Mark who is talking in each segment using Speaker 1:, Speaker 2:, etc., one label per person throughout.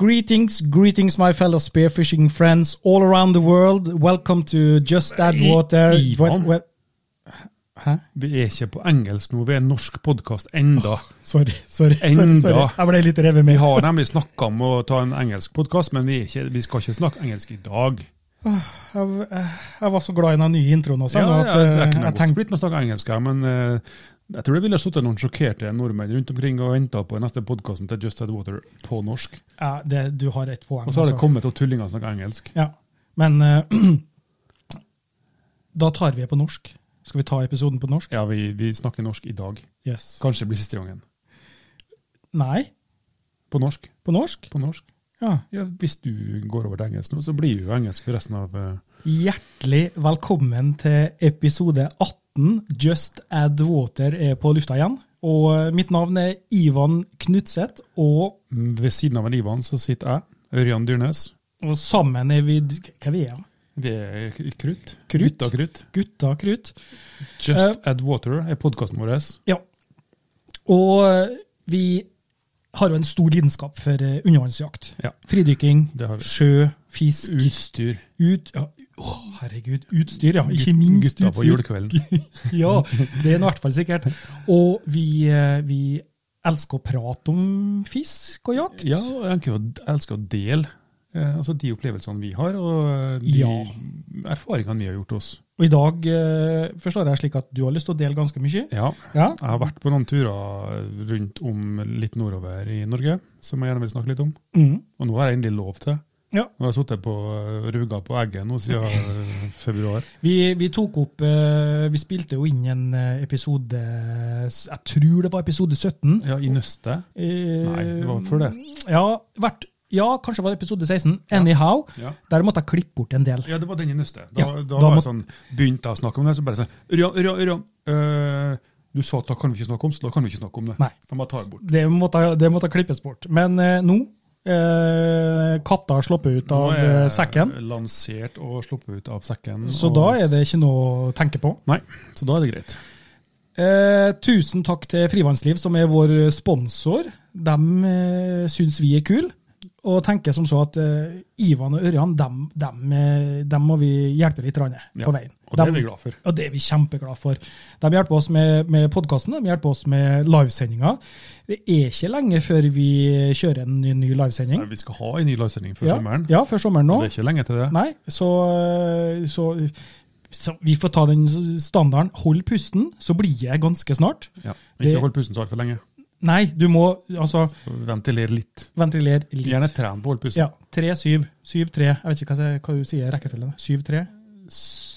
Speaker 1: Greetings, greetings, my fellow spearfishing friends all around the world. Welcome to Just Add
Speaker 2: I-
Speaker 1: Water.
Speaker 2: Ivan.
Speaker 1: Wel- Hæ?
Speaker 2: Vi er ikke på engelsk nå, vi er en norsk podkast enda.
Speaker 1: Sorry, sorry. sorry,
Speaker 2: Enda.
Speaker 1: sorry. Jeg ble litt revet
Speaker 2: Vi
Speaker 1: med.
Speaker 2: har nemlig snakka om å ta en engelsk podkast, men vi, er ikke, vi skal ikke snakke engelsk i dag.
Speaker 1: Jeg, jeg var så glad i den nye introen også.
Speaker 2: Ja,
Speaker 1: nå,
Speaker 2: ja,
Speaker 1: at,
Speaker 2: Sånn jeg
Speaker 1: eh,
Speaker 2: kunne
Speaker 1: jeg
Speaker 2: godt
Speaker 1: tenkte,
Speaker 2: blitt med å snakke engelsk her, men eh, jeg tror det ville sittet noen sjokkerte nordmenn rundt omkring og venta på den neste podkasten til Just Had Water på norsk.
Speaker 1: ja, det, du har et poeng.
Speaker 2: Og så har det
Speaker 1: altså.
Speaker 2: kommet noen tullinger som snakker engelsk.
Speaker 1: Ja, men eh, da tar vi det på norsk. Skal vi ta episoden på norsk?
Speaker 2: Ja, vi, vi snakker norsk i dag.
Speaker 1: Yes.
Speaker 2: Kanskje det blir siste gangen.
Speaker 1: Nei,
Speaker 2: På norsk.
Speaker 1: på norsk?
Speaker 2: På norsk.
Speaker 1: Ja.
Speaker 2: Ja, hvis du går over til engelsk nå, så blir jo engelsk for resten av eh,
Speaker 1: Hjertelig velkommen til episode 18. Just Add Water er på lufta igjen. Og eh, mitt navn er Ivan Knutseth, og,
Speaker 2: Ved siden av en Ivan så sitter jeg, Ørjan Dyrnes.
Speaker 1: og sammen er vi Hva er vi er?
Speaker 2: Vi er k- krutt.
Speaker 1: Krutt? Eh.
Speaker 2: Gutta krutt.
Speaker 1: Gutta krutt.
Speaker 2: Just Add Water er podkasten vår.
Speaker 1: Ja. Og eh, vi har jo en stor lidenskap for eh, undervannsjakt.
Speaker 2: Ja.
Speaker 1: Fridykking,
Speaker 2: Det har vi.
Speaker 1: sjø, fisk,
Speaker 2: Utstyr.
Speaker 1: ut ja. Å, herregud. Utstyr, ja. Ikke minst
Speaker 2: Gutta på
Speaker 1: utstyr.
Speaker 2: julekvelden.
Speaker 1: Ja, det er nå i hvert fall sikkert. Og vi, eh, vi elsker å prate om fisk og jakt.
Speaker 2: Ja, og jeg kan jo d- elsker å dele eh, altså de opplevelsene vi har, og eh, de
Speaker 1: Ja.
Speaker 2: erfaringene vi har gjort oss.
Speaker 1: Og i dag eh, forstår jeg slik at du har lyst til å dele ganske mye.
Speaker 2: Ja.
Speaker 1: Ja.
Speaker 2: Jeg har vært på noen turer rundt om litt nordover i Norge, som jeg gjerne vil snakke litt om.
Speaker 1: Mm.
Speaker 2: Og nå har jeg endelig lov til.
Speaker 1: Ja.
Speaker 2: Nå har jeg sittet på eh, ruga på egget nå siden eh, februar.
Speaker 1: Vi, vi tok opp eh, Vi spilte jo inn en eh, episode Jeg tror det var episode 17.
Speaker 2: Ja, I nøstet.
Speaker 1: Eh,
Speaker 2: Nei, det var før det.
Speaker 1: Ja, vært, ja kanskje var det episode 16. Anyhow.
Speaker 2: Ja.
Speaker 1: Der måtte jeg klippe bort en del.
Speaker 2: Ja, det var den i nøstet. Da,
Speaker 1: Ja,
Speaker 2: da,
Speaker 1: da
Speaker 2: var
Speaker 1: må-
Speaker 2: jeg sånn, begynte jeg å snakke om det, så bare sånn Ørjan, Ørjan, Ørjan. øh, du sa at da kan vi ikke snakke om, så da kan vi ikke snakke om det.
Speaker 1: Nei.
Speaker 2: Da må jeg ta det bort.
Speaker 1: Det måtte, det måtte klippes bort. Men eh, nå eh, Katta har sluppet ut av
Speaker 2: Nå er
Speaker 1: eh,
Speaker 2: jeg
Speaker 1: sekken.
Speaker 2: Lansert og sluppet ut av sekken.
Speaker 1: Så
Speaker 2: og-
Speaker 1: da er det ikke noe å tenke på.
Speaker 2: Nei, så da er det greit.
Speaker 1: Eh, tusen takk til Frivannsliv, som er vår sponsor. De eh, syns vi er kule. Og tenker som så at eh, Ivan og Ørjan, dem, dem, eh, dem må vi hjelpe litt grann
Speaker 2: Ja,
Speaker 1: på veien.
Speaker 2: Og det
Speaker 1: Dem-
Speaker 2: er vi glad for.
Speaker 1: og det er vi kjempeglade for. De hjelper oss med, med podkasten, de hjelper oss med livesendinger. Det er ikke lenge før vi kjører en ny, ny livesending.
Speaker 2: Nei, vi skal ha en ny livesending før
Speaker 1: ja,
Speaker 2: sommeren.
Speaker 1: Ja, før sommeren nå.
Speaker 2: Og Det er ikke lenge til det.
Speaker 1: Nei, så, eh, så, så vi får ta den standarden. Hold pusten, så blir jeg ganske snart.
Speaker 2: Ja.
Speaker 1: Det-
Speaker 2: Ikke hold pusten så altfor lenge.
Speaker 1: Nei, du må altså
Speaker 2: Ventiler litt.
Speaker 1: ventilere litt.
Speaker 2: Gjerne tren på å holde pusten.
Speaker 1: Ja, 3-7. 7-3. Jeg vet ikke hva, jeg- hva du sier i rekkefølgen. 7-3.
Speaker 2: S-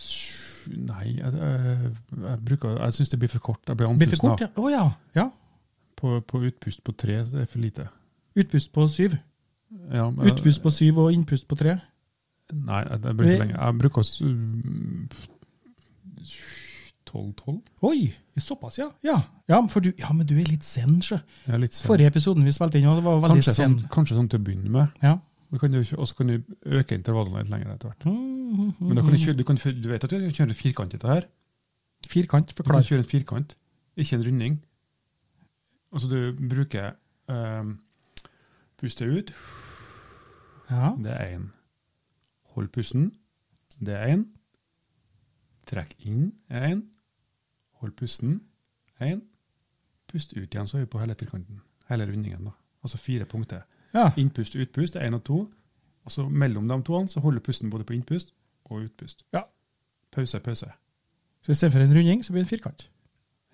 Speaker 2: Nei, jeg, jeg, jeg, bruker- jeg syns det blir for kort. Jeg blir
Speaker 1: Blir for
Speaker 2: andpusten
Speaker 1: kort,
Speaker 2: av.
Speaker 1: ja. Å ja. ja.
Speaker 2: På, på utpust på tre så er det for lite.
Speaker 1: Utpust på 7.
Speaker 2: Ja, men-
Speaker 1: Utpust på 7 og innpust på 3.
Speaker 2: Nei, jeg, jeg bruker
Speaker 1: Vi-
Speaker 2: lenge. Jeg bruker også mm, 12-12.
Speaker 1: Oi, såpass, ja. Ja, ja, for du, ja men du er litt sen, sjø.
Speaker 2: Jeg er litt sen.
Speaker 1: Forrige episoden vi spilte inn, og det var veldig
Speaker 2: kanskje,
Speaker 1: sen.
Speaker 2: sånn, kanskje sånn til å begynne med.
Speaker 1: Ja.
Speaker 2: Du kan jo ikke- Og så kan du øke intervallene litt lenger etter hvert.
Speaker 1: Mm, mm,
Speaker 2: Men da kan du,
Speaker 1: mm.
Speaker 2: kjøre, du, kan, du vet at du kan kjøre firkant i dette her.
Speaker 1: Firkant,
Speaker 2: Du
Speaker 1: forklar.
Speaker 2: kan kjøre en firkant, ikke en runding. Altså du bruker um, Puste ut,
Speaker 1: Ja.
Speaker 2: det er én. Hold pusten, det er én. Trekk inn, er én. Hold pusten, én. Pust ut igjen, så er vi på hele firkanten. Hele rundingen, da. Altså fire punkter.
Speaker 1: ja.
Speaker 2: Innpust, utpust, det er én og to. Og så mellom de to så holder du pusten både på innpust og utpust.
Speaker 1: Ja.
Speaker 2: Pause, pause.
Speaker 1: Så i stedet for en runding, så blir det en firkant.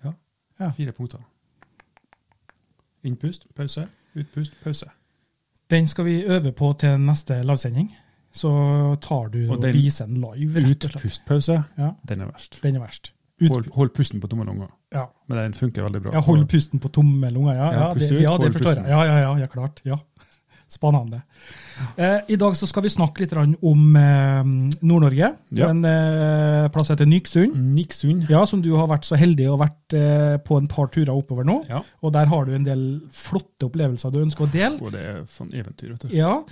Speaker 2: Ja.
Speaker 1: Ja.
Speaker 2: Fire punkter. Innpust, pause, utpust, pause.
Speaker 1: Den skal vi øve på til neste lavsending. Så tar du og,
Speaker 2: Og den-
Speaker 1: viser den live, rett og slett.
Speaker 2: Utpust, pause.
Speaker 1: Ja,
Speaker 2: Den er verst.
Speaker 1: den er verst.
Speaker 2: Hold, hold pusten på tomme lunger.
Speaker 1: Ja.
Speaker 2: Men den funker veldig bra.
Speaker 1: Jeg holder pusten på tomme lunger, ja.
Speaker 2: Ja,
Speaker 1: Ja,
Speaker 2: pust
Speaker 1: det,
Speaker 2: ut,
Speaker 1: ja, det
Speaker 2: hold
Speaker 1: forstår jeg.
Speaker 2: pusten.
Speaker 1: Ja, ja, ja, ja, klart. Ja. Spennende. Eh, I dag så skal vi snakke litt grann om eh, Nord-Norge.
Speaker 2: Ja.
Speaker 1: En eh, plass heter Nyksund.
Speaker 2: Niksund.
Speaker 1: Ja, som du har vært så heldig å ha vært eh, på en par turer oppover nå.
Speaker 2: Ja.
Speaker 1: Og der har du en del flotte opplevelser du ønsker å dele.
Speaker 2: Og det er sånn eventyr, vet du.
Speaker 1: Ja.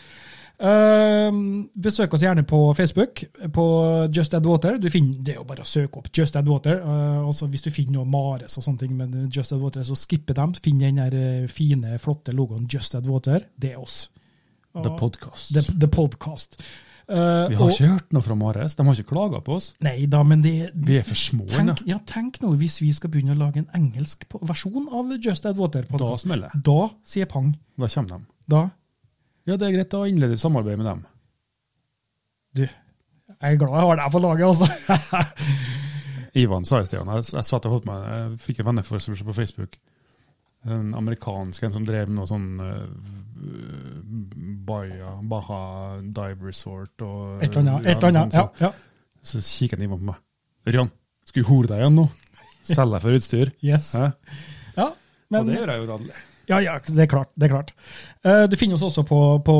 Speaker 1: Ehm, besøk oss gjerne på Facebook, på Just Add Water. Du finner, det er jo bare å søke opp Just Add Water. eh, og så hvis du finner noe Mares og sånne ting med Just Add Water, så skipper dem. Finn den der eh, fine, flotte logoen Just Add Water. Det er oss. Og-
Speaker 2: The Podcast.
Speaker 1: The, the Podcast. Eh,
Speaker 2: Vi har
Speaker 1: og-
Speaker 2: ikke hørt noe fra Mares. De har ikke klaga på oss.
Speaker 1: Nei da, men det
Speaker 2: Vi er for små ennå.
Speaker 1: tenk, ja, tenk nå hvis vi skal begynne å lage en engelsk po- versjon av Just Add Water.
Speaker 2: Da smeller det.
Speaker 1: Da sier pang.
Speaker 2: Da kommer de.
Speaker 1: Da
Speaker 2: Ja, det er greit. Da innleder vi samarbeid med dem.
Speaker 1: Du, jeg er glad jeg har deg på laget, altså.
Speaker 2: Ivan sa i sted, han- jeg, jeg satt og holdt meg, jeg fikk en venneforespørsel på Facebook. En amerikansk en som drev noe sånn eh, Baja, Baja Dive Resort og
Speaker 1: Et eller annet. Et eller annet.
Speaker 2: noe sånt,
Speaker 1: Ja, ja.
Speaker 2: liksom, Så, så kikker han Ivan på meg. Ørjan, skal du hore deg igjen nå? Selge deg for utstyr?
Speaker 1: Yes.
Speaker 2: Hæ?
Speaker 1: Ja,
Speaker 2: og det
Speaker 1: men,
Speaker 2: gjør jeg jo daglig.
Speaker 1: ja, ja, det er klart. Det er klart. Eh, du finner oss også på, på,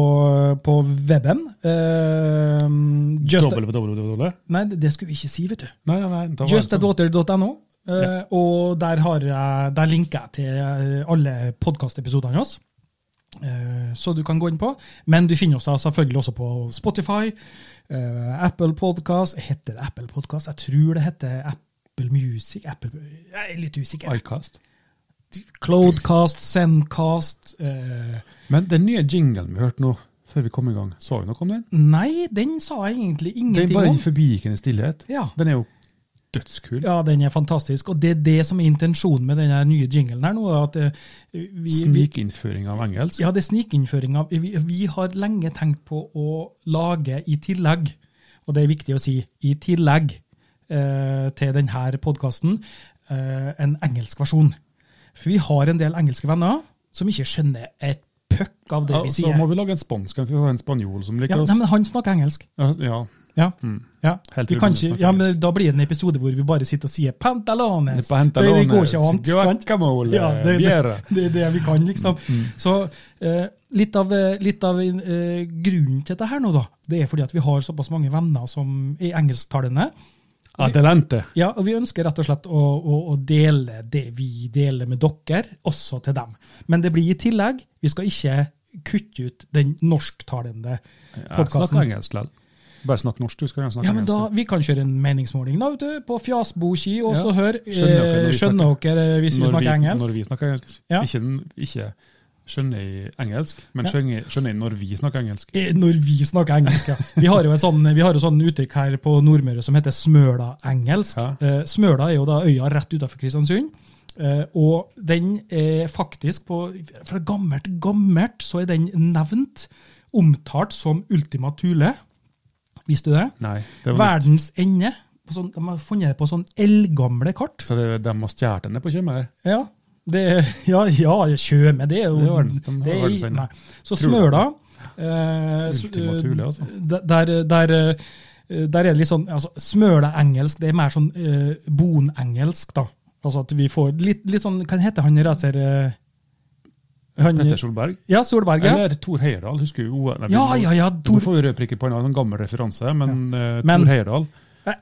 Speaker 1: på weben. Eh, just,
Speaker 2: Dobbel-dobbel-dobbel?
Speaker 1: nei, det skulle vi ikke si, vet du.
Speaker 2: Nei, nei, nei. da var det sånn.
Speaker 1: Justadwater.no. eh, Og der, har jeg, der linker jeg til eh, alle podkastepisodene våre. Eh, Så du kan gå inn på. Men du finner oss da selvfølgelig også på Spotify, eh, Apple Podcast Heter det Apple Podcast? Jeg tror det heter Apple Music. Apple, jeg er litt usikker.
Speaker 2: Icast.
Speaker 1: Cloudcast, Sendcast eh,
Speaker 2: sånn. Men den nye jinglen vi hørte nå, før vi kom i gang, så vi noe om den?
Speaker 1: Nei, den sa jeg egentlig
Speaker 2: Den
Speaker 1: ingenting
Speaker 2: bare
Speaker 1: om.
Speaker 2: i forbigikende stillhet.
Speaker 1: Ja.
Speaker 2: Den er jo dødskul.
Speaker 1: Ja, den er fantastisk. Og det er det som er intensjonen med den her nye jinglen her nå. er at eh, vi, vi,
Speaker 2: Snikinnføring av engelsk.
Speaker 1: Ja, det er snikinnføring av vi, vi har lenge tenkt på å lage i tillegg, og det er viktig å si, i tillegg eh, til denne podkasten, eh, en engelsk versjon. For vi har en del engelske venner som ikke skjønner et puck av det
Speaker 2: Ja,
Speaker 1: vi
Speaker 2: så
Speaker 1: sier.
Speaker 2: må vi lage en spansk en, for vi har en spanjol som
Speaker 1: Ja,
Speaker 2: liker oss.
Speaker 1: nei, men han snakker engelsk.
Speaker 2: Ja, ja.
Speaker 1: Ja.
Speaker 2: Mm.
Speaker 1: ja.
Speaker 2: Helt
Speaker 1: Vi kan
Speaker 2: uvanlig å
Speaker 1: ikke,
Speaker 2: snakke
Speaker 1: ja, men da blir det en episode hvor vi bare sitter og sier 'pantalones'.
Speaker 2: Pantalones,
Speaker 1: Det går ikke an. sant?
Speaker 2: guacamole,
Speaker 1: Ja, det, det,
Speaker 2: biere.
Speaker 1: det er det vi kan, liksom.
Speaker 2: Mm.
Speaker 1: Så eh, litt av, eh, litt av eh, grunnen til dette her nå, da, det er fordi at vi har såpass mange venner som er engelsktalende.
Speaker 2: Adelante.
Speaker 1: Ja, og vi ønsker rett og slett å, å, å dele det vi deler med dere, også til dem. Men det blir i tillegg. Vi skal ikke kutte ut den norsktalende
Speaker 2: Jeg snakker
Speaker 1: podkasten.
Speaker 2: engelsk likevel. Bare snakk norsk, du skal gjerne snakke
Speaker 1: Ja, men da,
Speaker 2: engelsk.
Speaker 1: Vi kan kjøre en meningsmåling da, vet du, på Fjasboki, og
Speaker 2: Ja.
Speaker 1: så hør. eh,
Speaker 2: Skjønner dere når vi
Speaker 1: Skjønner dere eh, hvis vi
Speaker 2: Når
Speaker 1: snakker engelsk?
Speaker 2: Når vi snakker engelsk.
Speaker 1: Ja.
Speaker 2: Ikke, ikke skjønner i engelsk, men
Speaker 1: Ja.
Speaker 2: skjønner, skjønner i når vi snakker engelsk.
Speaker 1: Eh, Når vi snakker engelsk, ja. Vi har jo et sånn, vi har et sånn uttrykk her på Nordmøre som heter Smøla-engelsk.
Speaker 2: Ja.
Speaker 1: Eh, Smøla er jo da øya rett utenfor Kristiansund. eh, Og den er faktisk på Fra gammelt, gammelt så er den nevnt, omtalt som Ultima Thule. Visste du det?
Speaker 2: Nei. Det var litt,
Speaker 1: Verdens ende. På sånn, de har funnet det på sånn eldgamle kart.
Speaker 2: så det, de har stjålet den på Tjøme her.
Speaker 1: Ja, det, ja, ja Tjøme, det er jo
Speaker 2: Det er verdens- de har
Speaker 1: det er-
Speaker 2: verdens ende.
Speaker 1: nei. Så
Speaker 2: Tror du
Speaker 1: Smøla eh, så,
Speaker 2: Ultima
Speaker 1: eh,
Speaker 2: Thule, altså.
Speaker 1: d- Der, der, eh, der er det litt sånn altså, Smøla-engelsk, det er mer sånn eh, bonengelsk, da. Altså at vi får litt, litt sånn Hva heter han racer... Eh, han-
Speaker 2: Petter Solberg.
Speaker 1: ja, Solberg. Ja,
Speaker 2: Eller Tor Heyerdahl, husker du? O- Nei, vi
Speaker 1: ja,
Speaker 2: må-
Speaker 1: ja. ja
Speaker 2: Nå
Speaker 1: Tor,
Speaker 2: får vi rødprikker på en annen gammel referanse, men eh,
Speaker 1: Men-
Speaker 2: Tor Heyerdahl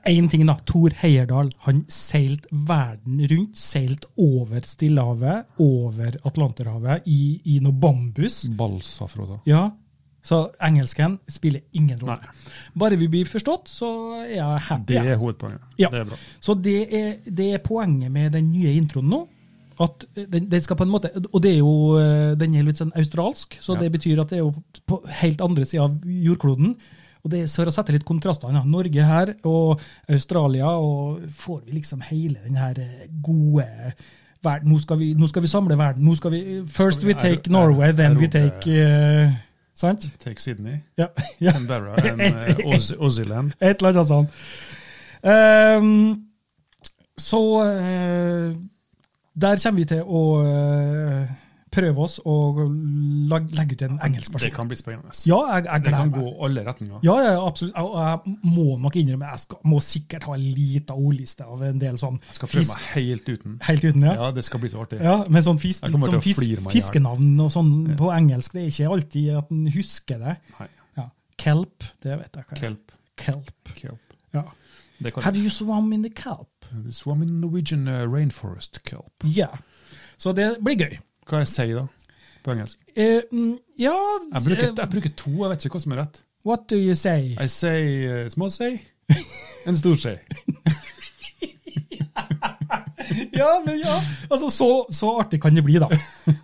Speaker 1: Én ting, da. Tor Heyerdahl. Han seilte verden rundt. Seilte over Stillehavet, over Atlanterhavet, i, i noe bambus.
Speaker 2: Balsa, Frode.
Speaker 1: Ja, så engelsken spiller ingen rolle. Bare vi blir forstått, så er jeg happy.
Speaker 2: Det
Speaker 1: jeg.
Speaker 2: er hovedpoenget.
Speaker 1: Ja.
Speaker 2: Det er bra.
Speaker 1: Så det er, det er poenget med den nye introen nå. At eh, den, den skal på en måte, Og det er jo, eh, den er litt sånn australsk, så
Speaker 2: Ja.
Speaker 1: det betyr at det er jo på helt andre sida av jordkloden. Og det er For å sette litt kontraster ja. Norge her og Australia, og får vi liksom hele den her eh, gode verden. Nå skal vi, nå skal vi samle verden. nå skal vi, First we
Speaker 2: vi ero-
Speaker 1: take Norway, then we
Speaker 2: erobre-
Speaker 1: take eh, Sant?
Speaker 2: Take Sydney,
Speaker 1: Ja, ja.
Speaker 2: Canberra and eh, Oz- Oziland.
Speaker 1: Et eller annet sånt. Ehm, så eh, der kommer vi til å eh, prøve oss og lag- legge ut en engelsk
Speaker 2: Det
Speaker 1: versjon.
Speaker 2: kan bli spennende.
Speaker 1: Ja, jeg, jeg
Speaker 2: det
Speaker 1: gleder
Speaker 2: kan
Speaker 1: meg.
Speaker 2: gå alle retninger.
Speaker 1: Ja, ja, ja, absolutt. Og jeg må nok innrømme, jeg skal, må sikkert ha en liten ordliste av en del sånn
Speaker 2: Jeg skal prøve meg helt uten.
Speaker 1: Helt uten, ja. ja.
Speaker 2: Ja, det skal bli så artig.
Speaker 1: men sånn, fisk,
Speaker 2: Jeg kommer til
Speaker 1: sånn
Speaker 2: å
Speaker 1: fisk,
Speaker 2: flire meg i hjel.
Speaker 1: fiskenavn og sånn på engelsk, det er ikke alltid at en husker det.
Speaker 2: Nei.
Speaker 1: Ja. Kelp, det vet jeg hva er.
Speaker 2: Kelp.
Speaker 1: Kelp.
Speaker 2: Kelp.
Speaker 1: Ja.
Speaker 2: Det kan
Speaker 1: Have you swum in the kelp?
Speaker 2: Swam in Norwegian eh, rainforest kelp.
Speaker 1: Yeah. Så det blir gøy.
Speaker 2: Hva jeg sier da, på engelsk?
Speaker 1: Eh, mm, ja
Speaker 2: Jeg bruker,
Speaker 1: eh,
Speaker 2: jeg bruker to, jeg vet ikke hva som er rett.
Speaker 1: What do you say?
Speaker 2: Jeg sier eh, små sei, en stor sei.
Speaker 1: Ja, men ja. Altså, så, så artig kan det bli, da.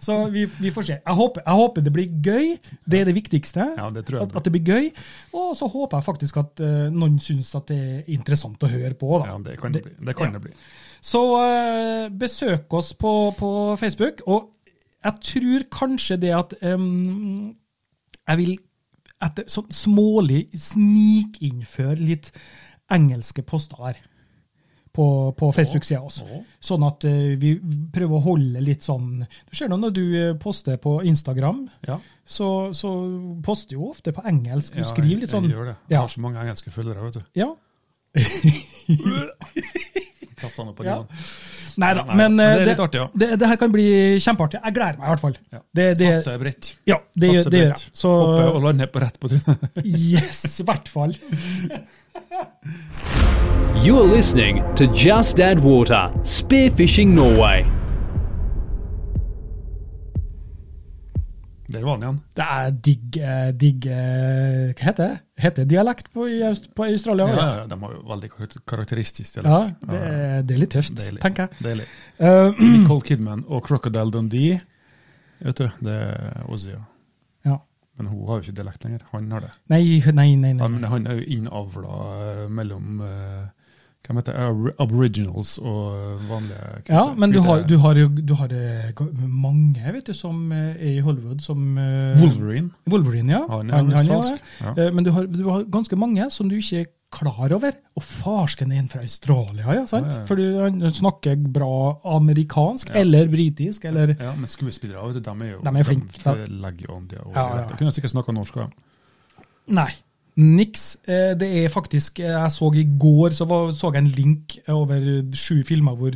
Speaker 1: Så vi, vi får se. Jeg håper, jeg håper det blir gøy. Det er det viktigste.
Speaker 2: Ja, det tror jeg
Speaker 1: At, at det blir gøy. Og så håper jeg faktisk at eh, noen syns at det er interessant å høre på. da.
Speaker 2: Ja, det kan det bli. Det kan
Speaker 1: ja.
Speaker 2: det bli.
Speaker 1: Så eh, besøk oss på, på Facebook. Og jeg tror kanskje det at em, Jeg vil etter sånn smålig snikinnføre litt engelske poster der. På, på Facebook-sida også.
Speaker 2: Å.
Speaker 1: Sånn at eh, vi prøver å holde litt sånn Du ser nå når du eh, poster på Instagram,
Speaker 2: Ja.
Speaker 1: så, så poster jo ofte på engelsk. Du
Speaker 2: Ja,
Speaker 1: skriver litt sånn
Speaker 2: Jeg, jeg gjør det. Jeg
Speaker 1: Ja.
Speaker 2: har så mange engelske følgere, vet du.
Speaker 1: ja.
Speaker 2: Kasta noe på
Speaker 1: Ja.
Speaker 2: divan.
Speaker 1: Neida,
Speaker 2: Nei,
Speaker 1: men,
Speaker 2: men
Speaker 1: eh,
Speaker 2: det er
Speaker 1: det,
Speaker 2: litt artig, ja.
Speaker 1: det, det her kan bli kjempeartig. Jeg gleder meg i hvert fall.
Speaker 2: Ja.
Speaker 1: Det, det,
Speaker 2: Satser bredt.
Speaker 1: ja, det, gjør-
Speaker 2: Satser
Speaker 1: det gjør
Speaker 2: bredt.
Speaker 1: jeg. Så
Speaker 2: Hopper og lander på rett på trynet.
Speaker 1: yes, i hvert fall.
Speaker 3: You're listening to Just Add Water Spearfishing Norway.
Speaker 2: Der var han igjen.
Speaker 1: Det er digg, eh, digg eh, Hva heter det? Heter det dialekt på, i Aust- på Australia?
Speaker 2: Ja,
Speaker 1: Ja,
Speaker 2: ja, ja. De har jo veldig karakter- karakteristisk
Speaker 1: ja
Speaker 2: dialekt.
Speaker 1: det, er- det er litt tøft,
Speaker 2: Deilig.
Speaker 1: tenker jeg.
Speaker 2: Deilig.
Speaker 1: Eh,
Speaker 2: Nicole Kidman og Crocodile Dundee. Vet du, det er Ozzy, ja.
Speaker 1: ja.
Speaker 2: Men hun har jo ikke dialekt lenger. Han har det.
Speaker 1: Nei, nei, nei. nei.
Speaker 2: Ja, men han er jo innavla eh, mellom eh, Hvem heter det? Ab- Aboriginals og eh, vanlige hvite-
Speaker 1: Ja, men du
Speaker 2: hvite-
Speaker 1: har, du har, jo- du har eh, g- mange vet du, som eh, er i Hollywood som eh,
Speaker 2: Wolverine.
Speaker 1: Wolverine, ja.
Speaker 2: Han er
Speaker 1: er jo
Speaker 2: australsk.
Speaker 1: det.
Speaker 2: Ja.
Speaker 1: Eh, Men du har, du har ganske mange som du ikke er klar over. Og farsken er en fra Australia, ja, sant?
Speaker 2: Ja, ja.
Speaker 1: For du- han snakker bra amerikansk eller britisk eller
Speaker 2: Ja, men skuespillere vet du, de er jo
Speaker 1: De er flinke,
Speaker 2: De legger jo an det.
Speaker 1: Ja, ja, ja.
Speaker 2: Jeg kunne sikkert snakka norsk òg.
Speaker 1: Nei. Niks. Eh, Det er faktisk eh, Jeg så i går så, var, så jeg en link over sju filmer hvor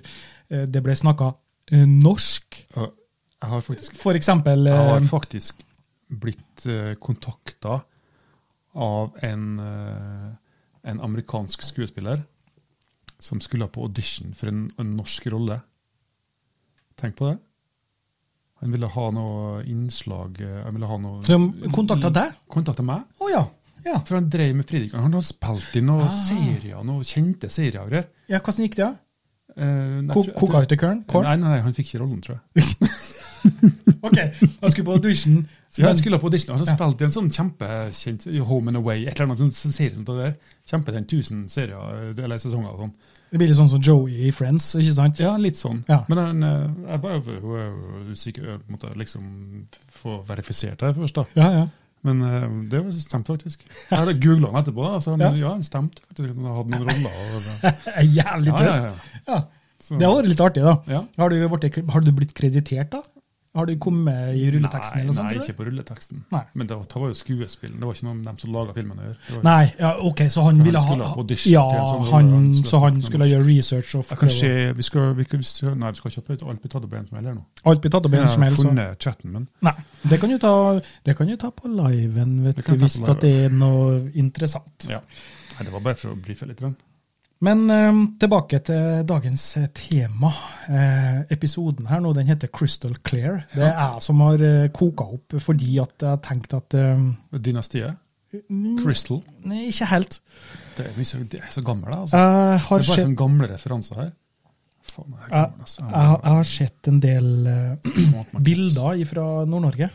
Speaker 1: eh, det ble snakka norsk.
Speaker 2: Jeg har faktisk
Speaker 1: For eksempel
Speaker 2: Jeg har
Speaker 1: eh,
Speaker 2: faktisk blitt uh, kontakta av en, eh, en amerikansk skuespiller som skulle på audition for en, en norsk rolle. Tenk på det. Han ville ha noe innslag eh, Han ville ha noe
Speaker 1: Så de kontakta deg?
Speaker 2: Kontakta meg.
Speaker 1: Å ja. ja.
Speaker 2: For han drev med Fridrik. Han har spilt i noen
Speaker 1: Ah.
Speaker 2: serier, noen kjente serier. og greier.
Speaker 1: Ja, Hvordan gikk det? da?
Speaker 2: Eh, jeg
Speaker 1: Ko-
Speaker 2: tror- jeg
Speaker 1: Koka
Speaker 2: tror-
Speaker 1: ut i køren? Korn?
Speaker 2: Nei, nei, nei, han fikk ikke rollen, tror jeg.
Speaker 1: Ok, jeg skulle på audition.
Speaker 2: Ja, jeg skulle på audition, og så
Speaker 1: Ja.
Speaker 2: spilte jeg en sånn kjempekjent Home and Away, et eller annet sånn serie som det der. Kjempekjent, tusen serier, eller sesonger og sånn.
Speaker 1: Det blir litt sånn som Joey i Friends, ikke sant?
Speaker 2: Ja, litt sånn.
Speaker 1: Ja.
Speaker 2: Men han, eh, jeg bare hun er jo usikker, jeg måtte liksom få verifisert det først, da.
Speaker 1: Ja, ja.
Speaker 2: Men eh, det var stemte faktisk. Jeg hadde googla han etterpå, da, så han,
Speaker 1: Ja.
Speaker 2: ja. han stemte faktisk. Han hadde noen roller. Og,
Speaker 1: Det er Jævlig
Speaker 2: ja, ja,
Speaker 1: tøft.
Speaker 2: ja.
Speaker 1: Ja,
Speaker 2: Så-
Speaker 1: Det har vært litt artig, da.
Speaker 2: Ja.
Speaker 1: Har du, vært- har du blitt kreditert, da? Har du kommet i rulleteksten eller noe sånt?
Speaker 2: Nei,
Speaker 1: eller?
Speaker 2: nei, ikke på rulleteksten.
Speaker 1: Nei.
Speaker 2: Men det var, det var jo skuespillen, det var ikke noe om dem som laga filmen å gjøre. Det var-
Speaker 1: Nei, ja, ok, så han
Speaker 2: Han
Speaker 1: ville ha
Speaker 2: skulle ha på audition
Speaker 1: Ja,
Speaker 2: til en sånn rolle,
Speaker 1: han,
Speaker 2: han skulle
Speaker 1: så han
Speaker 2: snakke
Speaker 1: skulle
Speaker 2: norsk.
Speaker 1: gjøre research og
Speaker 2: Jeg kan
Speaker 1: prøve
Speaker 2: ikke, vi skal, vi kan, nei, vi skal ikke ha alt blir tatt opp i en smell her nå.
Speaker 1: Alt blir tatt opp i en
Speaker 2: Jeg
Speaker 1: smell,
Speaker 2: har
Speaker 1: så
Speaker 2: funnet chatten min.
Speaker 1: Nei. Det kan du ta, det kan du ta på liven, vet
Speaker 2: Det kan
Speaker 1: du,
Speaker 2: jeg ta
Speaker 1: hvis
Speaker 2: på
Speaker 1: at det er noe interessant.
Speaker 2: Ja. Nei, det var bare for å brife litt. grann.
Speaker 1: Men eh, tilbake til dagens eh, tema. Eh, episoden her nå, den heter Crystal Clear. Det er jeg som har eh, koka opp fordi at jeg tenkte at eh,
Speaker 2: Dynastiet.
Speaker 1: mm,
Speaker 2: Crystal.
Speaker 1: Nei, ikke helt.
Speaker 2: Det er, mye så, det er så gammel, da. Altså.
Speaker 1: Jeg
Speaker 2: Det
Speaker 1: har,
Speaker 2: er bare
Speaker 1: sett,
Speaker 2: sånne gamle referanser her. Faen, jeg er
Speaker 1: Ja,
Speaker 2: gammel, altså.
Speaker 1: jeg, har- jeg har sett en del eh,
Speaker 2: Måte man-
Speaker 1: bilder fra Nord-Norge.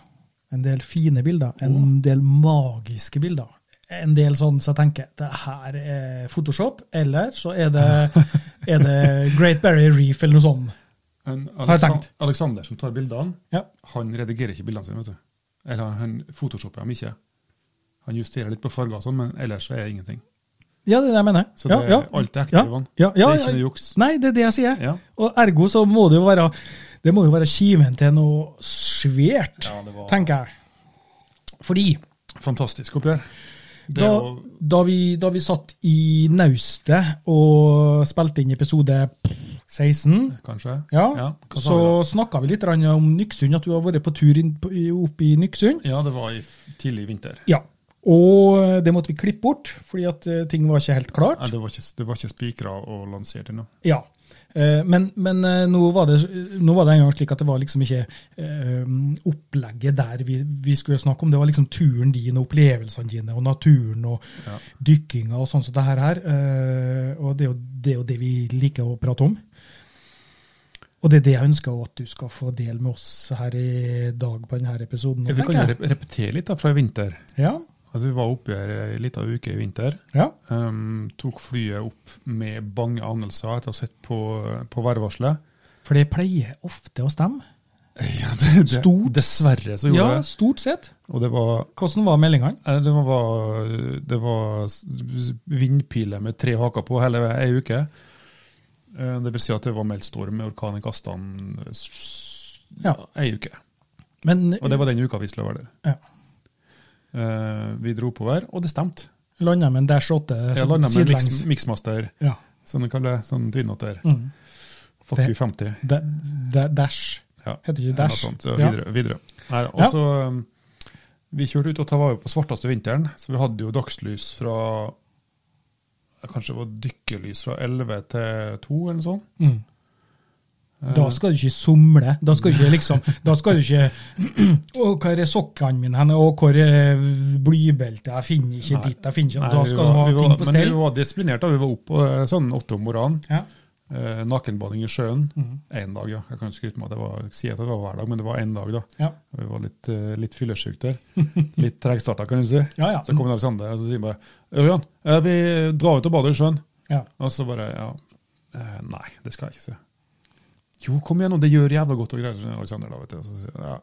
Speaker 1: En del fine bilder. En del magiske bilder. En del sånn så jeg tenker det her er Photoshop, eller så er det, er det Great Barrier Reef eller noe sånt.
Speaker 2: En
Speaker 1: jeg
Speaker 2: Aleksan-
Speaker 1: tenkt.
Speaker 2: Aleksander som tar bildene,
Speaker 1: Ja.
Speaker 2: han redigerer ikke bildene sine. vet du. Eller han photoshopper dem ikke. Han justerer litt på farger og sånn, men ellers er det ingenting.
Speaker 1: Ja, det er det jeg mener.
Speaker 2: Så det,
Speaker 1: ja, ja.
Speaker 2: alt er ekte.
Speaker 1: Ja,
Speaker 2: Ivan.
Speaker 1: ja, ja,
Speaker 2: det er
Speaker 1: ja.
Speaker 2: ikke noe juks.
Speaker 1: Nei, det er det jeg sier.
Speaker 2: Ja.
Speaker 1: Og ergo så må det jo være Det må jo være kimen til noe svært,
Speaker 2: Ja, det var-
Speaker 1: tenker jeg. Fordi
Speaker 2: Fantastisk oppgjør. Det
Speaker 1: da,
Speaker 2: var-
Speaker 1: da, vi, da vi satt i naustet og spilte inn episode 16
Speaker 2: kanskje?
Speaker 1: ja,
Speaker 2: hva sa
Speaker 1: så
Speaker 2: vi da?
Speaker 1: snakka vi litt grann om Nyksund, at du har vært på tur inn, på, opp i Nyksund.
Speaker 2: ja, det var i f- tidlig vinter.
Speaker 1: Ja. Og det måtte vi klippe bort, fordi at eh, ting var ikke helt klart.
Speaker 2: Nei, det var ikke, det var ikke spikra og lansert ennå.
Speaker 1: Ja. Eh, Men, men eh, nå, var det, nå var det en gang slik at det var liksom ikke eh, opplegget der vi, vi skulle snakke om. Det var liksom turen din og opplevelsene dine og naturen og
Speaker 2: Ja.
Speaker 1: dykkinga og sånn som det her er. Eh, Og det er jo det, er jo det vi liker å prate om. Og det er det jeg ønsker også at du skal få del med oss her i dag på denne episoden.
Speaker 2: Vi kan jo
Speaker 1: tenker jeg.
Speaker 2: rep repetere litt da fra i vinter.
Speaker 1: Ja,
Speaker 2: Altså, Vi var oppe her ei lita uke i vinter.
Speaker 1: ja,
Speaker 2: Ehm, tok flyet opp med bange anelser etter å ha sett på, på værvarselet.
Speaker 1: for det pleier ofte å stemme.
Speaker 2: Ja, det, det,
Speaker 1: Stort-
Speaker 2: dessverre så gjorde
Speaker 1: Ja,
Speaker 2: det.
Speaker 1: stort sett.
Speaker 2: Og det var,
Speaker 1: Hvordan var meldingene?
Speaker 2: eh, det var, det var s- vindpiler med tre haker på hele ei uke. Eh, Det vil si at det var meldt storm med orkan i kastene s- s-
Speaker 1: Ja.
Speaker 2: ei uke.
Speaker 1: Men
Speaker 2: Og det var den uka vi skulle være der.
Speaker 1: Ja.
Speaker 2: Eh, Vi dro oppover, og det stemte.
Speaker 1: Landa med en Dash 8
Speaker 2: Jeg landa med en
Speaker 1: sånn sidelengs.
Speaker 2: mix, Mixmaster,
Speaker 1: Ja.
Speaker 2: som de kaller det, sånn twinotter.
Speaker 1: Mm.
Speaker 2: Fuck
Speaker 1: Det-
Speaker 2: you 50.
Speaker 1: Da, da, dash.
Speaker 2: Ja.
Speaker 1: Heter det ikke
Speaker 2: Noe
Speaker 1: Dash?
Speaker 2: sånt, ja,
Speaker 1: Ja.
Speaker 2: videre. videre. Nei, og så, um, vi kjørte ut, og det var jo på svarteste vinteren, så vi hadde jo dagslys fra ja, Kanskje det var dykkerlys fra 11 til 2 eller noe sånt.
Speaker 1: Mm. Da
Speaker 2: Eh,
Speaker 1: skal du ikke somle. Da skal du ikke liksom Da skal du ikke Å, hvor er sokkene mine hen? Å, hvor er blybeltet? Jeg finner ikke
Speaker 2: Nei.
Speaker 1: ditt, jeg finner ikke
Speaker 2: nei,
Speaker 1: Da
Speaker 2: vi
Speaker 1: skal
Speaker 2: var-
Speaker 1: du ha
Speaker 2: vi var-
Speaker 1: ting på
Speaker 2: Men
Speaker 1: stell.
Speaker 2: vi var disiplinert, da. Vi var oppe eh, sånn åtte om morgenen.
Speaker 1: Ja.
Speaker 2: Eh, nakenbading i sjøen
Speaker 1: Mhm.
Speaker 2: én dag, ja. Jeg kan ikke skryte med at det var, si at det var hver dag, men det var én dag, da.
Speaker 1: Ja.
Speaker 2: Vi var litt, eh, litt fyllesyke der. Litt tregstarta, kan du si.
Speaker 1: Ja, ja.
Speaker 2: Så kommer Alexander og så sier han bare Ørjan, eh, vi drar ut og bader i sjøen.
Speaker 1: ja.
Speaker 2: Og så bare ja, eh, Nei, det skal jeg ikke se. Jo, kom igjen, og det gjør jævla godt og greier, sier Alexander. da, vet du. Og Så sier jeg, ja.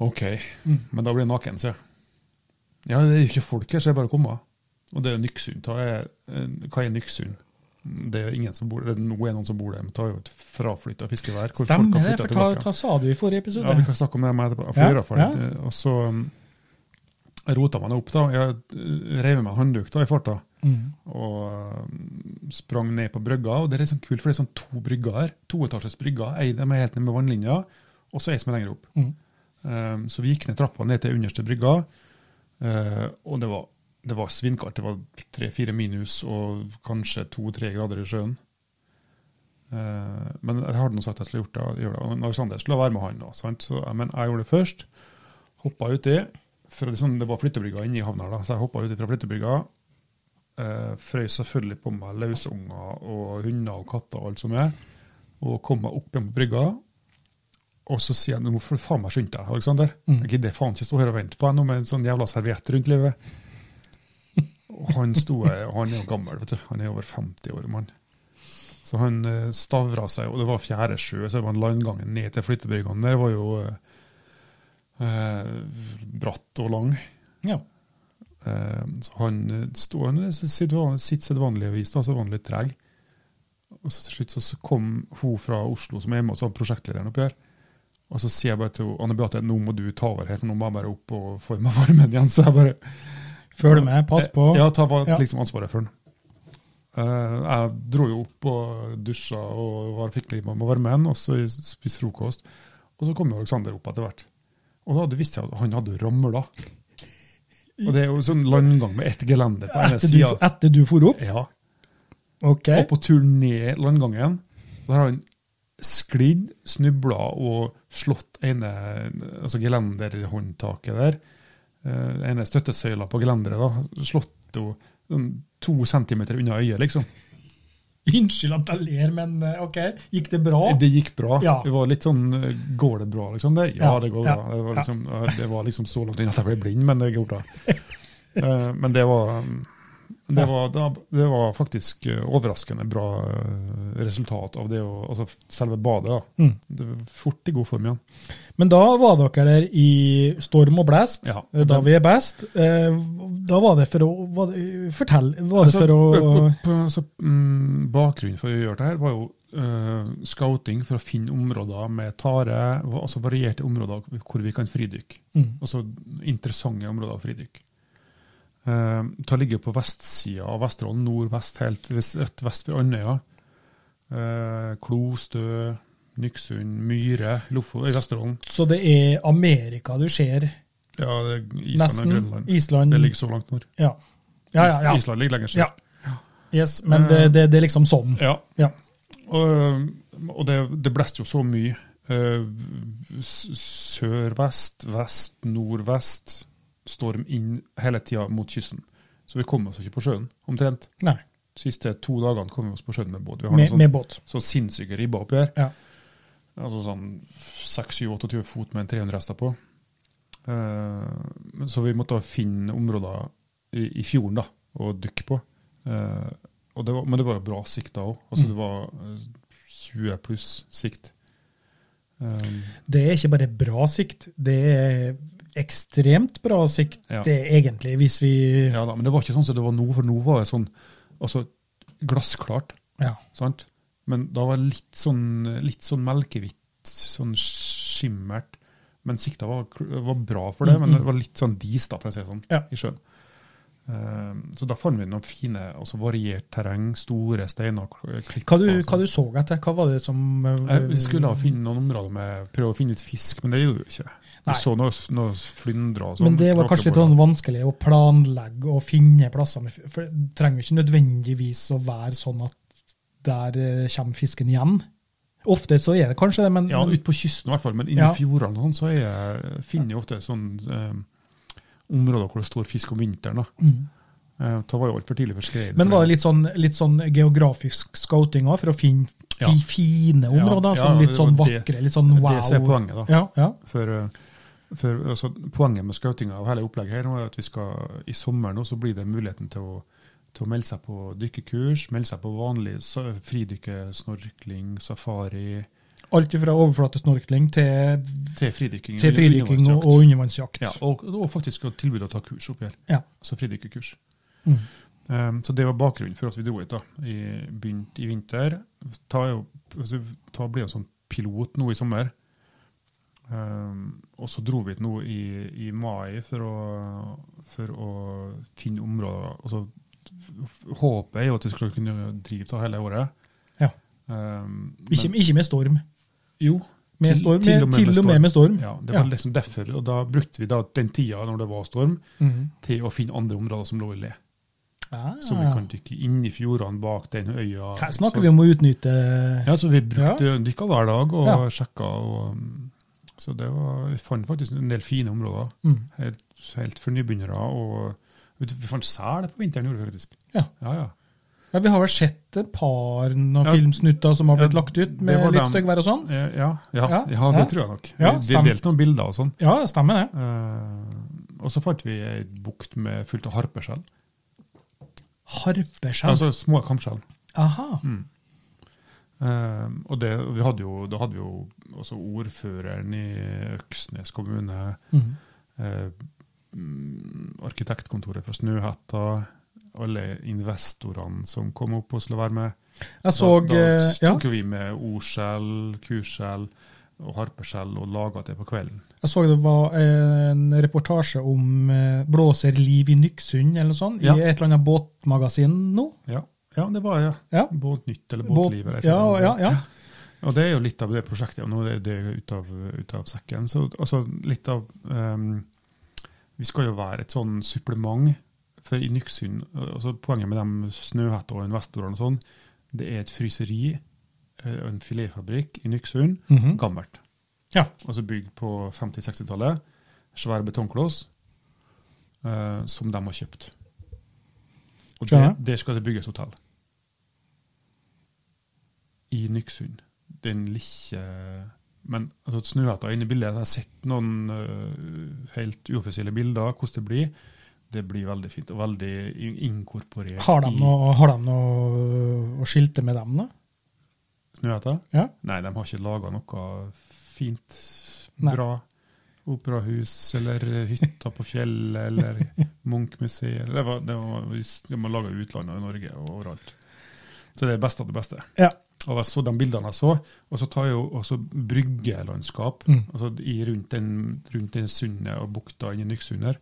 Speaker 2: OK,
Speaker 1: Mm.
Speaker 2: men da blir jeg naken, sier jeg. Ja, det er jo ikke folk her, så jeg bare kommer. Og det er Nyksund. Hva er, eh, hva er Nyksund? Det er jo ingen som bor der. Nå er det noen som bor der, men det er jo et fraflytta fiskevær. hvor folk
Speaker 1: Stemmer
Speaker 2: har
Speaker 1: det,
Speaker 2: flyttet
Speaker 1: for hva,
Speaker 2: tilbake.
Speaker 1: hva sa du i forrige
Speaker 2: Ja, vi
Speaker 1: episode?
Speaker 2: kan snakke om det med etterpå. For
Speaker 1: Ja,
Speaker 2: i hvert fall,
Speaker 1: ja.
Speaker 2: eh, Og så um, rota man det opp, da. Jeg eh, rev meg håndduk da i farta
Speaker 1: Mm.
Speaker 2: og um, sprang ned på brygga. Og det er liksom kult, for det er sånn to brygger her. Toetasjes brygger. Ei dem er helt ned med vannlinja, og så ei som er lenger opp.
Speaker 1: Mm.
Speaker 2: Um, så vi gikk ned trappa ned til underste brygga, eh, og det var, det var svinkaldt. Det var tre-fire minus og kanskje to-tre grader i sjøen. Eh, men jeg hadde nå sagt at jeg skulle gjort det, og gjøre det. Og Alexander skulle være med han, da. Sant? Så, eh, men jeg gjorde det først. Hoppa uti. Fra, liksom, det var flyttebrygga inne i havna, da, så jeg hoppa uti fra flyttebrygga. Eh, frøs selvfølgelig på meg løsunger og hunder og katter og alt som er. Og kom meg opp igjen på brygga. Og så sier jeg nå får du faen meg skynde deg, Alexander.
Speaker 1: Mm.
Speaker 2: Jeg gidder faen ikke stå her og vente på deg nå med en sånn jævla serviett rundt livet. Og han sto her, og han er jo gammel, vet du. Han er over 50 år, mann. Så han eh, stavra seg, og det var fjerde sjø, så det var landgangen ned til flyttebryggene. Der var jo eh, eh, bratt og lang.
Speaker 1: Ja.
Speaker 2: Eh, Så han eh, sto han er sedvan- sitt sedvanlige vis, da, sedvanlig treg. Og så til slutt så så kom hun fra Oslo som er hjemme hos prosjektlederen oppi her. Og så sier jeg bare til hun, Anne Beate nå må du ta over her, for nå må jeg bare opp og få i meg varmen igjen. Så jeg bare
Speaker 1: Følg med, pass på.
Speaker 2: Eh, Ja, ta va-
Speaker 1: Ja.
Speaker 2: liksom ansvaret for den. Eh, jeg dro jo opp og dusja og var fikk litt med varmen, og så spiste frokost. Og så kom jo Alexander opp etter hvert. Og da hadde visste jeg at han hadde ramla. Og det er jo sånn landgang med ett gelender på ene
Speaker 1: Etter du,
Speaker 2: sida.
Speaker 1: etter du for opp?
Speaker 2: Ja.
Speaker 1: Ok.
Speaker 2: Og på tur ned landgangen så har han sklidd, snubla og slått ene altså gelenderhåndtaket der. eh, ene støttesøyla på gelenderet. da, Slått henne sånn to centimeter unna øyet, liksom.
Speaker 1: Unnskyld at jeg ler, men eh, ok. Gikk det bra?
Speaker 2: Det gikk bra.
Speaker 1: Ja.
Speaker 2: Det var litt sånn eh, Går det bra, liksom? Det? Ja,
Speaker 1: Ja,
Speaker 2: det går
Speaker 1: ja,
Speaker 2: bra. Det var,
Speaker 1: ja.
Speaker 2: liksom, eh, det var liksom så langt inn at jeg ble blind, men det går bra. Eh, men det var um, det
Speaker 1: Ja.
Speaker 2: var, da- det var faktisk eh, overraskende bra eh, resultat av det å Altså selve badet, da.
Speaker 1: Mm.
Speaker 2: Det var fort i god form igjen.
Speaker 1: Men da var dere der i storm og blest,
Speaker 2: Ja.
Speaker 1: da vi er best. Eh, Da var det for å var det, Fortell. Var det
Speaker 2: Altså,
Speaker 1: for å
Speaker 2: på, på, altså, mm, bakgrunnen for å gjøre det her var jo eh, scouting for å finne områder med tare, va- altså varierte områder hvor vi kan fridykke.
Speaker 1: Mm.
Speaker 2: Altså interessante områder å fridykke. Uh, ta ligger på vestsida av Vesterålen, nordvest, helt vis- rett vest for Andøya. Eh, Klo, Stø, Nyksund, Myre, Lofo, i Vesterålen.
Speaker 1: Så det er Amerika du ser,
Speaker 2: Ja, det er Island og
Speaker 1: nesten.
Speaker 2: Grønland.
Speaker 1: Island.
Speaker 2: Det ligger så langt nord.
Speaker 1: Ja, ja, ja. ja.
Speaker 2: Island ligger lenger sør.
Speaker 1: ja. Yes, men det, det, det er liksom sånn.
Speaker 2: Ja.
Speaker 1: Ja.
Speaker 2: Og, og det, det blåste jo så mye. eh, s- Sør-vest, vest, nordvest. Storm inn hele tida mot kysten. Så vi kom oss ikke på sjøen, omtrent.
Speaker 1: Nei,
Speaker 2: siste to dagene kom vi oss på sjøen med båt. Vi har
Speaker 1: med,
Speaker 2: noen
Speaker 1: med
Speaker 2: sånn,
Speaker 1: båt.
Speaker 2: så sinnssyke ribber oppi her.
Speaker 1: Ja.
Speaker 2: Altså sånn 26-28 fot med en 300 hester på. Eh, men så vi måtte finne områder i, i fjorden da, å dykke på. Eh, og det var, men det var jo bra sikt da òg. Altså,
Speaker 1: Mm.
Speaker 2: det var eh, 20 pluss sikt. Eh,
Speaker 1: Det er ikke bare bra sikt, det er ekstremt bra sikt,
Speaker 2: Ja.
Speaker 1: det er egentlig, hvis vi Ja.
Speaker 2: ja da, men det var ikke sånn som det var nå, for nå var det sånn altså, glassklart.
Speaker 1: ja.
Speaker 2: sant? Men da var det litt sånn, litt sånn melkehvitt, sånn skimmert. Men sikta var, var bra for det, men det var litt sånn dis, da, for å si det sånn,
Speaker 1: Mm, Ja.
Speaker 2: i sjøen. Eh, så da fant vi noen fine, altså variert terreng, store steiner klipp,
Speaker 1: Hva, du, hva du så etter? Hva var det som eh,
Speaker 2: sånn. Vi skulle ha finne noen områder med prøve å finne litt fisk, men det gjorde vi ikke. Vi
Speaker 1: Nei.
Speaker 2: så noe, noe flyndre og sånn.
Speaker 1: Men det var kanskje litt sånn vanskelig å planlegge og finne plasser. Med, f- for det trenger jo ikke nødvendigvis å være sånn at der eh, kommer fisken igjen. Ofte så er det kanskje det, men,
Speaker 2: Ja,
Speaker 1: men
Speaker 2: ute på kysten i hvert fall, men inne
Speaker 1: Ja.
Speaker 2: i fjordene og sånn, så er, finner jeg ofte sånn eh, områder hvor det står fisk om vinteren. da.
Speaker 1: Mm.
Speaker 2: Eh, Da var jo altfor tidlig for skredet.
Speaker 1: Men var det litt sånn, litt sånn geografisk scouting òg, for å finne fi,
Speaker 2: Ja.
Speaker 1: fine områder?
Speaker 2: Ja, ja,
Speaker 1: sånn litt
Speaker 2: det
Speaker 1: sånn
Speaker 2: var det-
Speaker 1: vakre, litt sånn wow?
Speaker 2: Det som er poenget, da.
Speaker 1: Ja, ja.
Speaker 2: For, eh, for, altså, poenget med scoutinga og hele opplegget her nå er at vi skal, i sommer nå så blir det muligheten til å, til å melde seg på dykkekurs, melde seg på vanlig sa- fridykke, snorkling, safari
Speaker 1: Alt fra overflatesnorkling til,
Speaker 2: Til fridykking.
Speaker 1: til fridykking og, og undervannsjakt.
Speaker 2: undervannsjakt. ja, og, og faktisk å tilbudet å ta kurs oppi her.
Speaker 1: Ja.
Speaker 2: Altså fridykkekurs.
Speaker 1: Mm.
Speaker 2: Ehm, så det var bakgrunnen for at vi dro hit. da, i, Begynt i vinter. Ta, jo- altså, ta Bli en sånn pilot nå i sommer. Ehm, og så dro vi hit nå i, i mai for å, for å finne områder altså, Håpet er jo at vi skal kunne drive det hele året.
Speaker 1: Ja.
Speaker 2: Ehm, men-
Speaker 1: Ikke, ikke med storm.
Speaker 2: jo,
Speaker 1: Med
Speaker 2: til-
Speaker 1: storm
Speaker 2: til og
Speaker 1: med,
Speaker 2: med
Speaker 1: til
Speaker 2: med
Speaker 1: og med med storm.
Speaker 2: ja, det var
Speaker 1: Ja.
Speaker 2: liksom derfor, og da brukte vi da den tida når det var storm,
Speaker 1: Mhm.
Speaker 2: til å finne andre områder som lå i le.
Speaker 1: Ah.
Speaker 2: Som vi kan dykke inn i fjordene bak den øya.
Speaker 1: Her snakker vi om å utnytte
Speaker 2: Ja, så vi brukte dykka hver dag og
Speaker 1: Ja.
Speaker 2: sjekka. Og, um, så det var, vi fant faktisk en del fine områder.
Speaker 1: Mm.
Speaker 2: Helt, helt for nybegynnere. Og vet du, vi fant sel på vinteren, gjorde vi faktisk.
Speaker 1: Ja.
Speaker 2: ja, ja.
Speaker 1: Ja, Vi har vel sett et par noen
Speaker 2: Ja.
Speaker 1: filmsnutter som har blitt
Speaker 2: Ja,
Speaker 1: lagt ut
Speaker 2: det
Speaker 1: med
Speaker 2: var
Speaker 1: litt
Speaker 2: dem.
Speaker 1: styggvær og sånn?
Speaker 2: Eh, Ja, ja, ja,
Speaker 1: Ja,
Speaker 2: det
Speaker 1: ja.
Speaker 2: tror jeg nok.
Speaker 1: Ja,
Speaker 2: vi vi
Speaker 1: stemmer.
Speaker 2: delte noen bilder og sånn.
Speaker 1: Ja, stemmer det.
Speaker 2: Eh, og så fant vi ei bukt med fullt av harpeskjell.
Speaker 1: Harpeskjell.
Speaker 2: Altså Mm. små kampskjell.
Speaker 1: Aha.
Speaker 2: Eh, og det, og vi hadde jo, da hadde vi jo også ordføreren i Øksnes kommune,
Speaker 1: Mhm.
Speaker 2: eh, mm, arkitektkontoret fra Snøhetta, alle investorene som kom opp og skulle være med.
Speaker 1: Jeg så
Speaker 2: da da
Speaker 1: eh, ja,
Speaker 2: tok jo vi med ordskjell, kurskjell og harpeskjell og laga det på kvelden.
Speaker 1: jeg så det var en reportasje om eh, blåserliv i Nyksund eller noe sånt,
Speaker 2: Ja.
Speaker 1: i et eller annet båtmagasin nå.
Speaker 2: Ja, ja det var ja.
Speaker 1: Ja.
Speaker 2: Båtnytt eller
Speaker 1: Båt-
Speaker 2: båtliv. eller et
Speaker 1: ja,
Speaker 2: eller annet.
Speaker 1: ja, ja.
Speaker 2: Og det er jo litt av det prosjektet, og nå er det ut av, ut av sekken. Så altså, litt av ehm, Vi skal jo være et sånn supplement for i Nyksund. Altså, poenget med de snøhetta og investorene og sånn, det er et fryseri eh, og en filetfabrikk i Nyksund.
Speaker 1: Mhm.
Speaker 2: Gammelt.
Speaker 1: ja.
Speaker 2: Altså bygd på 50-60-tallet. Svær betongkloss eh, som de har kjøpt. Og det,
Speaker 1: Skjønner.
Speaker 2: der skal det bygges hotell. I Nyksund. Den lille Men altså, Snøhetta er inne i bildet. Jeg har sett noen eh, helt uoffisielle bilder hvordan det blir. Det blir veldig fint og veldig in- inkorporert
Speaker 1: Har de
Speaker 2: i
Speaker 1: noe, har de noe å skilte med dem, da?
Speaker 2: Snøhetta.
Speaker 1: Ja.
Speaker 2: Nei, de har ikke laga noe fint,
Speaker 1: Nei.
Speaker 2: bra operahus eller hytta på fjellet eller Munch-museet. eller Det var, det var, de har laga utlandet og i Norge og overalt. Så det er best av det beste.
Speaker 1: Ja.
Speaker 2: Og jeg så de bildene jeg så, og så tar jeg jo også bryggelandskap
Speaker 1: Mm.
Speaker 2: altså i, rundt den, rundt den sundet og bukta inni Nyksund her.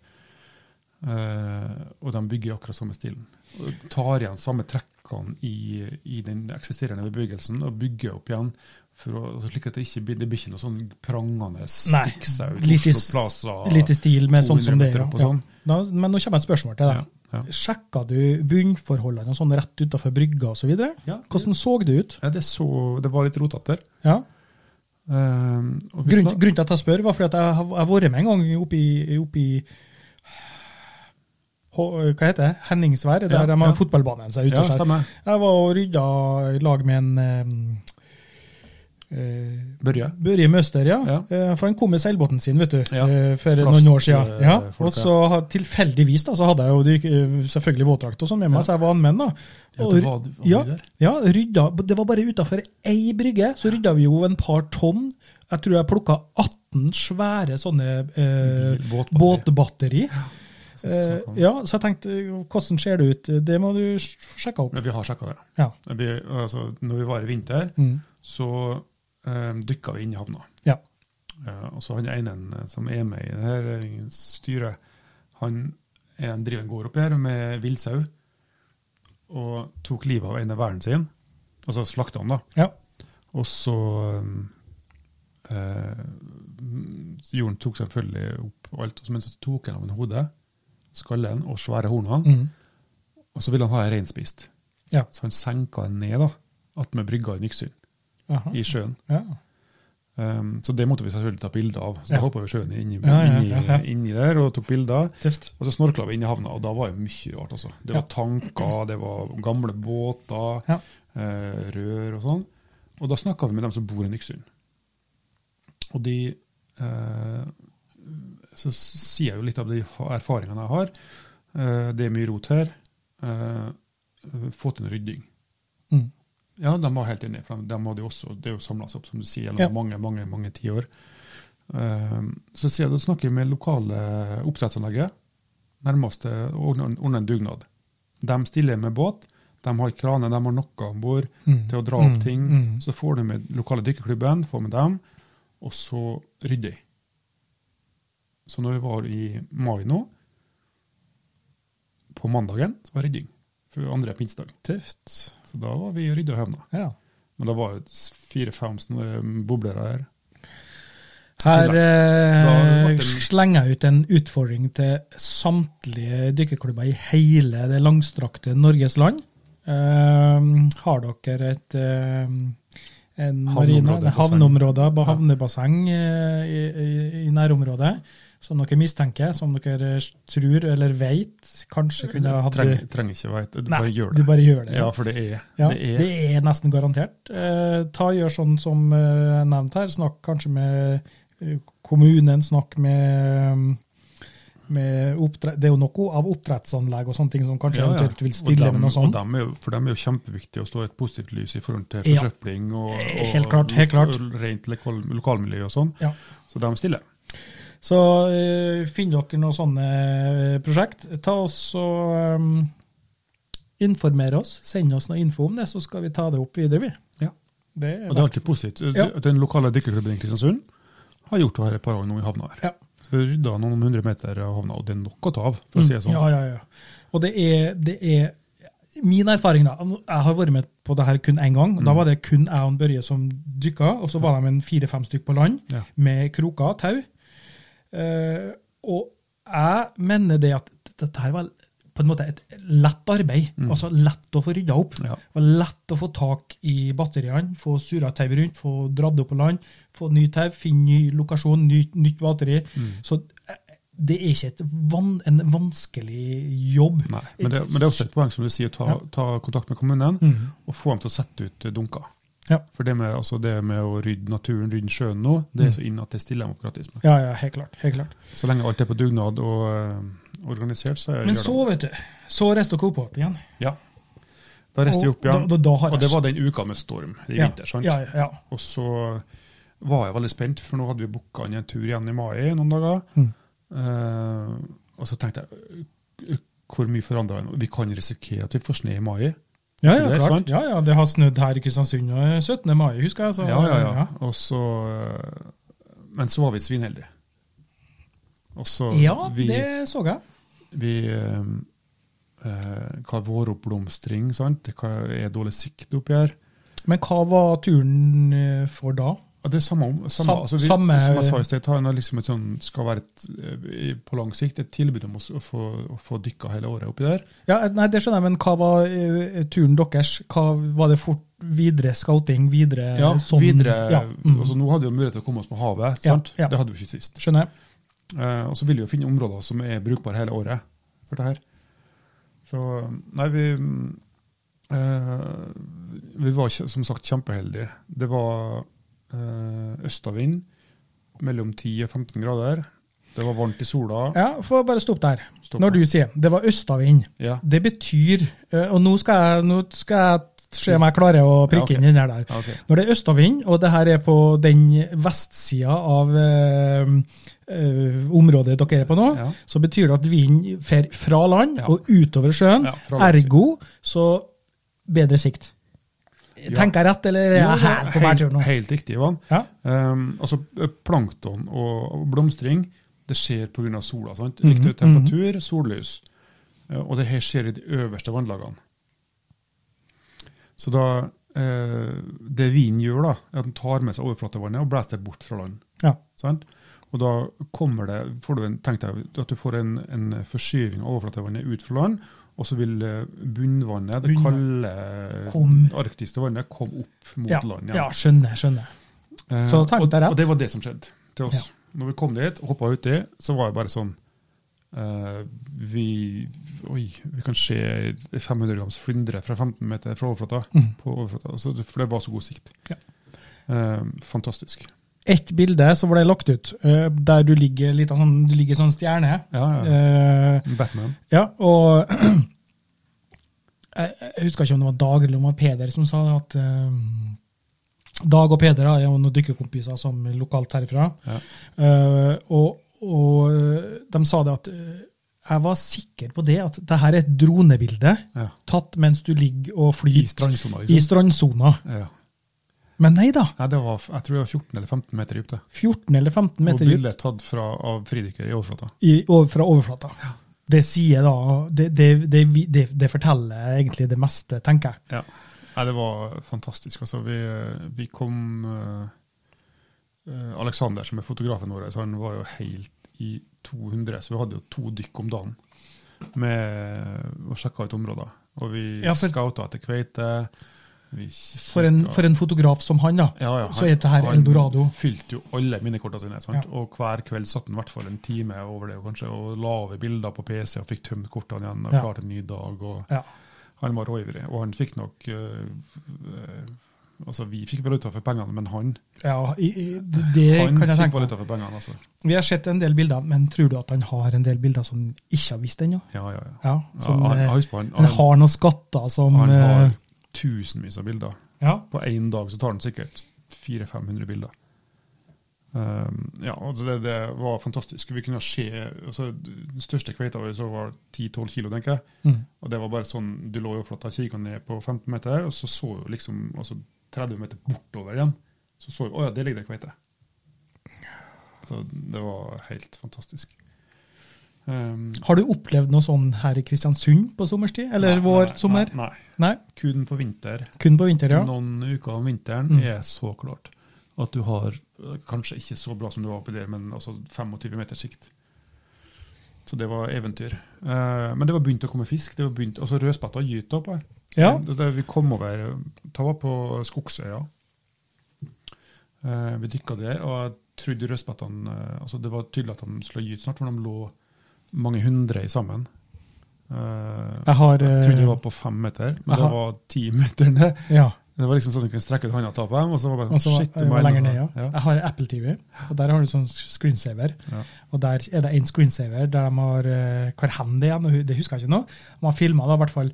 Speaker 2: Eh, og de bygger i akkurat samme stilen. Og tar igjen samme trekkene i, i den eksisterende bebyggelsen og bygger opp igjen. For å, altså slik at det ikke blir, det blir ikke noe sånn prangende
Speaker 1: Nei,
Speaker 2: stikksaut.
Speaker 1: litt i,
Speaker 2: Oslo Plaza,
Speaker 1: litt i stil med sånn
Speaker 2: 200
Speaker 1: som det
Speaker 2: meter
Speaker 1: er.
Speaker 2: opp og
Speaker 1: Ja.
Speaker 2: sånn.
Speaker 1: Da, men nå kommer et spørsmål til deg.
Speaker 2: Ja, ja.
Speaker 1: Sjekka du bunnforholdene og sånn rett utafor brygga osv.?
Speaker 2: Ja, det-
Speaker 1: Hvordan så det ut?
Speaker 2: Ja, det, så, det var litt rotete der.
Speaker 1: Ja.
Speaker 2: Eh, og hvis
Speaker 1: Grunnen,
Speaker 2: da-
Speaker 1: grunnen til at jeg spør, var fordi at jeg har jeg har vært med en gang oppe i, oppe i Hå- hva heter det? Henningsvær, der
Speaker 2: Ja,
Speaker 1: de har
Speaker 2: ja.
Speaker 1: fotballbanen seg ute.
Speaker 2: ja,
Speaker 1: og skjær.
Speaker 2: stemmer.
Speaker 1: jeg var og rydda i lag med en eh, eh,
Speaker 2: Børje.
Speaker 1: Børje Møster, ja.
Speaker 2: Ja.
Speaker 1: Eh, For han kom med seilbåten sin vet du,
Speaker 2: Ja.
Speaker 1: eh, for
Speaker 2: Plast,
Speaker 1: noen år siden.
Speaker 2: eh,
Speaker 1: Ja.
Speaker 2: folk,
Speaker 1: Og så ha- tilfeldigvis da, så hadde jeg jo dyk- eh, selvfølgelig våtdrakt og sånn med meg,
Speaker 2: Ja.
Speaker 1: så jeg var med han, da.
Speaker 2: Ja,
Speaker 1: Og
Speaker 2: det
Speaker 1: ry-
Speaker 2: var- var
Speaker 1: ja,
Speaker 2: det der?
Speaker 1: ja, rydda. Det var bare utafor ei brygge, så rydda vi jo en par tonn. Jeg tror jeg plukka 18 svære sånne eh,
Speaker 2: Båtbatteri.
Speaker 1: båtbatteri.
Speaker 2: som vi snakket om.
Speaker 1: Eh, ja, så jeg tenkte, eh, hvordan ser det ut? Det må du sj- sjekke opp.
Speaker 2: Men vi har sjekka det.
Speaker 1: Ja.
Speaker 2: Vi, altså, når vi var i vinter,
Speaker 1: Mm.
Speaker 2: så eh, dykka vi inn i havna.
Speaker 1: Ja.
Speaker 2: Eh, og så han ene eh, som er med i det her eh, styret, han er, han driver en gård oppi her med villsau, og tok livet av en av væren sin, og så slakta han da.
Speaker 1: ja.
Speaker 2: Og så eh, eh, Jorden tok selvfølgelig opp alt, og så, men så tok han av en hode, skallen og svære hornene,
Speaker 1: Mm.
Speaker 2: og så ville han ha en reinspist.
Speaker 1: Ja.
Speaker 2: Så han senka den ned da, attmed brygga i Nyksund,
Speaker 1: Aha.
Speaker 2: i sjøen.
Speaker 1: Ja.
Speaker 2: Um, så det måtte vi selvfølgelig ta bilder av. Så
Speaker 1: Ja.
Speaker 2: da hoppa vi sjøen inni,
Speaker 1: Ja, ja,
Speaker 2: inni,
Speaker 1: ja, ja.
Speaker 2: inni der og tok bilder.
Speaker 1: Tøft.
Speaker 2: Og så snorkla vi inn i havna, og da var det mye rart. altså. Det
Speaker 1: Ja.
Speaker 2: var tanker, det var gamle båter,
Speaker 1: Ja.
Speaker 2: eh, rør og sånn. Og da snakka vi med dem som bor i Nyksund. Og de eh, Så sier jeg jo litt av de fa- erfaringene jeg har. Eh, det er mye rot her. Eh, få til en rydding.
Speaker 1: Mm.
Speaker 2: Ja, de var helt enige, for de, de hadde jo også, det er jo samla seg opp som du sier, gjennom
Speaker 1: Ja.
Speaker 2: mange mange, mange tiår. Um, så sier jeg, da snakker jeg med lokale oppdrettsanlegget, nærmeste, og ordner ordner en dugnad. De stiller med båt, de har krane, de har noe om bord
Speaker 1: Mm.
Speaker 2: til å dra opp
Speaker 1: Mm,
Speaker 2: ting.
Speaker 1: mm.
Speaker 2: Så får du med lokale dykkerklubben, får med dem, og så rydder jeg. Så når vi var i mai nå, på mandagen, så var rydding. For andre pinsedag.
Speaker 1: Tøft.
Speaker 2: Så da var vi rydda høvna.
Speaker 1: Ja.
Speaker 2: Men det var fire-fem boblere her.
Speaker 1: Her eh,
Speaker 2: Fra-
Speaker 1: slenger jeg ut en utfordring til samtlige dykkerklubber i hele det langstrakte Norges land. Eh, har dere et eh, en marine,
Speaker 2: Havneområde,
Speaker 1: nei,
Speaker 2: basseng.
Speaker 1: havneområder, ba-
Speaker 2: Ja.
Speaker 1: havnebasseng eh, i, i, i nærområdet, som dere mistenker, som dere tror eller vet kanskje kunne ha hatt
Speaker 2: Eh, Trenger, trenger ikke å vite, du
Speaker 1: Nei,
Speaker 2: bare gjør
Speaker 1: du
Speaker 2: det.
Speaker 1: bare gjør det.
Speaker 2: Ja, for det er,
Speaker 1: Ja,
Speaker 2: det er,
Speaker 1: nesten garantert. Eh, ta Gjør sånn som eh, nevnt her, snakk kanskje med eh, kommunen, snakk med, um, med oppdre- Det er jo noe av oppdrettsanlegg og sånne ting som kanskje
Speaker 2: Ja, ja.
Speaker 1: eventuelt vil stille
Speaker 2: og dem,
Speaker 1: med noe
Speaker 2: og
Speaker 1: sånt.
Speaker 2: dem er jo, for dem er jo kjempeviktig å stå i et positivt lys i forhold
Speaker 1: Ja.
Speaker 2: til
Speaker 1: Eh,
Speaker 2: forsøpling og, og,
Speaker 1: Helt klart, helt klart.
Speaker 2: og rent lokal, lokalmiljø og sånn.
Speaker 1: Ja.
Speaker 2: Så de stiller.
Speaker 1: Så eh, finner dere noen sånne eh, prosjekt. Ta oss og um, informer oss. Send oss noe info om det, så skal vi ta det opp videre, vi.
Speaker 2: Ja.
Speaker 1: Det er
Speaker 2: Og det er alltid positivt. Eh,
Speaker 1: Ja.
Speaker 2: Den lokale dykkerklubben i Kristiansund har gjort det her et par år nå i havna her.
Speaker 1: Ja.
Speaker 2: Så vi rydda noen hundre meter av havna, og det er nok å ta av, for å si det sånn.
Speaker 1: Mm. Ja, ja, ja. Og det er, det er Min erfaring, da Jeg har vært med på det her kun én gang.
Speaker 2: Mm.
Speaker 1: og Da var det kun jeg og Børje som dykka, og så var de en fire-fem stykk på land
Speaker 2: Ja.
Speaker 1: med kroker og tau. Eh, og jeg mener det at dette her var på en måte et lett arbeid. Altså lett å få rydda opp.
Speaker 2: Mm. Ja.
Speaker 1: Det var lett å få tak i batteriene, få surra tau rundt, få dratt opp på land, få ny tau, finne ny lokasjon, ny, nytt batteri.
Speaker 2: Mm.
Speaker 1: Så eh, det er ikke et van, en vanskelig jobb.
Speaker 2: Nei, men det, men det er også et poeng som du sier, ta,
Speaker 1: Ja.
Speaker 2: ta kontakt med kommunen
Speaker 1: Mhm.
Speaker 2: og få dem til å sette ut eh, dunker.
Speaker 1: Ja.
Speaker 2: For det med, altså det med å rydde naturen, rydde sjøen nå, det
Speaker 1: Mhm.
Speaker 2: er så inn at det stiller dem opp gratis med.
Speaker 1: Ja, ja, helt klart. Helt klart.
Speaker 2: Så lenge alt er på dugnad og eh, organisert, så gjør
Speaker 1: Men
Speaker 2: de
Speaker 1: så, vet du, så reiste dere opp igjen.
Speaker 2: det. Ja. Da reiste vi
Speaker 1: Og
Speaker 2: opp igjen.
Speaker 1: da- da- da har jeg-
Speaker 2: og det var den uka med storm i
Speaker 1: Ja,
Speaker 2: vinter. sant?
Speaker 1: Ja, ja, ja.
Speaker 2: Og så var jeg veldig spent, for nå hadde vi booka inn en tur igjen i mai noen dager.
Speaker 1: Mm.
Speaker 2: Eh, og så tenkte jeg, ø- ø- hvor mye forandrer det nå? Vi kan risikere at vi får snø i mai.
Speaker 1: Ja, ja,
Speaker 2: Det er
Speaker 1: klart.
Speaker 2: sant.
Speaker 1: Ja, ja, det har snødd her i Kristiansund og 17. mai, husker jeg. Så,
Speaker 2: Ja, ja, ja. Og så, eh, men så var vi svinheldige. Og så
Speaker 1: Ja,
Speaker 2: vi,
Speaker 1: det så jeg.
Speaker 2: vi eh, eh, Hva er våroppblomstring, sant? Hva er dårlig sikt oppi her?
Speaker 1: Men hva var turen eh, for da?
Speaker 2: Ja, Det er samme, om- samme,
Speaker 1: Sam-
Speaker 2: altså vi,
Speaker 1: samme-
Speaker 2: Som jeg sa i sted, Taina liksom et sånn, skal være et, eh, i- på lang sikt et tilbud om å, s- å få, å få dykka hele året oppi der.
Speaker 1: Ja, Nei, det skjønner jeg, men hva var eh, turen deres? Hva Var det fort videre scouting? Videre
Speaker 2: Ja,
Speaker 1: sånn-
Speaker 2: Eh, videre,
Speaker 1: Ja, mm,
Speaker 2: altså Nå hadde vi jo mulighet til å komme oss på havet.
Speaker 1: Ja,
Speaker 2: sant?
Speaker 1: ja.
Speaker 2: Det hadde vi ikke sist.
Speaker 1: skjønner jeg.
Speaker 2: Eh, og så vil vi jo finne områder som er brukbare hele året for det her. Så nei, vi mm, eh, Vi var kje- som sagt kjempeheldige. Det var eh, østavind mellom 10 og 15 grader. Det var varmt i sola.
Speaker 1: Ja, Får jeg bare stoppe der.
Speaker 2: Stopp.
Speaker 1: Når du sier det var østavind,
Speaker 2: Ja.
Speaker 1: det betyr eh, Og nå skal jeg, nå skal jeg se om jeg klarer å prikke
Speaker 2: Ja, ok.
Speaker 1: inn den her der.
Speaker 2: Ja, ok.
Speaker 1: Når det er østavind, og det her er på den vestsida av eh, eh, området dere er på nå,
Speaker 2: Ja.
Speaker 1: så betyr det at vinden fer fra land
Speaker 2: Ja.
Speaker 1: og utover sjøen.
Speaker 2: Ja, fra land.
Speaker 1: Ergo så bedre sikt. Tenker jeg rett, eller er
Speaker 2: Jo,
Speaker 1: jeg
Speaker 2: det
Speaker 1: her
Speaker 2: er
Speaker 1: på hver tur nå?
Speaker 2: helt, helt riktig, Ivan.
Speaker 1: Ja.
Speaker 2: Um, altså ø, Plankton og og blomstring det skjer pga. sola. sant?
Speaker 1: Mhm,
Speaker 2: Riktig temperatur, sollys. Eh, Og det her skjer i de øverste vannlagene. Så da eh, Det vinen gjør, da, er at den tar med seg overflatevannet og blåser det bort fra land.
Speaker 1: Ja.
Speaker 2: sant? Og da kommer det, får du en, tenk deg at du får en, en forskyving av overflatevannet ut fra land, og så vil eh, bunnvannet, det
Speaker 1: Bunnvann.
Speaker 2: kalde
Speaker 1: Kom.
Speaker 2: arktiske vannet, komme opp mot
Speaker 1: Ja,
Speaker 2: land.
Speaker 1: ja, skjønner, skjønner.
Speaker 2: Eh,
Speaker 1: Så tanken
Speaker 2: og,
Speaker 1: er rett.
Speaker 2: og det var det som skjedde til oss.
Speaker 1: Ja.
Speaker 2: Når vi kom dit, hoppa uti, så var jeg bare sånn eh, Vi Oi, vi kan se 500 grams flyndre fra 15 meter fra overflata.
Speaker 1: Mhm.
Speaker 2: På overflata altså, det- for det var så god sikt.
Speaker 1: Ja.
Speaker 2: Eh, fantastisk.
Speaker 1: Ett bilde så ble lagt ut, eh, der du ligger litt av sånn, du ligger i sånn stjerne.
Speaker 2: Ja, ja.
Speaker 1: Eh,
Speaker 2: Batman.
Speaker 1: Ja, og jeg jeg husker ikke om det var Dag eller om det var Peder som sa det, at eh, Dag og Peder da, er jo noen dykkerkompiser som er lokalt herfra.
Speaker 2: Ja.
Speaker 1: Eh, og, og eh, de sa det at eh, jeg var sikker på det, at det her er et dronebilde
Speaker 2: Ja.
Speaker 1: tatt mens du ligger og flyr
Speaker 2: I strandsona,
Speaker 1: i
Speaker 2: liksom.
Speaker 1: strandsona.
Speaker 2: Ja.
Speaker 1: Men nei da,
Speaker 2: Nei, det var, jeg tror det var 14 eller 15 meter dypt. det.
Speaker 1: 14 eller 15
Speaker 2: Og
Speaker 1: meter
Speaker 2: bildet tatt fra, av fridykkere i overflata.
Speaker 1: i, over, fra overflata. Det sier da, det, det, det, vi- det, det forteller egentlig det meste, tenker jeg.
Speaker 2: Ja. Nei, det var fantastisk. Altså, vi, vi kom eh, eh, Alexander, som er fotografen vår, så han var jo helt i 200, så vi hadde jo to dykk om dagen med å sjekke ut områder. Og vi
Speaker 1: Ja, for-
Speaker 2: scouta etter kveite. Vi kikka-
Speaker 1: For en, for en fotograf som han, da.
Speaker 2: ja, ja,
Speaker 1: så er dette her Eldorado.
Speaker 2: Han fylte jo alle minnekortene sine, sant?
Speaker 1: Ja.
Speaker 2: og hver kveld satt han i hvert fall en time over det og kanskje, og la over bilder på PC og fikk tømt kortene igjen og
Speaker 1: Ja.
Speaker 2: klarte en ny dag. og...
Speaker 1: Ja.
Speaker 2: Han var råivrig, og han fikk nok øh, øh, Altså, vi fikk valuta for pengene, men han,
Speaker 1: ja i, i, det
Speaker 2: han
Speaker 1: kan jeg tenke
Speaker 2: fikk valuta
Speaker 1: meg.
Speaker 2: for pengene, altså.
Speaker 1: Vi har sett en del bilder, men tror du at han har en del bilder som han ikke har visst ennå?
Speaker 2: Ja, ja, ja.
Speaker 1: Ja, som,
Speaker 2: ja han,
Speaker 1: eh,
Speaker 2: jeg husker han,
Speaker 1: han
Speaker 2: han,
Speaker 1: har noen skatter som
Speaker 2: han har
Speaker 1: eh,
Speaker 2: tusenvis av bilder.
Speaker 1: ja.
Speaker 2: På én dag så tar han sikkert 400-500 bilder. Um, ja, og det, det var fantastisk. Vi kunne se altså, Den største kveita vi så, var 10-12 kilo, tenker jeg.
Speaker 1: Mm.
Speaker 2: Og det var bare sånn, Du lå i overflata, kikka ned på 15 meter, og så så jo liksom altså 30 meter bortover igjen. Så så jo Å ja, der ligger det kveite. Så det var helt fantastisk. Um,
Speaker 1: Har du opplevd noe sånn her i Kristiansund på sommerstid? Eller
Speaker 2: nei,
Speaker 1: vår
Speaker 2: nei,
Speaker 1: sommer?
Speaker 2: Nei, nei.
Speaker 1: Nei.
Speaker 2: Kun på vinter.
Speaker 1: Kun på vinter, ja.
Speaker 2: Noen uker om vinteren
Speaker 1: Mm.
Speaker 2: er så klart at du har eh, kanskje ikke så bra som du var oppi der, men altså 25 meter sikt. Så det var eventyr. Eh, men det var begynt å komme fisk. det var begynt, altså Rødspetta gyter opp her.
Speaker 1: Ja.
Speaker 2: Det, det, vi kom over eh, Ta var på Skogsøya. Eh, vi dykka der, og jeg trodde rødspettene eh, altså Det var tydelig at de skulle gyte snart, for de lå mange hundre i sammen. Eh,
Speaker 1: Jeg har
Speaker 2: jeg
Speaker 1: eh,
Speaker 2: trodde det var på fem meter, men
Speaker 1: Aha.
Speaker 2: det var ti meter ned.
Speaker 1: ja,
Speaker 2: Det var liksom sånn at du kunne strekke ut hånda og ta på dem, og så var det
Speaker 1: og
Speaker 2: bare
Speaker 1: så var-
Speaker 2: shit, du
Speaker 1: jeg
Speaker 2: må
Speaker 1: var lenger
Speaker 2: enda-
Speaker 1: ned, ja. Jeg har Apple TV, og der har du sånn screensaver.
Speaker 2: Ja.
Speaker 1: Og der er det en screensaver der de har eh, Hvor hen det er, nå, det husker jeg ikke nå. De har filma i hvert fall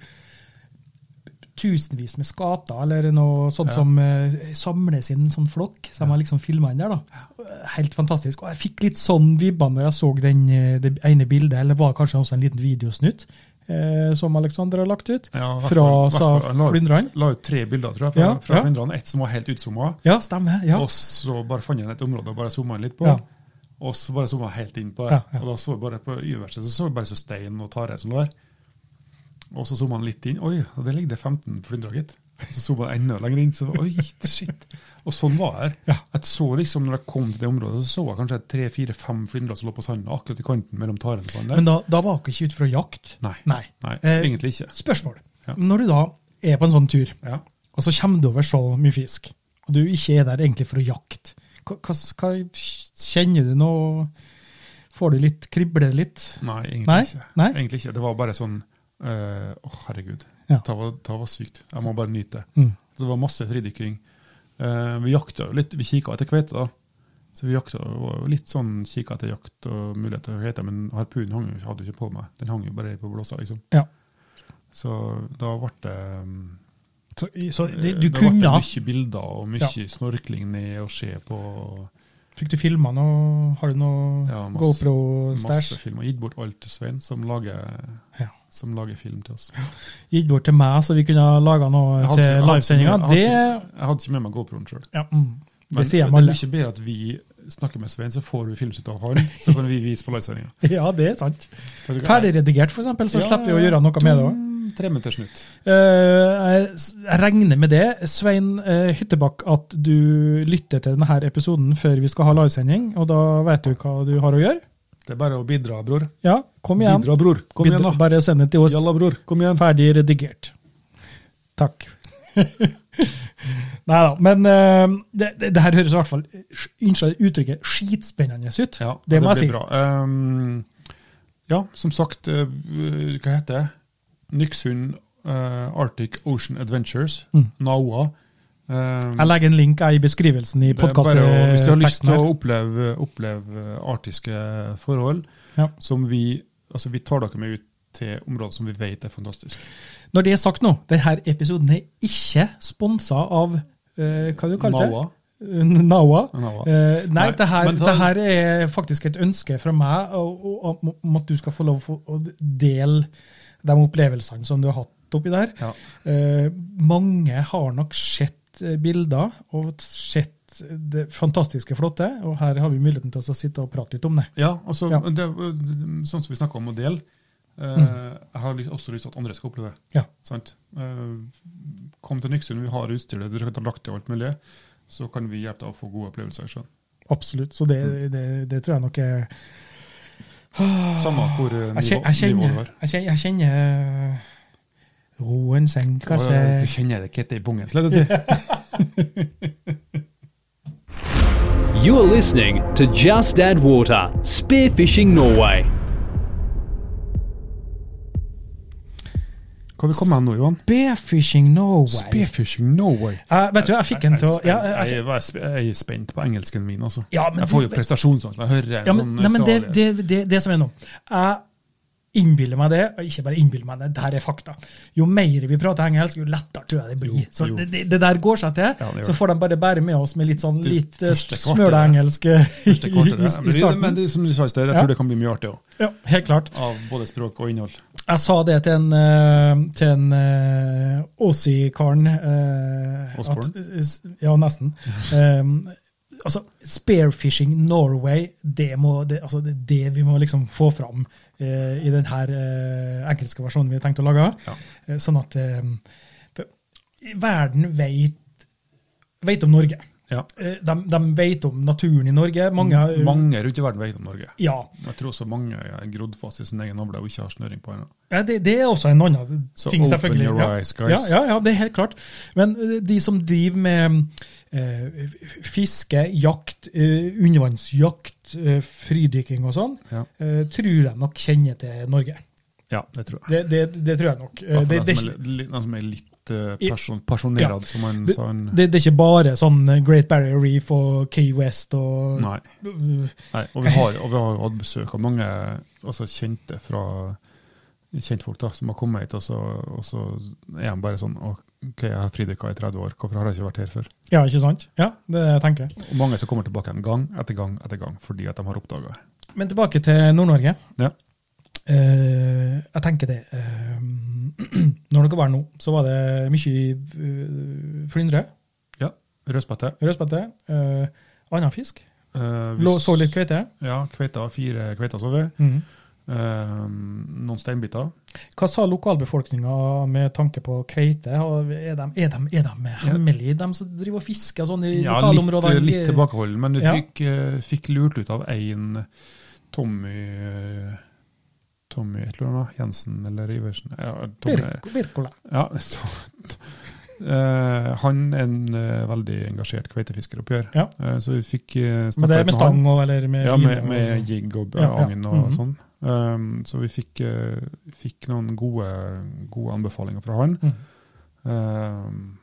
Speaker 1: tusenvis med skater, eller noe sånt
Speaker 2: Ja.
Speaker 1: som eh, samles inn en sånn flokk. Så de har liksom filma den der, da. Helt fantastisk. Og jeg fikk litt sånn vibber når jeg så den, eh, det ene bildet, eller var det kanskje også en liten videosnutt. eh, som Alexander har lagt ut. Fra
Speaker 2: Ja, hvertfall-
Speaker 1: sa
Speaker 2: hvertfall- han la ut-
Speaker 1: flyndrene.
Speaker 2: La ut tre bilder, tror jeg, fra,
Speaker 1: Ja,
Speaker 2: fra
Speaker 1: ja.
Speaker 2: flyndrene. Ett som var helt utzoomet.
Speaker 1: Ja, stemmer. Ja.
Speaker 2: Og så bare fant jeg et område og bare zooma inn litt på.
Speaker 1: Ja.
Speaker 2: Og så bare zooma helt inn på det.
Speaker 1: Ja, ja.
Speaker 2: Og da så vi bare på Y-verset, så så vi bare så stein og tare som lå der. Og så zooma han litt inn. Oi, og der ligger det 15 flyndrer, gitt. Så zooma han enda lenger inn. Så oi, shit. Og sånn var det.
Speaker 1: Ja.
Speaker 2: Jeg så liksom, når jeg kom til det området, så så jeg kanskje tre-fire-fem flyndrer som lå på sanda, akkurat i kanten mellom taren og sanden. der.
Speaker 1: Men da, da var dere ikke ute for å jakte?
Speaker 2: Nei.
Speaker 1: Nei.
Speaker 2: Nei,
Speaker 1: Eh,
Speaker 2: egentlig ikke.
Speaker 1: Spørsmål.
Speaker 2: Ja.
Speaker 1: Når du da er på en sånn tur,
Speaker 2: Ja.
Speaker 1: og så kommer du over så mye fisk, og du ikke er der egentlig for å jakte, hva, hva, hva kjenner du nå? Får du litt, kribler det litt?
Speaker 2: Nei, egentlig
Speaker 1: Nei?
Speaker 2: ikke.
Speaker 1: Nei?
Speaker 2: Egentlig ikke. Det var bare sånn eh, Å, herregud.
Speaker 1: Ja.
Speaker 2: Det, var, det var sykt. Jeg må bare nyte det.
Speaker 1: Mm.
Speaker 2: Så det var masse fridykking. Eh, vi jakta jo litt. Vi kikka etter kveite, da. Så vi jakta det var jo litt sånn kikka etter jakt og muligheter for kveite, men harpunen hang jo, hadde jo ikke på meg. Den hang jo bare på blåsa, liksom.
Speaker 1: Ja.
Speaker 2: Så da ble det mm,
Speaker 1: Så, så det, du
Speaker 2: da ble Eh, det
Speaker 1: kunne
Speaker 2: mye bilder og mye snorkling ned og se på.
Speaker 1: Fikk du filma noe? Har du noe
Speaker 2: Ja, masse- Masse
Speaker 1: GoPro-stæsj?
Speaker 2: film. Og gitt bort alt til Svein, som lager,
Speaker 1: Ja.
Speaker 2: som lager film til oss.
Speaker 1: Gitt bort til meg, så vi kunne ha laga noe
Speaker 2: Jeg hadde ikke-
Speaker 1: til
Speaker 2: jeg hadde
Speaker 1: livesendinga.
Speaker 2: ikke-
Speaker 1: Det,
Speaker 2: jeg hadde ikke- Jeg hadde ikke med meg GoPro-en sjøl.
Speaker 1: ja, mm,
Speaker 2: Men
Speaker 1: det
Speaker 2: det
Speaker 1: sier
Speaker 2: er
Speaker 1: de alle.
Speaker 2: mye bedre at vi snakker med Svein, så får vi filmsnutt av han. Så kan vi vise på livesendinga.
Speaker 1: Ja, det er sant. Ferdigredigert, for eksempel, så slipper vi å gjøre noe med det òg.
Speaker 2: Treminuttersnutt.
Speaker 1: Eh, jeg regner med det, Svein eh, Hyttebakk, at du lytter til denne episoden før vi skal ha livesending, og da vet du hva du har å gjøre.
Speaker 2: Det er bare å bidra, bror.
Speaker 1: Ja, kom igjen.
Speaker 2: Bidra, bror. Kom
Speaker 1: Bidra-
Speaker 2: igjen, da.
Speaker 1: Bare send det til oss.
Speaker 2: Jalla, bror. Kom igjen.
Speaker 1: Ferdig redigert. Takk. Nei da, men eh, det, det, det her høres i hvert fall eh, unnskyld uttrykket skitspennende ut.
Speaker 2: Ja,
Speaker 1: det må
Speaker 2: blir
Speaker 1: jeg si.
Speaker 2: Bra. Ehm, ja, som sagt, eh, hva heter det? Nyksund eh, Arctic Ocean Adventures,
Speaker 1: Mm.
Speaker 2: NAOA. Ehm,
Speaker 1: Jeg legger en link jeg, i beskrivelsen i
Speaker 2: Det er bare å- Hvis du har lyst
Speaker 1: podkastteksten
Speaker 2: til
Speaker 1: her.
Speaker 2: å oppleve, oppleve artiske forhold,
Speaker 1: Ja.
Speaker 2: som vi Altså, vi tar dere med ut til områder som vi vet er fantastisk.
Speaker 1: Når det er sagt nå, denne episoden er ikke sponsa av eh, Hva du kalte du det?
Speaker 2: Naua.
Speaker 1: Nawa.
Speaker 2: Nawa.
Speaker 1: Eh, nei,
Speaker 2: Nei,
Speaker 1: det, her,
Speaker 2: men ta-
Speaker 1: det her er faktisk et ønske fra meg og- og- om om at du skal få lov å- å dele de opplevelsene som du har hatt oppi der.
Speaker 2: Ja.
Speaker 1: Eh, mange har nok sett eh, bilder og sett det fantastiske flotte, og her har vi muligheten til å sitte og prate litt om det.
Speaker 2: ja, altså,
Speaker 1: Ja.
Speaker 2: Det, sånn som vi snakka om å dele. eh,
Speaker 1: Mm.
Speaker 2: Jeg har lyst- også lyst til at andre skal oppleve det.
Speaker 1: Ja.
Speaker 2: Sant? Eh, kom til Nyksund, vi har utstyret, dere kan ta lagt til alt mulig. Så kan vi hjelpe deg å få gode opplevelser. Sånn.
Speaker 1: Absolutt. Så det, det, det tror jeg nok er
Speaker 2: Samme hvor eh,
Speaker 1: Jeg
Speaker 2: nivå,
Speaker 1: kjenner, jeg
Speaker 2: nivået
Speaker 1: kjenner,
Speaker 2: var.
Speaker 1: jeg kjenner, jeg kjenner eh, Roen senker
Speaker 2: Og, eh,
Speaker 1: seg
Speaker 2: Så kjenner jeg det kette i pungen. slett å si.
Speaker 3: You're listening to Just Add Water Spearfishing Norway.
Speaker 2: Hva har vi kommet med nå, Johan?
Speaker 1: Spearfishing Norway.
Speaker 2: Spearfishing Norway.
Speaker 1: Eh, vet du, jeg fikk en til å ja, jeg- jeg-
Speaker 2: jeg, jeg, jeg er spent på engelsken min, altså.
Speaker 1: Ja, men
Speaker 2: jeg får jo
Speaker 1: det-
Speaker 2: prestasjonsangst når jeg hører en
Speaker 1: ja, men,
Speaker 2: sånn
Speaker 1: nei, men det,
Speaker 2: australier.
Speaker 1: det, det, det som er nå Jeg innbiller meg det, og ikke bare innbiller meg det, det her er fakta. Jo mer vi prater engelsk, jo lettere tror jeg det blir.
Speaker 2: Jo,
Speaker 1: Så
Speaker 2: jo.
Speaker 1: det, det, det der går seg til.
Speaker 2: Ja, det gjør
Speaker 1: så får de bare bære med oss med litt sånn
Speaker 2: Det
Speaker 1: litt eh,
Speaker 2: første kvarteret.
Speaker 1: smøla-engelsk eh, i,
Speaker 2: Første kvarteret.
Speaker 1: i, i
Speaker 2: Men det- Men
Speaker 1: starten.
Speaker 2: det, er som du sa i sted, jeg
Speaker 1: Ja.
Speaker 2: tror det kan bli mye artig òg.
Speaker 1: Ja, helt klart.
Speaker 2: Av både språk og innhold.
Speaker 1: Jeg sa det til en, eh, til en eh, Aussie-karen eh,
Speaker 2: Osborne?
Speaker 1: at- s- Ja, nesten. Um, altså, Spearfishing Norway, det, må, det, altså, det, er det vi må liksom få fram eh, i denne engelske versjonen vi har tenkt å lage.
Speaker 2: Ja.
Speaker 1: Eh, sånn at eh, for verden vet, vet om Norge.
Speaker 2: Ja.
Speaker 1: Eh, de, de vet om naturen i Norge. Mange,
Speaker 2: Mange rundt i verden vet om Norge.
Speaker 1: Ja.
Speaker 2: Jeg tror også mange er grodd fast i sin egen navle og ikke har snøring på ennå.
Speaker 1: Ja, det, det er også en annen
Speaker 2: Så
Speaker 1: ting,
Speaker 2: open
Speaker 1: selvfølgelig.
Speaker 2: your
Speaker 1: Ja.
Speaker 2: eyes,
Speaker 1: ja,
Speaker 2: guys.
Speaker 1: ja, ja, det er helt klart. Men eh, de som driver med eh, fiske, jakt, eh, undervannsjakt, eh, fridykking og sånn,
Speaker 2: Ja.
Speaker 1: eh, tror jeg nok kjenner til Norge.
Speaker 2: ja, det tror jeg.
Speaker 1: Det, det, det tror jeg nok. Eh,
Speaker 2: Hvertfall
Speaker 1: det,
Speaker 2: den
Speaker 1: det,
Speaker 2: som
Speaker 1: er
Speaker 2: er
Speaker 1: ikke-
Speaker 2: li- li- den som er litt eh,
Speaker 1: I-
Speaker 2: person, personerad, som han
Speaker 1: Det-
Speaker 2: sa. Han,
Speaker 1: det, det er ikke bare sånn Great Barrier Reef og Key West og
Speaker 2: nei. nei. Og vi har og vi har jo hatt besøk av mange altså kjente fra kjentfolk da, som har kommet hit, og så, og så er de bare sånn OK, jeg har fridykka i 30 år, hvorfor har jeg ikke vært her før?
Speaker 1: Ja, ikke sant? Ja, det er det jeg tenker jeg.
Speaker 2: Og mange som kommer tilbake en gang etter gang etter gang fordi at de har oppdaga det.
Speaker 1: Men tilbake til Nord-Norge.
Speaker 2: Ja.
Speaker 1: Eh, jeg tenker det. eh, når dere var her nå, så var det mye uh, flyndre,
Speaker 2: Ja, rødspette.
Speaker 1: rødspette, eh, annen fisk.
Speaker 2: Eh, hvis-
Speaker 1: Lå, så litt kveite.
Speaker 2: Ja, kveita, fire kveita så vi.
Speaker 1: Mhm.
Speaker 2: Eh, noen steinbiter.
Speaker 1: Hva sa lokalbefolkninga med tanke på kveite? Og Er de, er de, er de hemmelige, de som driver og fisker sånn i
Speaker 2: Ja, litt, eh,
Speaker 1: lokalområdene?
Speaker 2: litt tilbakeholden, men du
Speaker 1: Ja.
Speaker 2: fikk, eh, fikk lurt ut av en eh, Tommy eh, Tommy et eller annet, Jensen eller Iversen. Ja, Tommy,
Speaker 1: Virk- Virkola.
Speaker 2: ja, så, Eh, han er en eh, veldig engasjert kveitefisker oppgjør,
Speaker 1: Ja.
Speaker 2: Eh, så vi fikk uh,
Speaker 1: Men det er med stang og eller med
Speaker 2: Ja,
Speaker 1: line
Speaker 2: med,
Speaker 1: og- Mm.
Speaker 2: med jigg og b-
Speaker 1: Ja, ja.
Speaker 2: agn og
Speaker 1: Mhm.
Speaker 2: sånn. Um, så vi fikk, eh, fikk noen gode, gode anbefalinger fra han.
Speaker 1: Mhm.
Speaker 2: Um,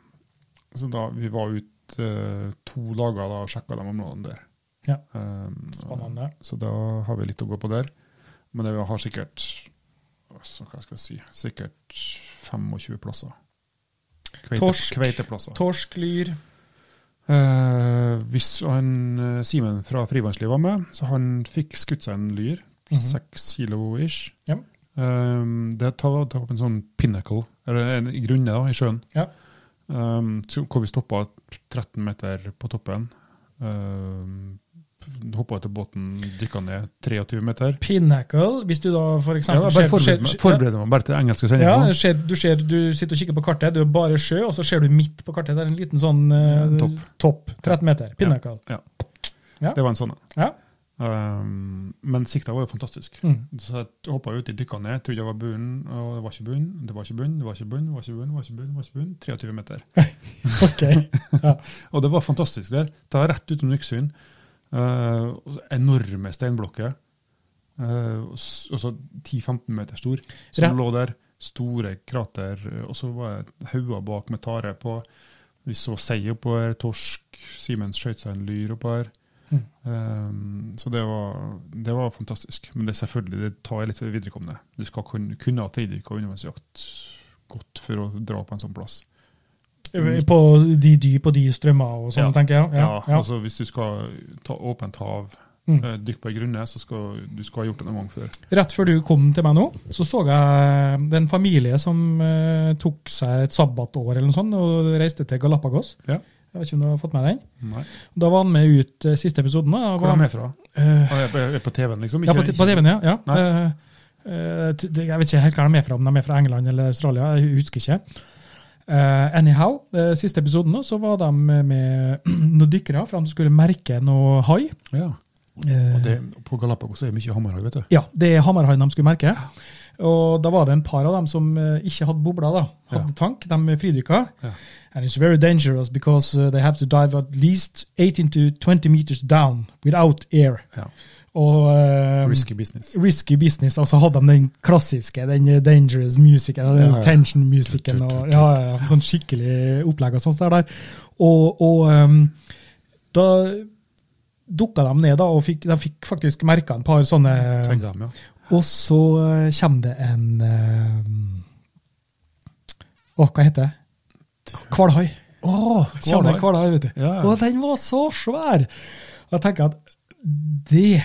Speaker 2: så da vi var ute to dager da og sjekka de områdene der.
Speaker 1: Ja.
Speaker 2: Um,
Speaker 1: Spennende.
Speaker 2: så da har vi litt å gå på der. Men det vi har sikkert altså, hva skal jeg si, sikkert 25 plasser. Kveite,
Speaker 1: Torsk,
Speaker 2: kveiteplasser.
Speaker 1: Torsk, lyr.
Speaker 2: Eh, hvis han, eh, Simen fra Frivannsliv var med, så han fikk skutt seg en lyr,
Speaker 1: Mhm.
Speaker 2: seks kilo ish.
Speaker 1: Ja.
Speaker 2: Eh, det tar, tar opp en sånn pinnacle, eller en grunne da, i sjøen,
Speaker 1: Ja.
Speaker 2: Eh, så- hvor vi stoppa 13 meter på toppen. Uh, Hoppa etter båten, dykka ned 23 meter.
Speaker 1: Pinnacle, hvis du da for
Speaker 2: Ja,
Speaker 1: eksempel
Speaker 2: jeg bare forbereder meg, forbereder meg bare til den engelske
Speaker 1: ja,
Speaker 2: sendinga.
Speaker 1: ser, du, ser, du sitter og kikker på kartet, du er bare sjø, og så ser du midt på kartet. Det er en liten sånn eh,
Speaker 2: Topp.
Speaker 1: topp. 13 meter. Pinnacle. ja.
Speaker 2: Det var en sånn en.
Speaker 1: Ja.
Speaker 2: Eh, men sikta var jo fantastisk.
Speaker 1: Mm.
Speaker 2: Så jeg hoppa uti, dykka ned, trodde jeg var bunnen, og det var ikke bunn, det var ikke bunn, det var ikke bunn, det var ikke bunn, det var ikke bunn, det var ikke bunn, 23 meter.
Speaker 1: Ok. Ja.
Speaker 2: Og det var fantastisk der. Ta rett utom Nyksund. eh, og så enorme steinblokker. eh, og s- og så 10-15 meter stor, som
Speaker 1: Rett-
Speaker 2: lå der. Store krater, eh, og så var det hauger bak med tare på. Vi så sei oppå her, torsk. Simen skjøt seg en lyr oppå her.
Speaker 1: Mm.
Speaker 2: Um, så det var, det var fantastisk. Men det er selvfølgelig, det tar jeg litt for viderekomne. Du skal kunne, kunne ha tiddyk og undervannsjakt godt for å dra på en sånn plass.
Speaker 1: På de dyp og de strømmer og sånn,
Speaker 2: Ja.
Speaker 1: tenker jeg.
Speaker 2: Ja,
Speaker 1: Ja, ja.
Speaker 2: altså Hvis du skal ta åpent hav,
Speaker 1: Mm.
Speaker 2: eh, dykke på ei grunne, så skal du skal ha gjort det noen gang før.
Speaker 1: Rett før du kom til meg nå, så så jeg det er en familie som eh, tok seg et sabbatår eller noe sånt, og reiste til Galapagos.
Speaker 2: Ja.
Speaker 1: Jeg vet ikke om du har fått med den?
Speaker 2: Nei.
Speaker 1: Da var han med ut eh, siste episoden. Da.
Speaker 2: Hvor
Speaker 1: Var,
Speaker 2: er de fra?
Speaker 1: Eh,
Speaker 2: Ah, jeg- jeg er på TV-en, liksom?
Speaker 1: ja, på, på TV-en, ja. ja.
Speaker 2: Nei.
Speaker 1: Eh, eh, t- det- jeg vet ikke helt hva de er fra, om de er fra England eller Australia, jeg husker ikke. Eh, anyhow, eh, siste episoden nå, så var de med noen dykkere for de skulle merke noe hai.
Speaker 2: Ja.
Speaker 1: Eh,
Speaker 2: Og det, på Galapagos er det mye hammerhai, vet du.
Speaker 1: Ja, det er hammerhaien de skulle merke. Og da var det en par av dem som eh, ikke hadde bobla, da. hadde
Speaker 2: Ja.
Speaker 1: tank, de fridykka.
Speaker 2: Ja.
Speaker 1: And it's very dangerous because eh, they have to dive at least 18 to 20 meters down without air.
Speaker 2: Ja.
Speaker 1: Og eh,
Speaker 2: Risky business.
Speaker 1: risky business, og så hadde de den klassiske, den eh, dangerous musikken, den
Speaker 2: Ja, ja.
Speaker 1: tension-musikken, og ja, ja, ja, sånn skikkelig opplegg og sånt der. der. Og, og ehm, da dukka de ned, da, og fikk, de fikk faktisk merka en par sånne
Speaker 2: Tenk dem, ja.
Speaker 1: og så eh, kommer det en eh, Å, hva heter det? Hvalhai. Oh, kommer det en hvalhai, vet du.
Speaker 2: Ja, ja.
Speaker 1: Og den var så svær! Og jeg tenker at det,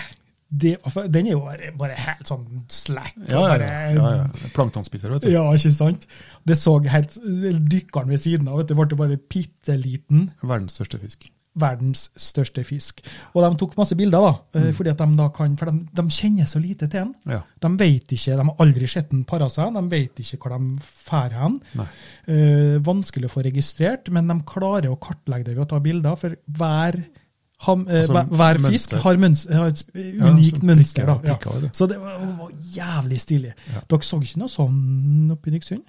Speaker 1: det for Den er jo bare, bare helt sånn slack. og
Speaker 2: Ja, ja, ja.
Speaker 1: bare-
Speaker 2: ja, ja. Planktonspiser, vet du.
Speaker 1: Ja, ikke sant? Det så helt Dykkeren ved siden av vet du, ble bare bitte liten.
Speaker 2: Verdens største fisk.
Speaker 1: Verdens største fisk. Og de tok masse bilder, da. eh, fordi at de da kan, For de, de kjenner så lite til den.
Speaker 2: Mm. Ja.
Speaker 1: De vet ikke, de har aldri sett den para seg, de vet ikke hvor de fær hen.
Speaker 2: Nei.
Speaker 1: Eh, vanskelig å få registrert, men de klarer å kartlegge det ved å ta bilder, for hver, ham, eh,
Speaker 2: Altså,
Speaker 1: hver, hver
Speaker 2: mønster.
Speaker 1: fisk har, mønster, har et sp-
Speaker 2: Ja,
Speaker 1: unikt
Speaker 2: så
Speaker 1: mønster.
Speaker 2: prikker-
Speaker 1: Da.
Speaker 2: prikker,
Speaker 1: Ja.
Speaker 2: det.
Speaker 1: Så det var, var jævlig stilig.
Speaker 2: Ja.
Speaker 1: Dere så ikke noe sånn oppe i Nyksund?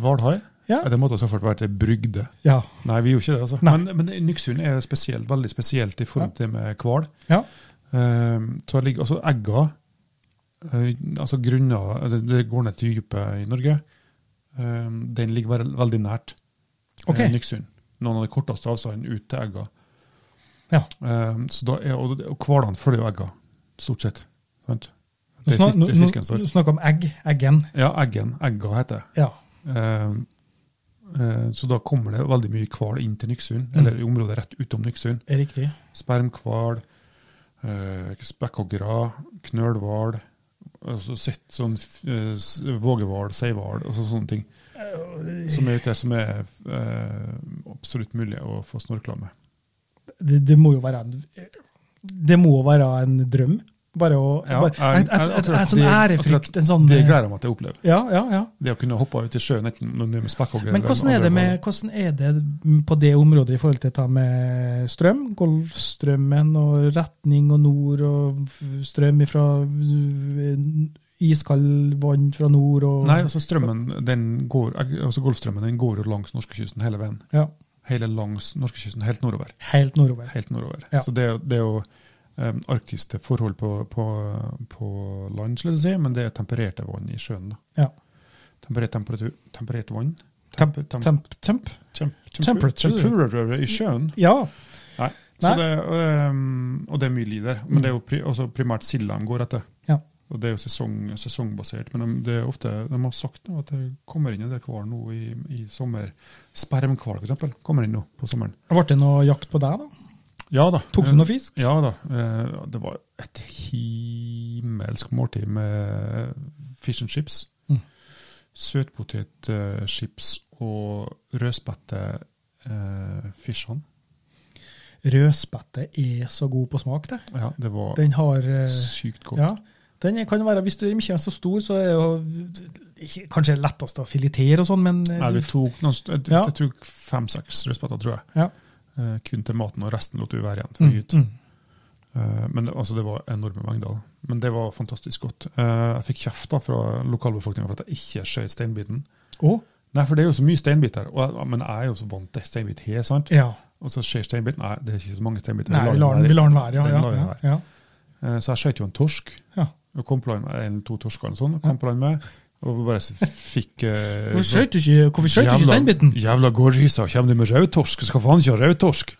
Speaker 2: Hvalhai?
Speaker 1: Ja.
Speaker 2: Ja, Det måtte selvfølgelig vært ei brygde.
Speaker 1: Ja.
Speaker 2: Nei, vi gjorde ikke det. altså.
Speaker 1: Nei.
Speaker 2: Men, men Nyksund er spesielt, veldig spesielt i forhold til med hval.
Speaker 1: ja.
Speaker 2: Ehm, så det ligger altså egga eh, Altså grunner altså Det går ned til dypet i Norge. Ehm, den ligger bare veldig nært
Speaker 1: Ok.
Speaker 2: eh, Nyksund. Noen av de korteste avstandene ut til egga.
Speaker 1: ja.
Speaker 2: Ehm, så da er, og og hvalene følger jo egga, stort sett. Sant?
Speaker 1: Nå
Speaker 2: Det er
Speaker 1: snak-
Speaker 2: fis-
Speaker 1: nå-
Speaker 2: det er fisken
Speaker 1: nå-
Speaker 2: står.
Speaker 1: nå snakker vi om egg. Eggen.
Speaker 2: Ja, eggen. Egga heter det.
Speaker 1: Ja.
Speaker 2: Ehm, eh, så da kommer det veldig mye hval inn til Nyksund,
Speaker 1: Mm.
Speaker 2: eller i området rett utom Nyksund.
Speaker 1: er Riktig.
Speaker 2: Spermhval, eh, spekkhoggere, knølhval, Altså sett sånn eh, s- vågehval, seihval, altså sånne ting. Som er ute her som er eh, absolutt mulig å få snorkla med.
Speaker 1: Det, det må jo være en, det må være en drøm. Bare å
Speaker 2: Ja,
Speaker 1: bare,
Speaker 2: jeg-
Speaker 1: et, et,
Speaker 2: jeg-
Speaker 1: et,
Speaker 2: akkurat
Speaker 1: en sånn
Speaker 2: det- akkurat
Speaker 1: ærefrykt. En sånn,
Speaker 2: Det gleder jeg meg til å oppleve.
Speaker 1: Ja, ja, ja.
Speaker 2: Det å kunne hoppe ut i sjøen enten når du er med spekkhogger
Speaker 1: Men
Speaker 2: eller
Speaker 1: hvordan er,
Speaker 2: andre
Speaker 1: det med,
Speaker 2: hvaler.
Speaker 1: hvordan er det på det området i forhold til dette med strøm? Golfstrømmen og retning og nord og f- strøm fra iskald vann fra nord og
Speaker 2: Nei, altså strømmen, den går, altså Golfstrømmen den går jo langs norskekysten hele veien.
Speaker 1: ja,
Speaker 2: Hele langs norskekysten, helt nordover.
Speaker 1: Helt nordover.
Speaker 2: Helt nordover.
Speaker 1: Ja.
Speaker 2: Så det, er jo- det er jo um, arktiske forhold på, på, på land, skulle jeg si, men det er tempererte vann i sjøen. da.
Speaker 1: Ja.
Speaker 2: Temperert temperatur, temperert vann.
Speaker 1: Temp,
Speaker 2: Temp- temp-
Speaker 1: temp, temp.
Speaker 2: temp-
Speaker 1: Temperature.
Speaker 2: Temperature i sjøen.
Speaker 1: Ja.
Speaker 2: Så
Speaker 1: Nei. Mm.
Speaker 2: det, øhm, og det er mye liv der. Men det er jo pri, også primært silda de går etter.
Speaker 1: Ja.
Speaker 2: Og det er jo sesong, sesongbasert. Men de, det er ofte, de har sagt nå at det kommer inn en del hval nå i, i sommer. Spermhval, f.eks. Kommer inn nå på sommeren. Eh,
Speaker 1: Ble det noe jakt på deg, da?
Speaker 2: Ja da.
Speaker 1: Tok du noe fisk?
Speaker 2: Ja da. eh, Det var et himmelsk måltid med fish and chips.
Speaker 1: Mm.
Speaker 2: Søtpotetchips og rødspette eh, fishene.
Speaker 1: Rødspette er så god på smak, det.
Speaker 2: Ja, det var
Speaker 1: Den har eh,
Speaker 2: sykt godt.
Speaker 1: Ja. Den kan jo være, Hvis den ikke er så stor, så er jo ikke- kanskje lettest å filetere og sånn, men eh,
Speaker 2: Nei,
Speaker 1: du
Speaker 2: vi tok noen, st- jeg,
Speaker 1: Ja.
Speaker 2: jeg tok fem-seks rødspetter, tror jeg.
Speaker 1: Ja.
Speaker 2: Eh, kun til maten, og resten lot vi være igjen til å
Speaker 1: Mm,
Speaker 2: gi ut.
Speaker 1: mm.
Speaker 2: Eh, men det- altså, det var enorme mengder. da. Men det var fantastisk godt. Eh, jeg fikk kjeft da fra lokalbefolkninga for at jeg ikke skjøt steinbiten.
Speaker 1: Å,
Speaker 2: Nei, for det er jo så mye steinbit her, og jeg, men jeg er jo så vant til steinbit her, sant?
Speaker 1: ja.
Speaker 2: Og så skjer steinbiten, nei, det er ikke så mange steinbiter.
Speaker 1: Nei, vi
Speaker 2: den
Speaker 1: lar den,
Speaker 2: være.
Speaker 1: vi lar den være. Ja,
Speaker 2: Den
Speaker 1: ja,
Speaker 2: lar vi
Speaker 1: ja,
Speaker 2: være.
Speaker 1: ja.
Speaker 2: Eh, så jeg skjøt jo en torsk.
Speaker 1: ja.
Speaker 2: og kom på land med en, to torsker eller sånn, og kom på land med, og bare så fikk eh,
Speaker 1: Hvorfor skjøt du ikke, hvorfor skjøt du ikke
Speaker 2: Jævla-
Speaker 1: den biten?
Speaker 2: Jævla gårdhysa, kommer du med rødtorsk? Skal faen ikke ha rødtorsk!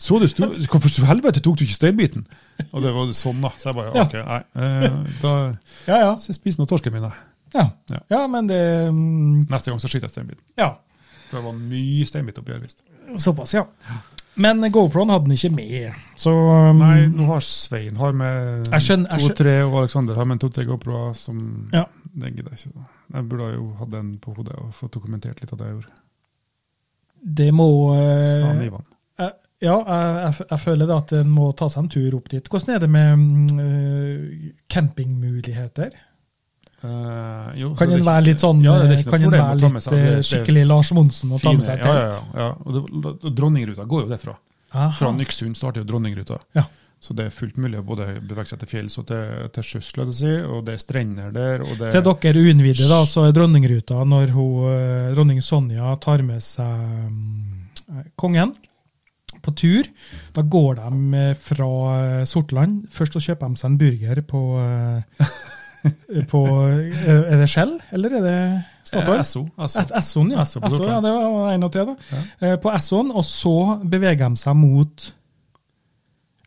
Speaker 2: Så du sto, hvorfor til helvete tok du ikke steinbiten? Og det var sånn, da. Så jeg bare
Speaker 1: Ja.
Speaker 2: OK, nei. eh, da
Speaker 1: Ja, ja.
Speaker 2: så jeg spiser nå torsken min, jeg.
Speaker 1: ja.
Speaker 2: Ja.
Speaker 1: ja men det mm,
Speaker 2: Neste gang så skyter jeg steinbiten.
Speaker 1: Ja,
Speaker 2: For det var mye steinbit oppi her, visst.
Speaker 1: såpass, ja. Men GoPro-en hadde den ikke med, så
Speaker 2: Nei, nå har Svein har med
Speaker 1: Jeg skjønner- jeg skjø-
Speaker 2: to-tre, og Aleksander har med to-tre GoProer som
Speaker 1: Ja.
Speaker 2: Det gidder jeg ikke. da. Jeg burde jo hatt den på hodet og fått dokumentert litt av det jeg gjorde.
Speaker 1: det må eh,
Speaker 2: Sa han Ivan.
Speaker 1: eh, Ja, jeg, jeg, f- jeg føler det at en må ta seg en tur opp dit. Hvordan er det med mm, eh, campingmuligheter?
Speaker 2: Eh, jo, så
Speaker 1: Kan
Speaker 2: det er
Speaker 1: en
Speaker 2: ikke-
Speaker 1: være litt sånn
Speaker 2: Ja, det er
Speaker 1: eh,
Speaker 2: ikke noe
Speaker 1: Kan en
Speaker 2: problem å
Speaker 1: være
Speaker 2: ta med
Speaker 1: litt
Speaker 2: seg alle
Speaker 1: eh,
Speaker 2: det-
Speaker 1: skikkelig Lars Monsen og ta med seg et
Speaker 2: fine- ja,
Speaker 1: telt?
Speaker 2: ja, ja. Og det, og Dronningruta går jo derfra.
Speaker 1: Aha.
Speaker 2: Fra Nyksund starter jo Dronningruta.
Speaker 1: Ja.
Speaker 2: Så det er fullt mulig å både bevege seg til fjells og til, til sjøs, la oss si, og det er strender der. og det
Speaker 1: Til dere uinnvidde, da, så er dronningruta når hun, eh, dronning Sonja tar med seg mm, kongen på tur. Da går de eh, fra eh, Sortland. Først så kjøper de seg en burger på, eh, på eh, Er det Shell, eller er det
Speaker 2: Eh,
Speaker 1: Statoil?
Speaker 2: SO. SO.
Speaker 1: S- Esson, ja.
Speaker 2: Esso på
Speaker 1: Esso, ja,
Speaker 2: Sortland.
Speaker 1: det var en av tre, da. Eh, På Esson, og så beveger de seg mot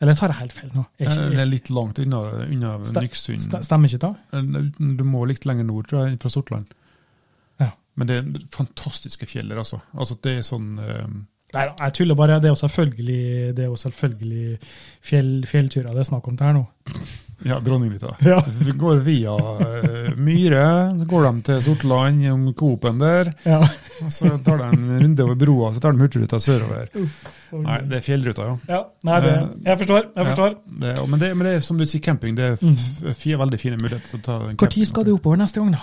Speaker 1: Eller tar jeg helt feil nå? Er
Speaker 2: Eh, Det
Speaker 1: ikke,
Speaker 2: er litt langt unna, unna
Speaker 1: Ste-
Speaker 2: Nyksund.
Speaker 1: st- stemmer ikke det?
Speaker 2: Eh, Du må litt lenger nord, tror jeg, fra Sortland.
Speaker 1: Ja.
Speaker 2: Men det er fantastiske fjell der, altså. altså. Det er sånn eh,
Speaker 1: Nei da, jeg tuller bare. Det er jo selvfølgelig, det er jo selvfølgelig fjell, fjellturer det er snakk om det her nå.
Speaker 2: Ja, Dronninghytta.
Speaker 1: Ja.
Speaker 2: Vi Går via eh, Myre, så går de til Sortland, om Coop-en der.
Speaker 1: Ja.
Speaker 2: Og så tar de en runde over broa, så tar de hurtigruta sørover.
Speaker 1: Mm.
Speaker 2: Nei, det er fjellruta, ja.
Speaker 1: ja. Nei, det, jeg forstår. jeg forstår.
Speaker 2: Ja, det, og- men, det, men det er som du sier, camping. Det er f fire veldig fine muligheter til å ta en
Speaker 1: Når skal du oppover neste gang, da?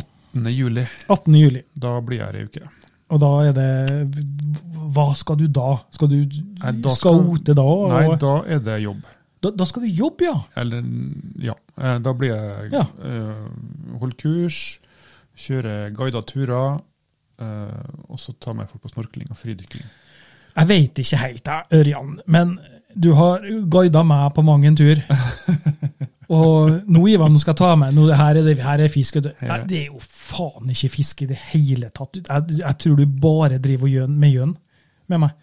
Speaker 2: 18. juli.
Speaker 1: 18. juli.
Speaker 2: Da blir jeg her ei uke.
Speaker 1: Og da er det Hva skal du da? Skal du
Speaker 2: Nei, da
Speaker 1: skal
Speaker 2: skal-
Speaker 1: ote da? Og,
Speaker 2: Nei, da er det jobb.
Speaker 1: da, da skal du jobbe, ja!
Speaker 2: Eller, ja. eh, Da blir jeg
Speaker 1: Ja.
Speaker 2: eh, Holde kurs, kjøre guidede turer, eh, og så ta med folk på snorkling og fridykking.
Speaker 1: Jeg veit ikke helt, jeg, Ørjan, men du har guida meg på mange en tur. Og nå, Ivan, nå skal jeg ta meg nå, her, er det, her er fisk. vet du. Nei, det er jo faen ikke fisk i det hele tatt. Jeg, jeg tror du bare driver og gjøn, med gjøn med meg.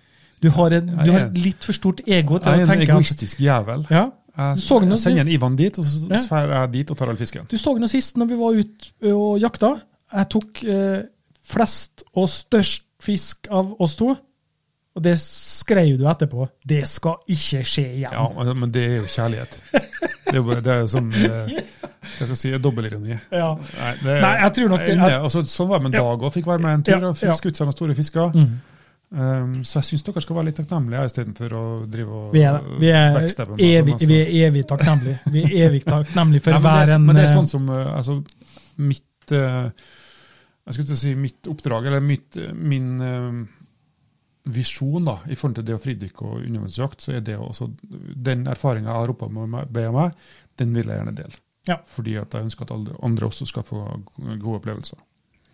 Speaker 1: Du har, en, du har et litt for stort ego
Speaker 2: Jeg
Speaker 1: til
Speaker 2: er
Speaker 1: å
Speaker 2: en
Speaker 1: tenke at
Speaker 2: egoistisk jævel.
Speaker 1: ja,
Speaker 2: Jeg,
Speaker 1: Så noe-
Speaker 2: jeg sender en Ivan dit, og så
Speaker 1: Ja.
Speaker 2: drar jeg dit og tar all fisken.
Speaker 1: Du så nå sist, når vi var ute og jakta. Jeg tok eh, flest og størst fisk av oss to. Og det skrev du etterpå. Det skal ikke skje igjen.
Speaker 2: Ja, men det er jo kjærlighet. Det er jo bare, det er jo sånn eh, jeg skal si, er dobbeltironi.
Speaker 1: Ja.
Speaker 2: Nei, det,
Speaker 1: Nei, jeg tror nok det-
Speaker 2: Nei, altså, sånn var det med
Speaker 1: Ja.
Speaker 2: Dag òg. Fikk være med en tur
Speaker 1: Ja,
Speaker 2: og
Speaker 1: ja.
Speaker 2: fikk skutt seg noen store fisker.
Speaker 1: Mm.
Speaker 2: Um, så jeg syns dere skal være litt takknemlige istedenfor å drive og
Speaker 1: Vi er, vi er,
Speaker 2: backstabbe meg sånn,
Speaker 1: evig,
Speaker 2: Eh, altså.
Speaker 1: vi er evig takknemlige. Vi er evig takknemlige for
Speaker 2: Nei, men,
Speaker 1: hver
Speaker 2: det,
Speaker 1: en
Speaker 2: men det er
Speaker 1: eh,
Speaker 2: sånn som eh, altså, mitt eh, Jeg skulle til å si mitt oppdrag, eller mitt, eh, min eh, visjon da, i forhold til det å fridykke og undervannsjakt, så er det også Den erfaringa jeg har opparbeidet meg, den vil jeg gjerne dele.
Speaker 1: Ja.
Speaker 2: Fordi at jeg ønsker at alle andre også skal få gode opplevelser.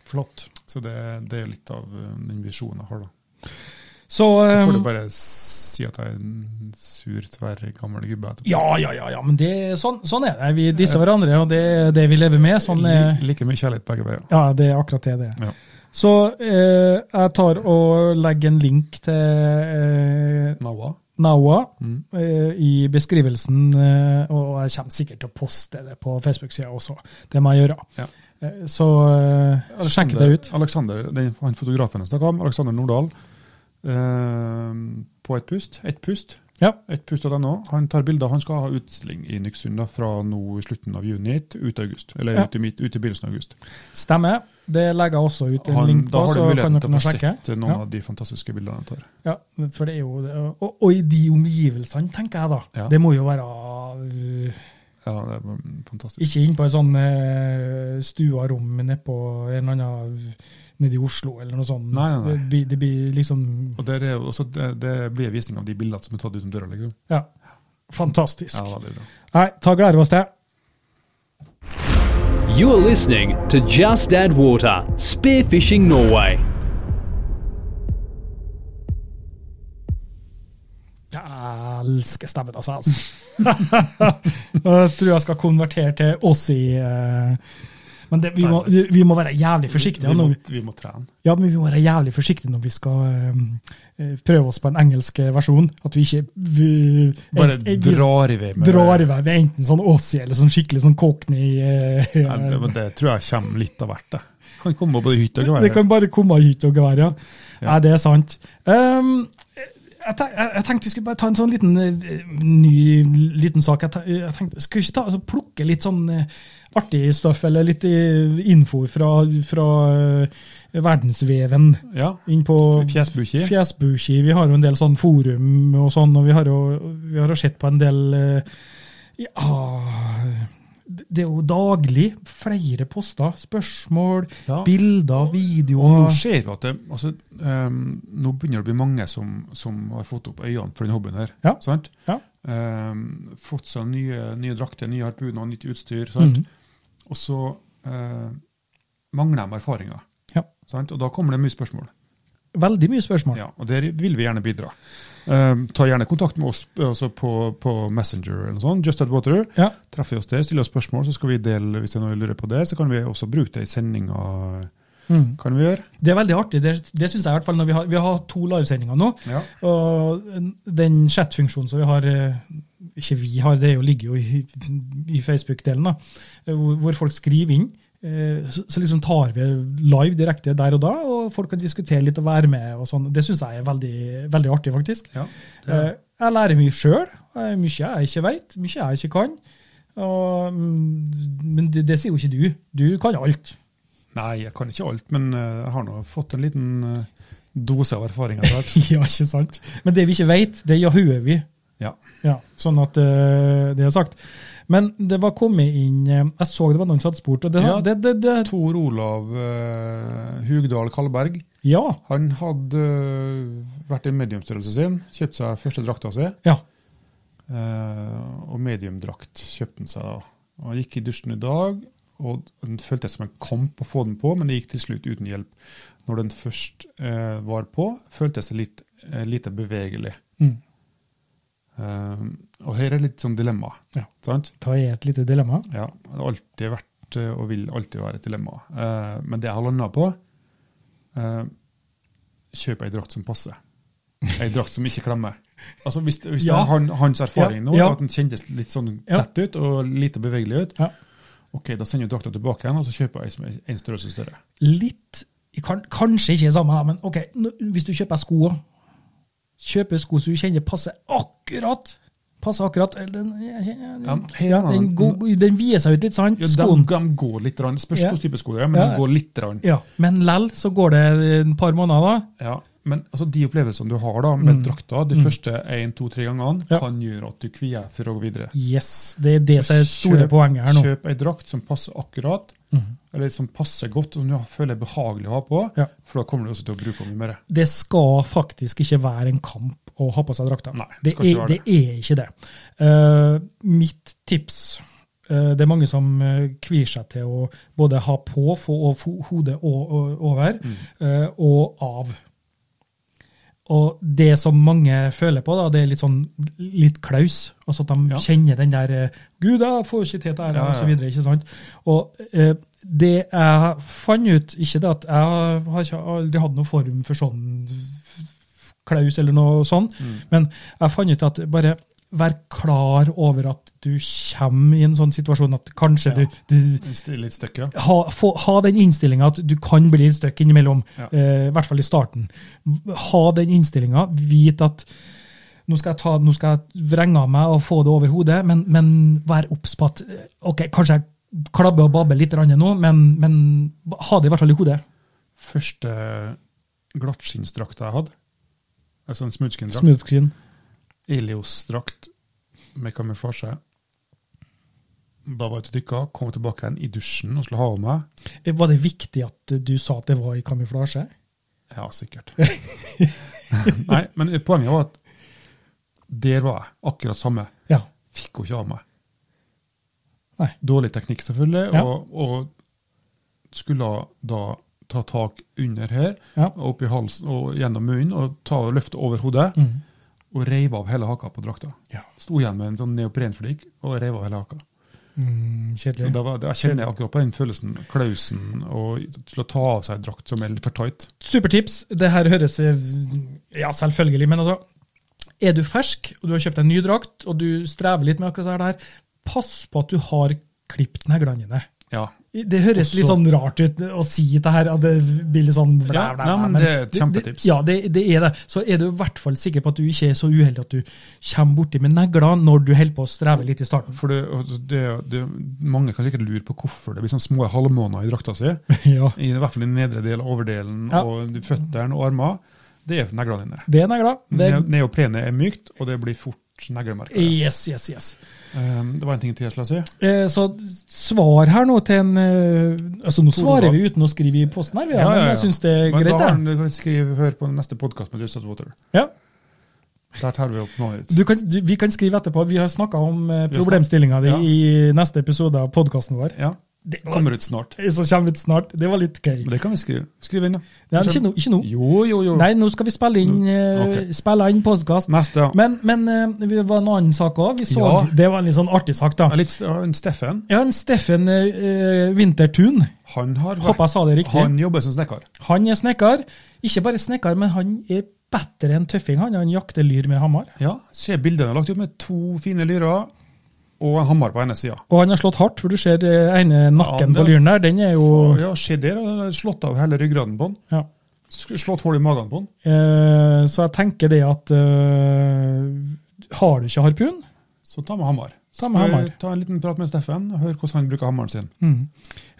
Speaker 1: Flott.
Speaker 2: Så det, det er litt av eh, den visjonen jeg har, da.
Speaker 1: Så,
Speaker 2: Så får
Speaker 1: eh,
Speaker 2: du bare si at jeg er en sur, tverr, gammel gubbe etterpå.
Speaker 1: ja, ja, ja, ja, men det, sånn, sånn er det. Vi disser hverandre, og det er det vi lever med. Sånn er,
Speaker 2: Li- Like mye kjærlighet begge veier.
Speaker 1: ja, det er akkurat det det er.
Speaker 2: Ja.
Speaker 1: Så eh, jeg tar og legger en link til eh,
Speaker 2: Nawa.
Speaker 1: Naua
Speaker 2: Mm.
Speaker 1: eh, i beskrivelsen, eh, og jeg kommer sikkert til å poste det på Facebook-sida også. Det må jeg gjøre.
Speaker 2: Ja. Sånn
Speaker 1: Eh, så eh, sjekk det ut.
Speaker 2: Alexander, den, han fotografen jeg snakket om, Alexander Nordahl, eh, på et pust, et pust,
Speaker 1: Ja.
Speaker 2: et pust av denne også. han tar bilder, han skal ha utstilling i Nyksund da, fra nå i slutten av juni til ut i august, eller
Speaker 1: Ja.
Speaker 2: ut, i, midt- ut i begynnelsen av august.
Speaker 1: Stemmer. Det legger jeg også ut en
Speaker 2: Han,
Speaker 1: link på,
Speaker 2: da har du
Speaker 1: så kan
Speaker 2: muligheten til
Speaker 1: dere
Speaker 2: å
Speaker 1: nå
Speaker 2: få
Speaker 1: sjekke.
Speaker 2: sett noen av de fantastiske bildene han tar.
Speaker 1: Ja, for det er jo det. Og, og i de omgivelsene, tenker jeg da.
Speaker 2: Ja.
Speaker 1: Det må jo være øh,
Speaker 2: Ja, det er mm, fantastisk.
Speaker 1: Ikke inn på en sånn eh, stua rom nede på en eller annen øh, nede i Oslo eller noe sånt.
Speaker 2: Nei, nei, nei.
Speaker 1: Det, blir, det blir liksom
Speaker 2: Og det, er jo også, det, det blir visning av de bildene som er tatt utom døra, liksom.
Speaker 1: Ja. Fantastisk.
Speaker 2: Ja, veldig bra.
Speaker 1: Nei, ta og gleder oss til.
Speaker 3: You are listening to Just Add Water Spearfishing Norway.
Speaker 1: Jeg elsker stemmen, altså. altså. jeg tror jeg skal konvertere til oss i eh, Men det, vi, må, vi må være jævlig forsiktige.
Speaker 2: Vi
Speaker 1: når
Speaker 2: må,
Speaker 1: vi-
Speaker 2: vi må trene.
Speaker 1: Ja, men vi må være jævlig forsiktige når vi skal eh, prøve oss på en engelsk eh, versjon. At vi ikke vi,
Speaker 2: Bare
Speaker 1: eh, vi
Speaker 2: drar i vei med
Speaker 1: drar i vei med enten sånn Aussie eller sånn skikkelig sånn cockney. eh,
Speaker 2: Ja, det, men det tror jeg kommer litt av hvert, det. Kan komme på hytta og
Speaker 1: det
Speaker 2: være
Speaker 1: kan bare komme hit og være, ja.
Speaker 2: Ja.
Speaker 1: Nei, det er sant. Ehm, jeg, te- jeg, jeg tenkte vi skulle bare ta en sånn liten eh, ny liten sak. Jeg, te- jeg tenkte, Skulle vi ikke ta, altså, plukke litt sånn eh, artig stoff eller litt eh, info fra, fra eh, verdensveven
Speaker 2: Ja.
Speaker 1: inn på
Speaker 2: Fjesbuki.
Speaker 1: Fjesbuki. Vi har jo en del sånn forum og sånn, og vi har jo, vi har jo sett på en del eh, Ja Det er jo daglig flere poster. Spørsmål,
Speaker 2: Ja.
Speaker 1: bilder,
Speaker 2: Og nå
Speaker 1: videoer.
Speaker 2: ser vi at det, altså, ehm, nå begynner det å bli mange som, som har fått opp øynene for denne hobbyen her.
Speaker 1: Ja.
Speaker 2: Sant?
Speaker 1: Ja.
Speaker 2: Ehm, fått seg nye, nye drakter, nye harpuner, nytt utstyr. Sant?
Speaker 1: Mhm.
Speaker 2: Og så eh, mangler de erfaringer.
Speaker 1: Ja.
Speaker 2: Sant? Og da kommer det mye spørsmål.
Speaker 1: Veldig mye spørsmål.
Speaker 2: Ja, og der vil vi gjerne bidra. Ehm, ta gjerne kontakt med oss eh, altså på, på Messenger eller noe sånt. Just at water.
Speaker 1: Ja.
Speaker 2: Treffer vi oss der, stiller oss spørsmål, så skal vi dele hvis det er noe vi lurer på der. Så kan vi også bruke det i sendinga.
Speaker 1: Mm.
Speaker 2: Kan vi gjøre?
Speaker 1: Det er veldig artig. Det, det syns jeg i hvert fall. når Vi har, vi har to livesendinger nå.
Speaker 2: Ja.
Speaker 1: Og den chat-funksjonen som vi har eh, Ikke vi har, det er jo, ligger jo i, i Facebook-delen, da, eh, hvor, hvor folk skriver inn. eh, Så, så liksom tar vi live direkte der og da, og folk kan diskutere litt og være med. og sånn. Det syns jeg er veldig, veldig artig, faktisk.
Speaker 2: Ja,
Speaker 1: Eh, Jeg lærer mye sjøl. Mye jeg ikke veit, mye jeg ikke kan. Og, mm, men det, det sier jo ikke du. Du kan alt.
Speaker 2: Nei, jeg kan ikke alt, men eh, jeg har nå fått en liten eh, dose av erfaring etter hvert.
Speaker 1: ja, ikke sant? Men det vi ikke veit, det jahuer vi.
Speaker 2: Ja.
Speaker 1: Ja, sånn at eh, det er sagt. Men det var kommet inn eh, Jeg så det var noen som hadde spurt. Og det,
Speaker 2: Ja.
Speaker 1: det, det, det,
Speaker 2: Tor Olav eh, Hugdal Kalberg
Speaker 1: ja,
Speaker 2: han hadde eh, vært i mediumstørrelse sin, kjøpt seg første drakta si,
Speaker 1: ja.
Speaker 2: eh, og mediumdrakt kjøpte han seg da. Og han gikk i dusjen i dag, og den føltes som en kamp å få den på, men det gikk til slutt uten hjelp. Når den først eh, var på, føltes det litt, eh, lite bevegelig.
Speaker 1: Mm.
Speaker 2: Eh, og her er litt sånn dilemma,
Speaker 1: Ja.
Speaker 2: sant?
Speaker 1: Da er et lite dilemma.
Speaker 2: Ja, det har alltid vært eh, og vil alltid være et dilemma. Eh, Men det jeg har landa på eh, Kjøp ei drakt som passer. Ei drakt som ikke klemmer. Altså Hvis, hvis det
Speaker 1: Ja.
Speaker 2: er han, hans erfaring
Speaker 1: Ja,
Speaker 2: nå,
Speaker 1: ja.
Speaker 2: at den kjentes litt sånn
Speaker 1: Ja.
Speaker 2: tett ut og lite bevegelig ut,
Speaker 1: Ja.
Speaker 2: ok, da sender jeg drakta tilbake igjen, og så kjøper jeg ei som er en størrelse større.
Speaker 1: Litt kan, Kanskje ikke det samme, da, men ok, nå- hvis du kjøper sko Kjøper sko som du kjenner passer akkurat Passer akkurat. Eller Den, jeg kjenner-
Speaker 2: Ja, her
Speaker 1: ja,
Speaker 2: var
Speaker 1: den,
Speaker 2: den.
Speaker 1: går- den vider seg ut litt, sant?
Speaker 2: Ja, de,
Speaker 1: Skoen.
Speaker 2: de går litt, rann. spørs
Speaker 1: Ja.
Speaker 2: hvilken type sko det er, men
Speaker 1: Ja.
Speaker 2: de går litt. Rann.
Speaker 1: Ja, Men lell så går det et par måneder, da.
Speaker 2: Ja, men altså, de opplevelsene du har da, med drakta de første én, to, tre gangene,
Speaker 1: Mm. Ja.
Speaker 2: kan gjøre at du kvier deg for å gå videre.
Speaker 1: Yes, det er det som er det store
Speaker 2: Kjøp-
Speaker 1: poenget her nå. Mhm.
Speaker 2: Kjøp ei drakt som passer akkurat, eller som passer godt, og som du føler er behagelig å ha på,
Speaker 1: Ja.
Speaker 2: for da kommer du også til å bruke den mye mer.
Speaker 1: Det skal faktisk ikke være en kamp å ha på seg drakta.
Speaker 2: Nei,
Speaker 1: det,
Speaker 2: skal ikke
Speaker 1: er,
Speaker 2: være
Speaker 1: det
Speaker 2: det.
Speaker 1: er ikke det. Eh, mitt tips eh, Det er mange som eh, kvier seg til å både ha på, få ov- hodet o- o- over,
Speaker 2: Mm.
Speaker 1: eh, og av. Og det som mange føler på, da, det er litt sånn litt klaus. Altså at de
Speaker 2: Ja.
Speaker 1: kjenner den der eh, 'Gud, jeg får ikke til dette her',
Speaker 2: Ja, ja.
Speaker 1: og så videre. Ikke sant? Og eh, det jeg fant ut Ikke det at jeg har ikke aldri hatt noen form for sånn f- f- klaus eller noe sånn,
Speaker 2: Mm.
Speaker 1: men jeg fant ut at bare vær klar over at du kommer i en sånn situasjon at kanskje
Speaker 2: Ja.
Speaker 1: du, du
Speaker 2: En sti- Litt støkk, ja.
Speaker 1: ha, få, ha den innstillinga at du kan bli litt stuck innimellom,
Speaker 2: Ja.
Speaker 1: eh, i hvert fall i starten. Ha den innstillinga, vit at nå skal, jeg ta, nå skal jeg vrenge av meg og få det over hodet, men, men vær obs på at eh, ok, kanskje jeg klabber og babber litt grann nå, men, men ha det i hvert fall i hodet.
Speaker 2: Første glattskinnsdrakta jeg hadde, altså en smoothskin-drakt,
Speaker 1: Smoothscreen.
Speaker 2: Elios-drakt med kamuflasje, da var jeg ute og dykka, kom tilbake igjen i dusjen og skulle ha av meg.
Speaker 1: Eh, Var det viktig at du sa at det var i kamuflasje?
Speaker 2: Ja, sikkert. Nei, men poenget var at der var jeg, akkurat samme.
Speaker 1: Ja.
Speaker 2: Fikk hun ikke av meg.
Speaker 1: Nei.
Speaker 2: Dårlig teknikk, selvfølgelig,
Speaker 1: Ja.
Speaker 2: og, og skulle da ta tak under her,
Speaker 1: Ja.
Speaker 2: og opp i halsen og gjennom munnen, og ta og løfte over hodet,
Speaker 1: Mm.
Speaker 2: og reiv av hele haka på drakta.
Speaker 1: Ja.
Speaker 2: Sto igjen med en sånn neoprenflik og reiv av hele haka.
Speaker 1: Mm,
Speaker 2: Så
Speaker 1: kjedelig.
Speaker 2: da var, jeg kjenner akkurat på den følelsen, klausen, og til å ta av seg en drakt som er litt for tight.
Speaker 1: Supertips. Det her høres eh, Ja, selvfølgelig, men altså Er du fersk, og du har kjøpt deg en ny drakt, og du strever litt med akkurat det her, der, pass på at du har klippet neglene dine.
Speaker 2: Ja,
Speaker 1: Det høres
Speaker 2: Også-
Speaker 1: litt sånn rart ut å si det her, at det blir litt sånn blæ,
Speaker 2: Ja,
Speaker 1: blæ,
Speaker 2: nei,
Speaker 1: blæ,
Speaker 2: men det er et
Speaker 1: Det,
Speaker 2: kjempetips.
Speaker 1: ja, det, det er det. Så er du i hvert fall sikker på at du ikke er så uheldig at du kommer borti med neglene når du holder på å streve litt i starten.
Speaker 2: for det, og det, det, mange kan sikkert lure på hvorfor det blir sånn små halvmåneder i drakta si.
Speaker 1: ja,
Speaker 2: I hvert fall i den nedre delen, overdelen,
Speaker 1: Ja.
Speaker 2: og føttene og armene. Det er neglene dine.
Speaker 1: det er negler. Det,
Speaker 2: Ne- Neoprenet er mykt, og det blir fort neglemerker.
Speaker 1: yes, yes, yes.
Speaker 2: Um, det var en ting til jeg skulle si.
Speaker 1: Eh, Så svar her nå til en eh, Altså, nå
Speaker 2: Tore
Speaker 1: svarer
Speaker 2: Dahl.
Speaker 1: vi uten å skrive i posten her, vi, ja, men jeg syns det er
Speaker 2: Men
Speaker 1: greit.
Speaker 2: da har
Speaker 1: Ja.
Speaker 2: han- du kan skrive, hør på neste podkast med Justin Water.
Speaker 1: Ja.
Speaker 2: Der tar vi opp noe ut.
Speaker 1: Du kan, du, vi kan skrive etterpå. Vi har snakka om eh,
Speaker 2: Vi har
Speaker 1: problemstillinga di
Speaker 2: snakket-
Speaker 1: i neste episode av podkasten vår.
Speaker 2: Ja,
Speaker 1: Det var,
Speaker 2: kommer ut snart.
Speaker 1: som kommer ut snart. Det var litt gøy.
Speaker 2: Men det kan vi skrive. Skriv inn, da.
Speaker 1: Nei, ikke nå. Ikke nå.
Speaker 2: Jo, jo, jo.
Speaker 1: Nei, nå skal vi spille inn, eh,
Speaker 2: Ok.
Speaker 1: spille inn podkast.
Speaker 2: Neste. ja.
Speaker 1: Men, men eh, det var en annen sak òg.
Speaker 2: Ja.
Speaker 1: Det var en litt sånn artig sak, da.
Speaker 2: Ja, litt, ja, en Steffen
Speaker 1: Ja, en Steffen eh, Wintertun.
Speaker 2: han har
Speaker 1: Håper jeg sa det riktig.
Speaker 2: Han jobber som snekker.
Speaker 1: Han er snekker. Ikke bare snekker, men han er bedre enn tøffing. Han, han jakter lyr med hammer.
Speaker 2: Ja, Se bildet han har lagt ut med to fine lyrer og en hammer på ene sida.
Speaker 1: Og han har slått hardt, for du ser eh, ene nakken
Speaker 2: Ja, det-
Speaker 1: på lyren der. Den er jo
Speaker 2: Ja, se der. Han har slått av hele ryggraden på han.
Speaker 1: ja.
Speaker 2: Sk- Slått hull i magen på han.
Speaker 1: Eh, Så jeg tenker det at eh, Har du ikke harpun?
Speaker 2: Så ta med hammer.
Speaker 1: Ta med
Speaker 2: Spør-
Speaker 1: hammer.
Speaker 2: ta en liten prat med Steffen og hør hvordan han bruker hammeren sin.
Speaker 1: Mm.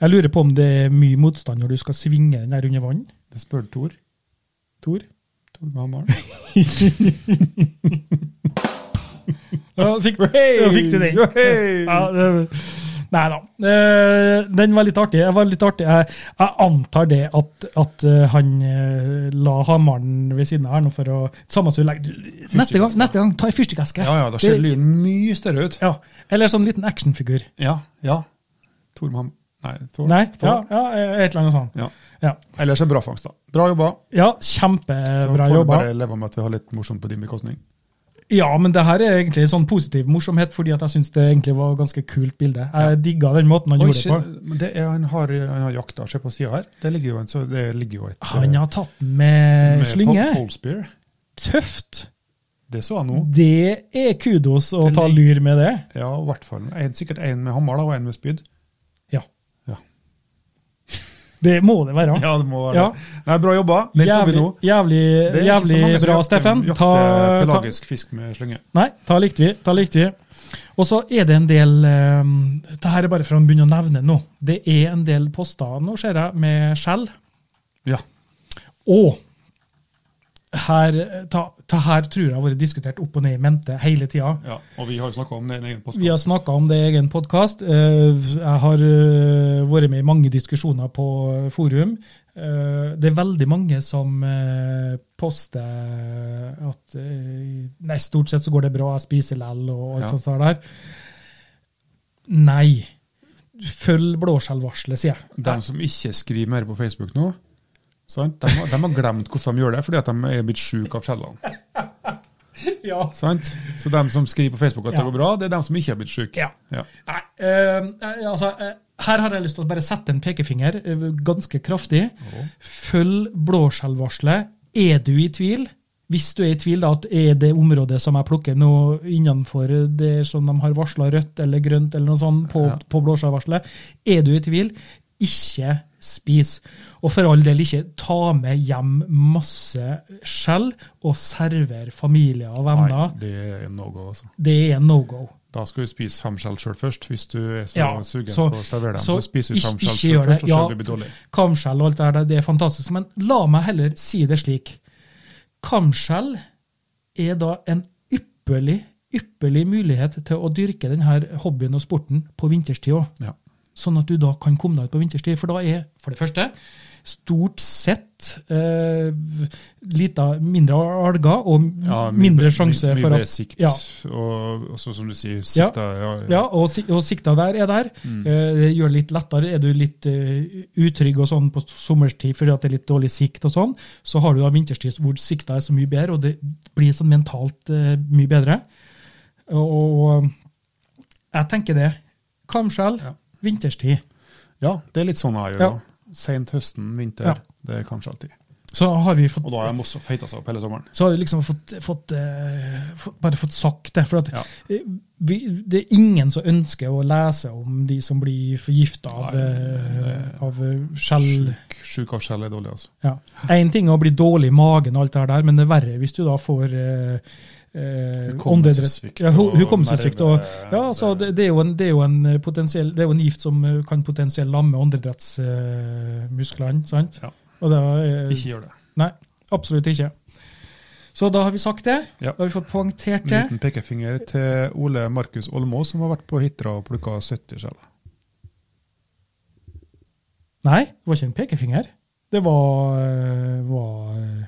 Speaker 1: Jeg lurer på om det er mye motstand når du skal svinge den der under vann,
Speaker 2: Det spør Tor.
Speaker 1: Tor.
Speaker 2: Tor med hammeren.
Speaker 1: Ja, fikk, ja, fikk du den?
Speaker 2: Jo, hei!
Speaker 1: Ja, det, nei da. Eh, Den var litt artig. Jeg, var litt artig. jeg, jeg antar det at, at eh, han eh, la hammeren ved siden av her nå for å Samme som du legger du- Neste gang, neste gang ta ei fyrstikkeske.
Speaker 2: Ja, ja, da ser lyden mye større ut.
Speaker 1: Ja, Eller sånn liten actionfigur.
Speaker 2: Ja, ja. Tor med ham... Nei, Tor.
Speaker 1: Nei, ja,
Speaker 2: Tor.
Speaker 1: ja, et eller annet sånt.
Speaker 2: Ja.
Speaker 1: Ja,
Speaker 2: Ellers er det bra fangst, da. Bra jobba.
Speaker 1: ja
Speaker 2: Så
Speaker 1: kjempebra
Speaker 2: får du
Speaker 1: jobba.
Speaker 2: bare leve med at vi har litt morsomt på din bekostning.
Speaker 1: Ja, men det her er egentlig sånn positiv morsomhet, fordi at jeg syns det egentlig var ganske kult bilde. Jeg digga den måten han
Speaker 2: Oi,
Speaker 1: gjorde det på.
Speaker 2: se- men det er, han har, han har jakta, se på sida her. Det ligger jo, en, så det ligger jo et
Speaker 1: Ah, Han
Speaker 2: eh,
Speaker 1: har tatt den med,
Speaker 2: med
Speaker 1: slynge.
Speaker 2: pol- pole spear.
Speaker 1: Tøft.
Speaker 2: Det så jeg nå.
Speaker 1: Mm. Det er kudos å
Speaker 2: Den
Speaker 1: ta
Speaker 2: lig-
Speaker 1: lyr med det.
Speaker 2: Ja, i hvert fall. En- Sikkert én med hammer da, og én med spyd.
Speaker 1: Ja.
Speaker 2: Ja.
Speaker 1: Det må det være.
Speaker 2: Ja, det må være
Speaker 1: Ja.
Speaker 2: det. Nei, bra jobba. Den så vi
Speaker 1: Jævlig,
Speaker 2: nå.
Speaker 1: jævlig,
Speaker 2: Det er ikke så
Speaker 1: jævlig
Speaker 2: mange som
Speaker 1: bra,
Speaker 2: jakter-
Speaker 1: Steffen.
Speaker 2: jakter
Speaker 1: Ta, ta,
Speaker 2: pelagisk fisk med slynge.
Speaker 1: Nei, ta likte vi. ta likte vi. Og så er det en del eh, Dette her er bare for å begynne å nevne nå. Det er en del poster nå, ser jeg, med skjell.
Speaker 2: Ja.
Speaker 1: Og her, ta, ta her tror jeg har vært diskutert opp og ned i mente hele tida.
Speaker 2: ja. Og vi har jo snakka om det i en egen post.
Speaker 1: Vi har snakka om det i egen podkast. Jeg har eh, vært med i mange diskusjoner på forum. Eh, Det er veldig mange som eh, poster at eh, Nei, stort sett så går det bra, jeg spiser lell og alt
Speaker 2: Ja.
Speaker 1: sånt der. Nei. Følg blåskjellvarselet, sier jeg.
Speaker 2: De som ikke skriver mer på Facebook nå, sant? De, har, de har glemt hvordan de gjør det, fordi at de er blitt sjuke av skjellene.
Speaker 1: Ja.
Speaker 2: Sant? Så de som skriver på Facebook at
Speaker 1: Ja.
Speaker 2: det går bra, det er de som ikke har blitt sjuke.
Speaker 1: Ja. Nei, eh, altså, eh, her har jeg lyst til å bare sette en pekefinger eh, ganske kraftig. Følg blåskjellvarselet. Er du i tvil? Hvis du er i tvil, da, at er det området som jeg plukker nå innenfor det som de har varsla rødt eller grønt eller noe sånt på,
Speaker 2: Ja.
Speaker 1: på blåskjellvarselet, er du i tvil, ikke spis. Og for all del, ikke ta med hjem masse skjell og server familier og
Speaker 2: Nei,
Speaker 1: venner.
Speaker 2: det er no go, altså.
Speaker 1: Det er no go.
Speaker 2: Da skal du spise fem skjell sjøl først, hvis du er så
Speaker 1: Ja,
Speaker 2: sugen
Speaker 1: så-
Speaker 2: på å servere dem. Så,
Speaker 1: så
Speaker 2: spiser du
Speaker 1: ikke-
Speaker 2: fem skjell
Speaker 1: ikke
Speaker 2: sjøl
Speaker 1: gjør det.
Speaker 2: først, og så
Speaker 1: Ja.
Speaker 2: blir det dårlig.
Speaker 1: Kamskjell og alt det der, det er fantastisk. Men la meg heller si det slik. Kamskjell er da en ypperlig, ypperlig mulighet til å dyrke denne hobbyen og sporten på vinterstid òg.
Speaker 2: Ja.
Speaker 1: Sånn at du da kan komme deg ut på vinterstid. For da er, for det første, stort sett eh, lita, mindre alger og
Speaker 2: Ja, mye-
Speaker 1: mindre
Speaker 2: mye-
Speaker 1: sjanse
Speaker 2: mye
Speaker 1: for
Speaker 2: bedre
Speaker 1: at
Speaker 2: sikt,
Speaker 1: ja.
Speaker 2: og, og sånn som du sier,
Speaker 1: Ja.
Speaker 2: sikta ja,
Speaker 1: Ja, og, si- og sikta der er der.
Speaker 2: Mm.
Speaker 1: Eh, Det gjør det litt lettere. Er du litt eh, utrygg og sånn på sommerstid fordi at det er litt dårlig sikt, og sånn, så har du da vinterstid hvor sikta er så mye bedre, og det blir sånn mentalt eh, mye bedre. Og, og jeg tenker det. Kamskjell,
Speaker 2: Ja.
Speaker 1: vinterstid.
Speaker 2: Ja, det er litt sånn jeg gjør.
Speaker 1: Ja.
Speaker 2: da. Sent høsten, vinter.
Speaker 1: Ja.
Speaker 2: Det er kanskje alltid.
Speaker 1: Så har vi fått
Speaker 2: Og da har de også feita seg opp hele sommeren.
Speaker 1: så har vi liksom fått, fått, eh, fått bare fått sagt det. For at
Speaker 2: Ja.
Speaker 1: eh, vi, det er ingen som ønsker å lese om de som blir forgifta av,
Speaker 2: Nei,
Speaker 1: eh, av eh, skjell.
Speaker 2: Sjuk, sjuk av skjell er dårlig, altså.
Speaker 1: Ja. Én ting er å bli dårlig i magen, og alt det her der, men det er verre hvis du da får eh, eh,
Speaker 2: Hukommelsessvikt
Speaker 1: åndedrett- ja,
Speaker 2: og
Speaker 1: hu- Hukommelsessvikt. Og, ja, altså,
Speaker 2: nerve-
Speaker 1: det, det, er jo en, det er jo en eh, potensiell Det er jo en gift som eh, kan potensielt lamme åndedrettsmusklene, sant?
Speaker 2: Ja.
Speaker 1: Og da, eh,
Speaker 2: Ikke gjør det.
Speaker 1: Nei, absolutt ikke. Så da har vi sagt det.
Speaker 2: Ja.
Speaker 1: Da har vi fått poengtert
Speaker 2: En
Speaker 1: det.
Speaker 2: liten pekefinger til Ole Markus Olmås, som har vært på Hitra og plukka 70 skjell.
Speaker 1: Nei, det var ikke en pekefinger. Det var, øh, var øh,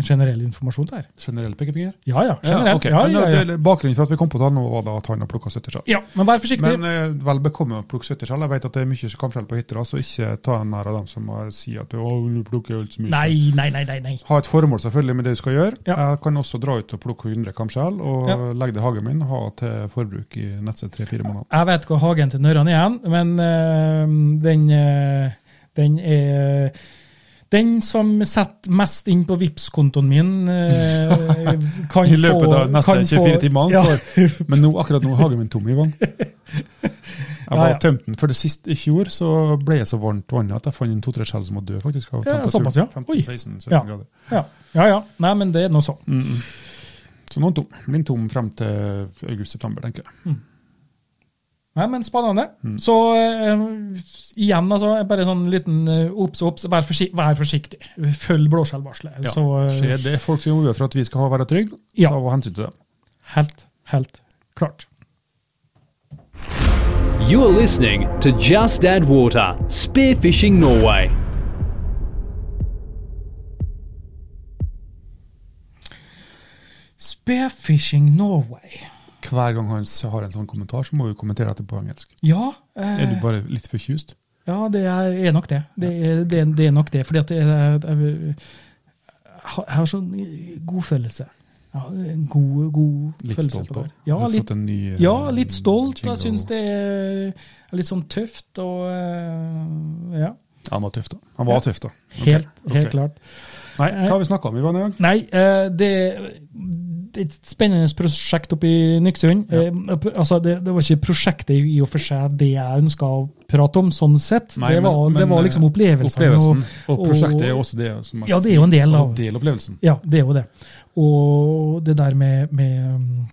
Speaker 1: en generell informasjon der.
Speaker 2: Generell pekefinger?
Speaker 1: Ja ja, generelt.
Speaker 2: ok.
Speaker 1: Ja,
Speaker 2: Men
Speaker 1: ja,
Speaker 2: det-
Speaker 1: ja,
Speaker 2: det- Bakgrunnen for at vi kom på det nå, var da at han har plukka 70 skjell.
Speaker 1: ja. Men vær forsiktig.
Speaker 2: Men eh, vel bekomme å plukke 70 skjell. Jeg vet at det er mye kamskjell på Hitra, så ikke ta en nær av dem som har, sier at du, å, du plukker alt så mye.
Speaker 1: nei,
Speaker 2: skjell».
Speaker 1: nei, nei, nei. nei.
Speaker 2: Ha et formål selvfølgelig med det du skal gjøre.
Speaker 1: Ja.
Speaker 2: Jeg kan også dra ut og plukke 100 kamskjell og
Speaker 1: Ja.
Speaker 2: legge det i hagen min, ha til forbruk i neste tre-fire måneder.
Speaker 1: Jeg vet hva hagen til Nørran er, igjen, men øh, den, øh, den er eh, den som setter mest inn på Vipps-kontoen min, øh, kan
Speaker 2: I løpet av
Speaker 1: få-
Speaker 2: neste
Speaker 1: kan få-
Speaker 2: 24 timene.
Speaker 1: Ja.
Speaker 2: For, men nå, akkurat nå er hagen min tom i gang. Jeg
Speaker 1: Ja,
Speaker 2: var
Speaker 1: ja.
Speaker 2: tømt den, for det sist i fjor så ble jeg så varmt vannet at jeg fant en to-tre skjell som var død, faktisk. Av
Speaker 1: Ja,
Speaker 2: temperaturen.
Speaker 1: såpass, ja. Oi.
Speaker 2: 15-16-17
Speaker 1: Ja.
Speaker 2: grader.
Speaker 1: Ja, ja. ja. Nei, men det er nå sånn.
Speaker 2: Mm -mm. Så nå er den tom. Min tom frem til august-september, tenker jeg.
Speaker 1: Nei, men spennende.
Speaker 2: Mm.
Speaker 1: Så eh, igjen, altså, bare sånn liten eh, obs, obs. Vær, forsi vær forsiktig. Følg blåskjellvarselet.
Speaker 2: Ja.
Speaker 1: Så eh,
Speaker 2: Skjer det er folk som jobber for at vi skal ha være trygge,
Speaker 1: Ja.
Speaker 2: ta hensyn til det.
Speaker 1: helt, helt klart.
Speaker 3: You're listening to Just Add Water, Spearfishing Norway.
Speaker 1: Spearfishing Norway.
Speaker 2: Hver gang han s- har en sånn kommentar, så må vi kommentere dette på engelsk.
Speaker 1: Ja, eh,
Speaker 2: Er du bare litt forkjust?
Speaker 1: ja det er, er nok det. Det er, det, er, det er nok det. Fordi at det er, det er, jeg har sånn god følelse. Ja, en god, god
Speaker 2: Litt
Speaker 1: følelse.
Speaker 2: stolt
Speaker 1: på det
Speaker 2: òg?
Speaker 1: her. Ja, litt
Speaker 2: eh,
Speaker 1: Ja, litt stolt. Jeg syns det er litt sånn tøft og eh, Ja.
Speaker 2: Han var tøff, da. Han var
Speaker 1: Ja.
Speaker 2: tøff, da. Ok,
Speaker 1: Helt, helt
Speaker 2: ok.
Speaker 1: klart.
Speaker 2: Nei, hva har vi snakka om, Ivan? i gang?
Speaker 1: Nei, eh, det, det er et spennende prosjekt oppe i Nyksund.
Speaker 2: Ja.
Speaker 1: Eh, p- altså, det, det var ikke prosjektet i og for seg det jeg ønska å prate om, sånn sett.
Speaker 2: Nei,
Speaker 1: det,
Speaker 2: men-
Speaker 1: var, det
Speaker 2: men,
Speaker 1: var
Speaker 2: eh,
Speaker 1: liksom opplevelsen.
Speaker 2: Opplevelsen. Og,
Speaker 1: og-
Speaker 2: prosjektet er jo også det. Som
Speaker 1: Ja, det er jo en del
Speaker 2: en
Speaker 1: av
Speaker 2: del av opplevelsen.
Speaker 1: Ja, det er jo det. Og det der med, med um,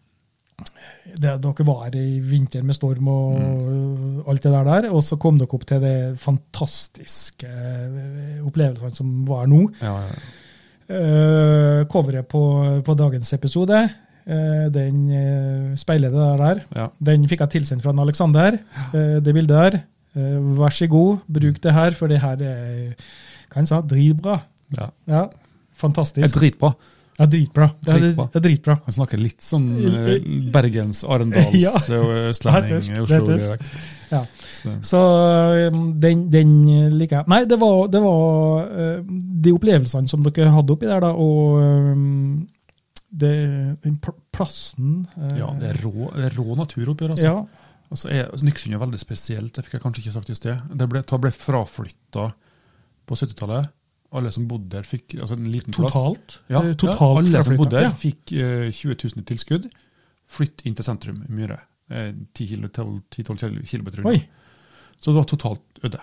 Speaker 1: det, at Dere var her i vinter med storm og uh, alt det der der, og så kom dere opp til det fantastiske uh, opplevelsene som var nå.
Speaker 2: Ja, ja, ja.
Speaker 1: Eh, coveret på, på dagens episode, eh, den eh, speiler det der der.
Speaker 2: Ja.
Speaker 1: Den fikk jeg tilsendt fra en Alexander, eh, det bildet der. Eh, vær så god, bruk det her, for det her er hva han sa, dritbra.
Speaker 2: ja.
Speaker 1: Ja,
Speaker 2: Det er
Speaker 1: fantastisk.
Speaker 2: dritbra.
Speaker 1: Ja, dritbra. Det er,
Speaker 2: Dritbra.
Speaker 1: det er dritbra.
Speaker 2: Han snakker litt sånn eh, Bergens,
Speaker 1: Ja.
Speaker 2: Arendals, eh, og
Speaker 1: Det er
Speaker 2: østlending,
Speaker 1: tøft,
Speaker 2: Oslo-dialekt.
Speaker 1: Ja.
Speaker 2: Så-
Speaker 1: Så um, den, den liker jeg. Nei, det var, det var eh, de opplevelsene som dere hadde oppi der, da, og um, det, den pl- plassen eh,
Speaker 2: Ja, det er rå, det er rå natur oppi her. Altså.
Speaker 1: ja.
Speaker 2: Og så er Nyksund er veldig spesielt, det fikk jeg kanskje ikke sagt i sted. Det ble, det ble fraflytta på 70-tallet. Alle som bodde der, fikk altså en liten plass.
Speaker 1: Totalt?
Speaker 2: Ja,
Speaker 1: Eh,
Speaker 2: ja,
Speaker 1: totalt
Speaker 2: alle som
Speaker 1: fraflyttet.
Speaker 2: bodde der,
Speaker 1: Ja.
Speaker 2: fikk eh, 20 000 i tilskudd. Flytt inn til sentrum, i Myhre. Eh, 10 kilo- 12 10-12 kilo- kilometer unna.
Speaker 1: Oi,
Speaker 2: Så det var totalt øde.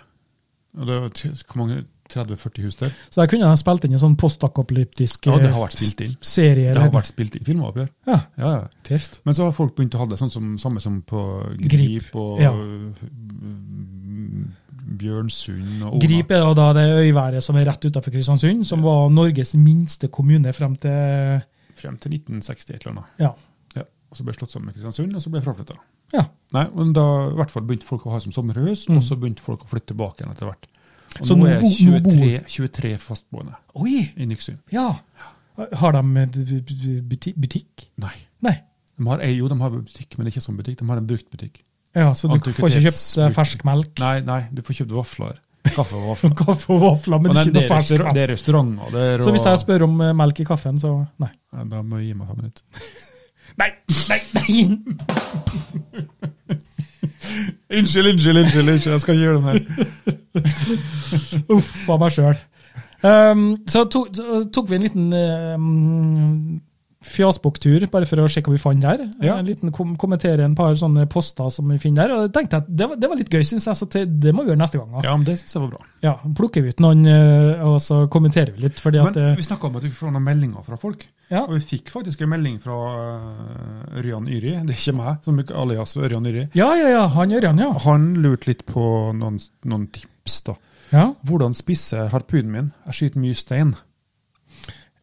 Speaker 2: Og det var t- hvor mange 30-40 hus der.
Speaker 1: så der kunne jeg spilt inn en sånn postakapolyptisk
Speaker 2: Ja,
Speaker 1: eh,
Speaker 2: det har vært spilt inn.
Speaker 1: serie.
Speaker 2: Det
Speaker 1: eller-
Speaker 2: har vært spilt inn filmoppgjør.
Speaker 1: ja,
Speaker 2: Ja, ja.
Speaker 1: tøft.
Speaker 2: Men så har folk begynt å ha det sånn som, samme som på Grip,
Speaker 1: Grip,
Speaker 2: og
Speaker 1: ja.
Speaker 2: mm, Bjørnsund og Ona.
Speaker 1: Grip er jo da det øyværet som er rett utenfor Kristiansund, som var Norges minste kommune frem til
Speaker 2: Frem til 1960 et eller annet.
Speaker 1: Ja.
Speaker 2: Ja. Og så ble det slått sammen med Kristiansund, og så ble det fraflytta.
Speaker 1: ja.
Speaker 2: Nei, men da i hvert fall begynte folk å ha som sommerhus,
Speaker 1: Mm.
Speaker 2: og så begynte folk å flytte tilbake igjen etter hvert. Og
Speaker 1: Så
Speaker 2: nå
Speaker 1: nå
Speaker 2: er
Speaker 1: bo- nå bor-
Speaker 2: 23, 23 fastboende
Speaker 1: Oi!
Speaker 2: i Nyksund.
Speaker 1: Ja. Har de eh, bu- bu- buti- butikk?
Speaker 2: Nei.
Speaker 1: Nei.
Speaker 2: De har, eh, jo, de har butikk, men det er ikke sånn butikk. De har en bruktbutikk.
Speaker 1: Ja, Så du får ikke kjøpt eh,
Speaker 2: Antikvitets-
Speaker 1: fersk melk?
Speaker 2: Nei, nei, du får kjøpt vafler. Kaffe og vafler.
Speaker 1: Kaffe og vafler, men
Speaker 2: Og
Speaker 1: ikke
Speaker 2: det,
Speaker 1: noe
Speaker 2: er
Speaker 1: fersk
Speaker 2: restaur- det
Speaker 1: melk.
Speaker 2: er restauranter der.
Speaker 1: Så hvis
Speaker 2: og-
Speaker 1: jeg spør om eh, melk i kaffen, så nei.
Speaker 2: Ja, Da må jeg gi meg fem minutter.
Speaker 1: Nei, nei, nei!
Speaker 2: Unnskyld, unnskyld, unnskyld, unnskyld, jeg skal ikke gjøre det mer.
Speaker 1: Uff a meg sjøl. Um, så to, to- tok vi en liten um, fjasbuktur, bare for å sjekke hva vi fant der.
Speaker 2: Ja.
Speaker 1: En liten kom kommentere en par sånne poster som vi finner der. og jeg tenkte at Det var, det var litt gøy, syns jeg, så det, det må vi gjøre neste gang. Da.
Speaker 2: Ja, men det synes jeg var bra.
Speaker 1: Ja, plukker vi ut noen, eh, og så kommenterer vi litt. fordi at...
Speaker 2: Men
Speaker 1: eh,
Speaker 2: vi snakket om at vi får noen meldinger fra folk.
Speaker 1: Ja.
Speaker 2: Og vi fikk faktisk en melding fra øh, Ørjan Yri, det er ikke meg, som ikke alias Ørjan Yri.
Speaker 1: Ja, ja, ja, han gjør han, ja.
Speaker 2: Han lurte litt på noen, noen tips da.
Speaker 1: ja.
Speaker 2: Hvordan spisse harpunen min? Jeg skyter mye stein.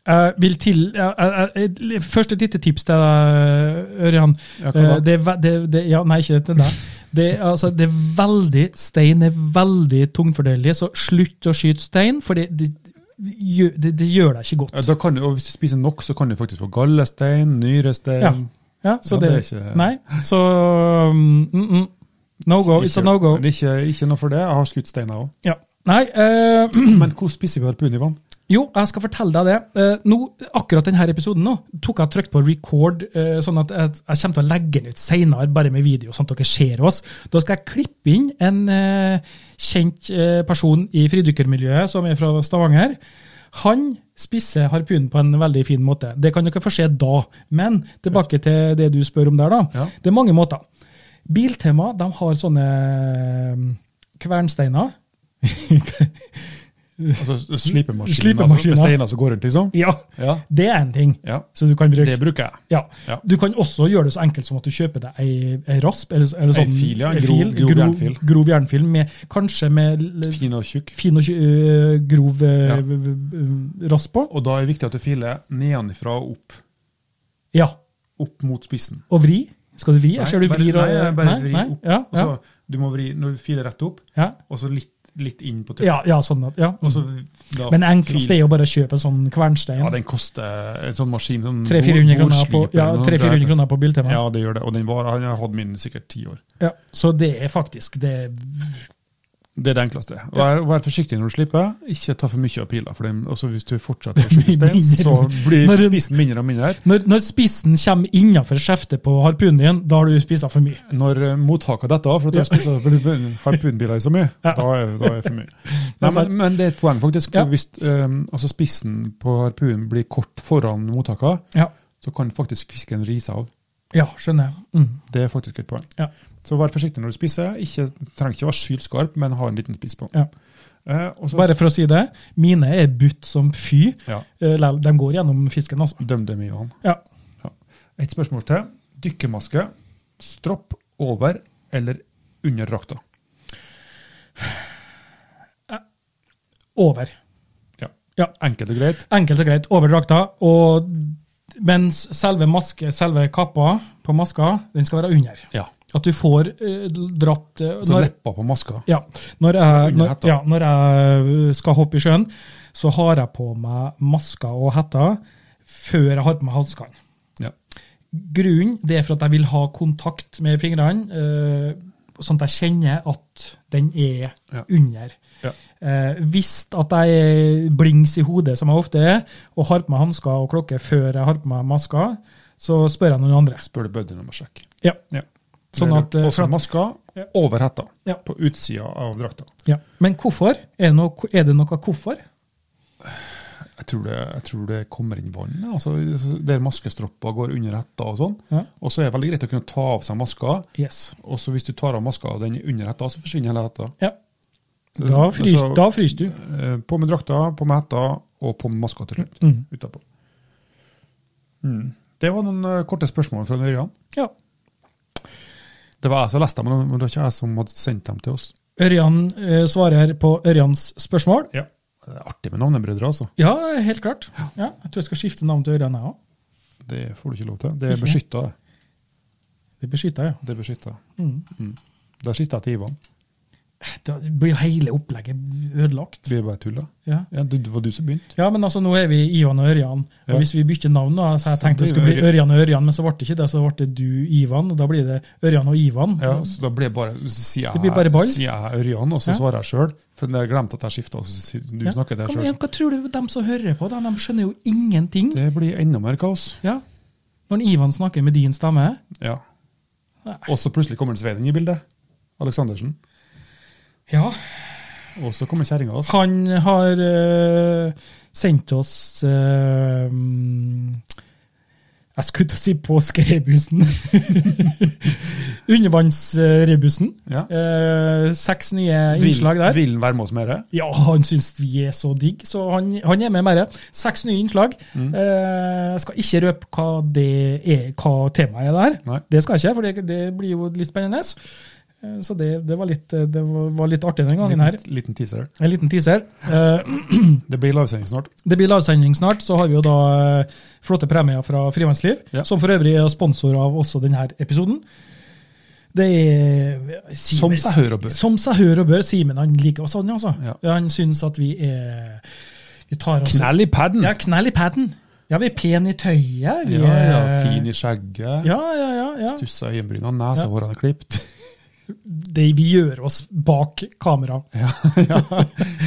Speaker 1: Jeg vil til, jeg- jeg- jeg- først et lite tips til deg, Ørjan.
Speaker 2: Ja, hva da?
Speaker 1: Eh, Det, er ve- det, det, ja, nei, ikke til deg. Det, er altså, det er veldig, stein er veldig tungfordelig, så slutt å skyte stein, for det, det, gjør- det, det gjør deg ikke godt.
Speaker 2: Ja, Eh, Da kan, du- og hvis du spiser nok, så kan du faktisk få gallestein, nyrestein.
Speaker 1: Ja, ja, så
Speaker 2: Ja,
Speaker 1: det,
Speaker 2: det er ikke-
Speaker 1: Nei, så um, mm, mm. No go, it's a
Speaker 2: Ikke-
Speaker 1: no go.
Speaker 2: men Ikke, ikke noe for det, jeg har skutt steiner også.
Speaker 1: Ja. Nei, eh,
Speaker 2: Men hvor spiser vi harpunen, Ivan?
Speaker 1: Jo, jeg skal fortelle deg det. Eh, nå, akkurat denne episoden nå, tok jeg trykt på record, eh, sånn at jeg, jeg kommer til å legge den ut senere, bare med video, sånn at dere ser oss. Da skal jeg klippe inn en eh, kjent eh, person i fridykkermiljøet, som er fra Stavanger. Han spisser harpunen på en veldig fin måte. Det kan dere få se da. Men tilbake til det du spør om der, da.
Speaker 2: Ja.
Speaker 1: Det er mange måter. Biltema de har sånne eh, kvernsteiner.
Speaker 2: Altså slipemaskiner,
Speaker 1: Slipemaskiner.
Speaker 2: Altså, med steiner som går rundt, liksom?
Speaker 1: Ja,
Speaker 2: Ja.
Speaker 1: det er en ting.
Speaker 2: ja.
Speaker 1: Så du kan bruke
Speaker 2: Det bruker jeg.
Speaker 1: Ja.
Speaker 2: Ja.
Speaker 1: Du kan også gjøre det så enkelt som at du kjøper deg ei, ei rasp, eller, eller
Speaker 2: Ei
Speaker 1: sånn
Speaker 2: fil, ja, en
Speaker 1: ei
Speaker 2: grov- grov jernfil.
Speaker 1: grov jernfil med, kanskje med l-
Speaker 2: Fin og tjukk.
Speaker 1: fin og øh, grov øh,
Speaker 2: Ja.
Speaker 1: v- v- rasp på.
Speaker 2: Og da er det viktig at du filer nedenfra og opp.
Speaker 1: Ja.
Speaker 2: Opp mot spissen.
Speaker 1: Og vri. Skal du vri?
Speaker 2: Nei,
Speaker 1: Jeg ser du
Speaker 2: bare-
Speaker 1: vrir. og-
Speaker 2: Nei, jeg bare vri
Speaker 1: nei,
Speaker 2: opp.
Speaker 1: Ja,
Speaker 2: Og
Speaker 1: ja,
Speaker 2: så, du må vri når du filer rett opp,
Speaker 1: ja.
Speaker 2: og så litt, litt inn på
Speaker 1: Ja, ja, sånn at, ja.
Speaker 2: Og så da
Speaker 1: Men det enkleste
Speaker 2: fil-
Speaker 1: er jo bare å kjøpe en sånn kvernstein.
Speaker 2: Ja, den koster en sånn maskin sånn
Speaker 1: 300-400
Speaker 2: bord-
Speaker 1: kroner, på-
Speaker 2: bordsliper
Speaker 1: ja,
Speaker 2: eller noe sånt.
Speaker 1: 300-400 kroner på Biltema.
Speaker 2: Ja, det gjør det. Og den var, jeg har hatt min i sikkert ti år.
Speaker 1: Ja, så det er faktisk det
Speaker 2: Det er det enkleste. Vær, vær forsiktig når du slipper. Ikke ta for mye av pila. for dem. Også Hvis du fortsetter å skyte stein, så blir
Speaker 1: Når du-
Speaker 2: spissen mindre og mindre.
Speaker 1: Når, når spissen kommer innafor skjeftet på harpunen din, da har du spisa for mye.
Speaker 2: Når eh, mottaket detter av for at du har spist harpun- harpunbiler i så mye,
Speaker 1: Ja.
Speaker 2: da, er, da er det for mye.
Speaker 1: er
Speaker 2: Nei,
Speaker 1: sant.
Speaker 2: men, men det er et poeng, faktisk.
Speaker 1: Ja.
Speaker 2: For hvis eh, altså spissen på harpunen blir kort foran mottaket,
Speaker 1: Ja,
Speaker 2: så kan faktisk fisken rise av.
Speaker 1: ja skjønner jeg. Mm.
Speaker 2: Det er faktisk et poeng.
Speaker 1: Ja.
Speaker 2: Så vær forsiktig når du spiser. Ikke, trenger ikke å være sylskarp, men ha en liten spiss på.
Speaker 1: Ja.
Speaker 2: Eh, og så-
Speaker 1: Bare for å si det, mine er butt som fy.
Speaker 2: ja,
Speaker 1: Eh, lell, De går gjennom fisken, altså.
Speaker 2: døm dem i vann.
Speaker 1: Ja.
Speaker 2: Et spørsmål til. Dykkermaske, stropp over eller under drakta?
Speaker 1: Over.
Speaker 2: Ja.
Speaker 1: Ja.
Speaker 2: Enkelt og greit.
Speaker 1: Enkelt og greit. Over drakta. Og mens selve maske, selve kappa på maska, den skal være under.
Speaker 2: Ja.
Speaker 1: At du får eh, dratt eh,
Speaker 2: Så
Speaker 1: når-
Speaker 2: leppa på maska.
Speaker 1: Ja. Når
Speaker 2: Som
Speaker 1: jeg,
Speaker 2: under
Speaker 1: når,
Speaker 2: hetta.
Speaker 1: ja, når jeg skal hoppe i sjøen, så har jeg på meg masker og hetter før jeg har på meg hanskene.
Speaker 2: Ja.
Speaker 1: Grunnen det er for at jeg vil ha kontakt med fingrene, eh, sånn at jeg kjenner at den er
Speaker 2: Ja.
Speaker 1: under.
Speaker 2: Ja.
Speaker 1: Eh, hvis at jeg er blings i hodet, som jeg ofte er, og har på meg hansker og klokke før jeg har på meg masker, så spør jeg noen andre.
Speaker 2: Spør du bøddelen om å sjekke.
Speaker 1: Ja.
Speaker 2: Ja.
Speaker 1: Sånn at, eh, for
Speaker 2: Også
Speaker 1: at-
Speaker 2: maska
Speaker 1: Ja.
Speaker 2: over hetta.
Speaker 1: Ja.
Speaker 2: På utsida av drakta.
Speaker 1: Ja. Men hvorfor? Er det noe, er det noe hvorfor?
Speaker 2: Jeg tror det, jeg tror det kommer inn vann. ja. Altså, der maskestroppa går under hetta og sånn.
Speaker 1: Ja.
Speaker 2: Og så er det veldig greit å kunne ta av seg maska.
Speaker 1: Yes.
Speaker 2: Og så hvis du tar av maska og den er under hetta, så forsvinner hele hetta.
Speaker 1: Ja.
Speaker 2: Så-
Speaker 1: Da fryser,
Speaker 2: så-
Speaker 1: da fryser du.
Speaker 2: Eh, På med drakta, på med hetta og på med maska til slutt.
Speaker 1: Mm.
Speaker 2: Utapå. Mm. Det var noen eh, korte spørsmål fra Ørjan.
Speaker 1: Ja.
Speaker 2: Det var jeg som leste dem, men det var ikke jeg som hadde sendt dem til oss.
Speaker 1: Ørjan eh, svarer på Ørjans spørsmål.
Speaker 2: Ja. Det er artig med navnebrødre, altså.
Speaker 1: Ja, helt klart. Ja, jeg tror jeg skal skifte navn til Ørjan, jeg òg.
Speaker 2: Det får du ikke lov til. Det er
Speaker 1: Ikke?
Speaker 2: beskytta. det.
Speaker 1: Det beskytter jeg,
Speaker 2: Det er beskytta.
Speaker 1: ja. Mm.
Speaker 2: Da skifter jeg til Ivan.
Speaker 1: Da blir jo hele opplegget ødelagt.
Speaker 2: Vi er bare tulla.
Speaker 1: Ja.
Speaker 2: Ja, du, det var du som begynte.
Speaker 1: ja, men altså, nå er vi Ivan og Ørjan. Og
Speaker 2: Ja.
Speaker 1: hvis vi bytter navn, da, så jeg tenkte det skulle bli Ørjan og Ørjan, men så ble det ikke det. Så ble det du, Ivan, og da blir det Ørjan og Ivan.
Speaker 2: Ja, så da blir jeg bare, så sier jeg,
Speaker 1: Mm. Det blir bare ball.
Speaker 2: Sier jeg Ørjan, og så
Speaker 1: Ja.
Speaker 2: svarer jeg sjøl. For jeg glemte at jeg skifta, og så sier du
Speaker 1: Ja.
Speaker 2: snakker
Speaker 1: Kom
Speaker 2: til deg
Speaker 1: igjen,
Speaker 2: sjøl.
Speaker 1: Hva tror du de som hører på, da? De skjønner jo ingenting.
Speaker 2: Det blir enda mer kaos.
Speaker 1: Ja. Når Ivan snakker med din stemme
Speaker 2: Ja.
Speaker 1: Nei.
Speaker 2: Og så plutselig kommer Svein inn i bildet. Aleksandersen.
Speaker 1: Ja,
Speaker 2: Og så kommer kjerringa hans.
Speaker 1: Han har eh, sendt oss eh, mm, Jeg skulle til å si påskerebusen. Undervannsrebusen.
Speaker 2: Ja.
Speaker 1: Eh, seks nye
Speaker 2: Vil-
Speaker 1: innslag der.
Speaker 2: Vil han være med oss mer?
Speaker 1: Ja, han syns vi er så digg, så han, han er med mer. Seks nye innslag.
Speaker 2: Mm.
Speaker 1: Eh, jeg skal ikke røpe hva, det er, hva temaet er der.
Speaker 2: Nei.
Speaker 1: Det skal jeg ikke, for det, det blir jo litt spennende. Eh, Så det, det, var litt, eh, det var var litt artig den gangen her.
Speaker 2: Liten, liten teaser.
Speaker 1: En liten teaser. Eh,
Speaker 2: Det blir livesending snart.
Speaker 1: det blir livesending snart, så har vi jo da eh, flotte premier fra Frivannsliv,
Speaker 2: Ja.
Speaker 1: som for øvrig er sponsor av også denne episoden. Det er
Speaker 2: Som seg hør og bør.
Speaker 1: Som seg hør og bør. Simen han liker oss, han altså.
Speaker 2: Ja.
Speaker 1: Han syns at vi er vi tar oss,
Speaker 2: Knell i paden!
Speaker 1: Ja, knell i paden. Ja, vi er pene i tøyet. Vi
Speaker 2: Ja, ja,
Speaker 1: er-
Speaker 2: fin i skjegget.
Speaker 1: Ja, ja, ja. ja.
Speaker 2: Stussa i øyenbryna, nesehårene er klipt.
Speaker 1: Det vi gjør oss bak kamera.
Speaker 2: ja.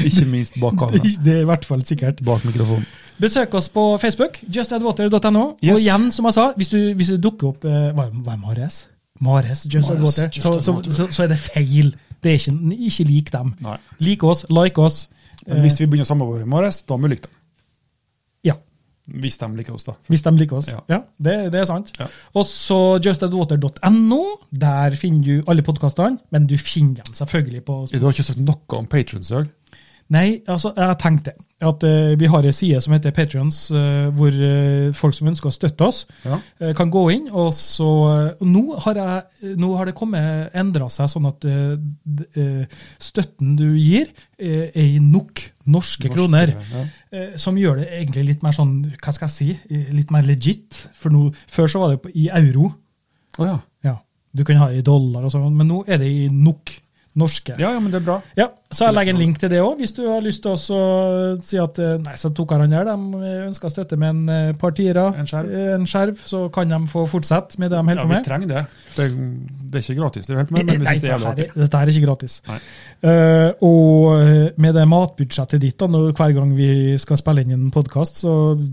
Speaker 2: Ikke minst bak kamera.
Speaker 1: Det er i hvert fall sikkert.
Speaker 2: Bak mikrofonen.
Speaker 1: Besøk oss på Facebook, justadwater.no.
Speaker 2: Yes.
Speaker 1: Og igjen, som jeg sa, hvis du, hvis du dukker opp eh, Hva hva er Mares? Mares, Just Add
Speaker 2: Mares,
Speaker 1: Water.
Speaker 2: Just
Speaker 1: Så,
Speaker 2: Add
Speaker 1: så,
Speaker 2: Water.
Speaker 1: så, så er det feil. Det er ikke, ikke lik dem.
Speaker 2: Nei.
Speaker 1: Like oss, like oss.
Speaker 2: Men hvis vi begynner å samarbeide med oss, da må vi like dem.
Speaker 1: Ja,
Speaker 2: Hvis de liker oss, da.
Speaker 1: hvis de liker oss.
Speaker 2: Ja.
Speaker 1: Ja, det, det er sant.
Speaker 2: Ja.
Speaker 1: Og så justadwater.no. Der finner du alle podkastene, men du finner dem selvfølgelig på
Speaker 2: Du har ikke sagt noe om patrons i dag?
Speaker 1: Nei, altså, jeg tenkte at eh, vi har en side som heter Patrions, hvor eh, folk som ønsker å støtte oss,
Speaker 2: Ja.
Speaker 1: eh, kan gå inn. Og så eh, nå, har jeg, eh, nå har det kommet endra seg sånn at eh, d- eh, støtten du gir, eh, er i nok norske,
Speaker 2: Norske,
Speaker 1: kroner.
Speaker 2: ja.
Speaker 1: eh, Som gjør det egentlig litt mer sånn, hva skal jeg si, eh, litt mer legit. For nå, før så var det på- i euro.
Speaker 2: Å ja.
Speaker 1: Ja, du kan ha det i dollar og sånn, men nå er det i nok Norske.
Speaker 2: Ja, ja, men det er bra.
Speaker 1: Ja, så jeg legger
Speaker 2: sånn.
Speaker 1: en link til det òg, hvis du har lyst til å så si at eh, Nei, så tok han her, de ønska støtte med en eh, par tiere,
Speaker 2: En skjerv.
Speaker 1: eh, en skjerv, så kan de få fortsette med det de
Speaker 2: Ja,
Speaker 1: holder på
Speaker 2: vi
Speaker 1: med.
Speaker 2: trenger det. Det, det er ikke gratis, det vi holder på med, men vi
Speaker 1: Nei,
Speaker 2: synes det er
Speaker 1: dette
Speaker 2: jævlig
Speaker 1: her,
Speaker 2: artig.
Speaker 1: er- dette her er ikke gratis.
Speaker 2: Nei.
Speaker 1: Eh, og eh, med det matbudsjettet ditt, da, når, hver gang vi skal spille inn en podkast, så
Speaker 2: Jeg-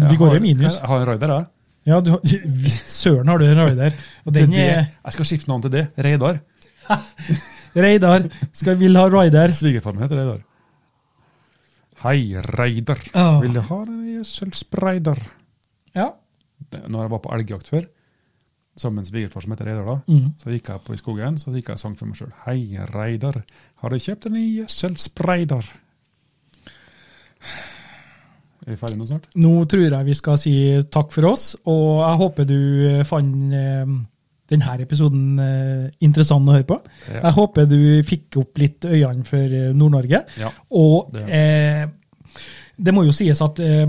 Speaker 1: Vi
Speaker 2: jeg
Speaker 1: går i
Speaker 2: har-
Speaker 1: minus.
Speaker 2: Jeg har en raider, jeg.
Speaker 1: Ja, du, har- visst søren har du en raider. Og
Speaker 2: Det er
Speaker 1: den
Speaker 2: det.
Speaker 1: er
Speaker 2: Jeg skal skifte navn til det. Reidar.
Speaker 1: Reidar. Skal vil ha raider.
Speaker 2: Svigerfaren min heter Reidar. Hei, Reidar.
Speaker 1: Åh.
Speaker 2: Vil du ha en gjødselspreidar?
Speaker 1: Ja.
Speaker 2: Det- eh, Når jeg var på elgjakt før, sammen med en svigerfar som heter Reidar, da,
Speaker 1: Mm.
Speaker 2: så gikk jeg på i skogen så gikk jeg og sang for meg sjøl. Hei, Reidar, har du kjøpt en ny gjødselspreidar? Er vi ferdige nå snart?
Speaker 1: Nå tror jeg vi skal si takk for oss, og jeg håper du eh, fant eh, denne episoden eh, interessant å høre på.
Speaker 2: Ja.
Speaker 1: Jeg håper du fikk opp litt øynene for eh, Nord-Norge.
Speaker 2: Ja.
Speaker 1: Og
Speaker 2: Det-
Speaker 1: eh, det må jo sies at eh,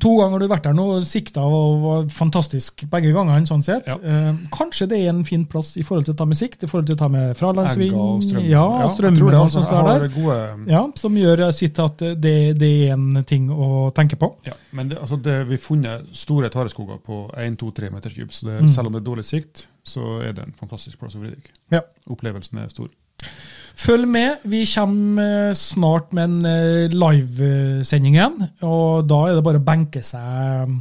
Speaker 1: to ganger har du vært der nå, og sikta og var fantastisk begge gangene. sånn sett.
Speaker 2: Ja.
Speaker 1: Eh, kanskje det er en fin plass i forhold til å ta med sikt, i forhold til å ta med fralandsving.
Speaker 2: Egger og strøm.
Speaker 1: Ja,
Speaker 2: jeg
Speaker 1: strømmen
Speaker 2: tror det,
Speaker 1: og sånn
Speaker 2: altså.
Speaker 1: sånt
Speaker 2: Jeg
Speaker 1: der.
Speaker 2: har gode
Speaker 1: Ja, som gjør sitt til at det, det er en ting å tenke på.
Speaker 2: Ja, men det, altså det, vi har funnet store tareskoger på 1-2-3 meters dyp, så det,
Speaker 1: Mm.
Speaker 2: selv om det er dårlig sikt, så er det en fantastisk plass å vride.
Speaker 1: Ja.
Speaker 2: Opplevelsen er stor.
Speaker 1: Følg med. Vi kommer eh, snart med en eh, livesending igjen. Og da er det bare å benke seg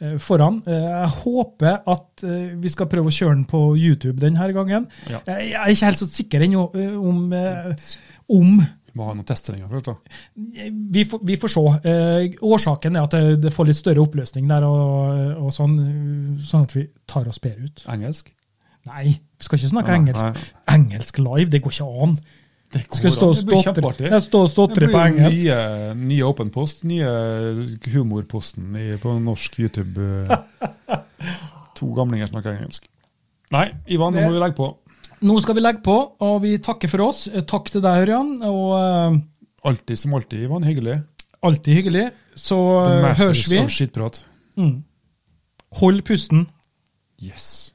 Speaker 1: eh, foran. Eh, Jeg håper at eh, vi skal prøve å kjøre den på YouTube denne gangen.
Speaker 2: Ja.
Speaker 1: Jeg jeg er ikke helt så sikker ennå eh, om, eh, om
Speaker 2: Vi må ha noen testsendinger først, da.
Speaker 1: vi får, vi får se. Eh, årsaken er at det, det får litt større oppløsning der, og, og sånn, sånn at vi tar oss bedre ut.
Speaker 2: Engelsk.
Speaker 1: Nei, vi skal ikke snakke
Speaker 2: Nei,
Speaker 1: engelsk. Engelsk live, det går ikke an.
Speaker 2: Det går
Speaker 1: Skal stå
Speaker 2: an.
Speaker 1: og
Speaker 2: Det blir
Speaker 1: stotre
Speaker 2: kjempeartig.
Speaker 1: Ja, stå og
Speaker 2: Det
Speaker 1: stotre
Speaker 2: blir
Speaker 1: på
Speaker 2: jo
Speaker 1: engelsk.
Speaker 2: nye, nye Open Post, nye humorposten i, på norsk YouTube. eh. to gamlinger snakker engelsk. Nei, Ivan, nå
Speaker 1: Det-
Speaker 2: må vi legge på.
Speaker 1: Nå skal vi legge på, og vi takker for oss. Eh, Takk til deg, Ørjan, og eh,
Speaker 2: Alltid som alltid, Ivan. Hyggelig.
Speaker 1: alltid hyggelig. Så
Speaker 2: The
Speaker 1: eh, høres
Speaker 2: Masters
Speaker 1: vi.
Speaker 2: of Skittprat.
Speaker 1: Mm. Hold pusten.
Speaker 2: Yes.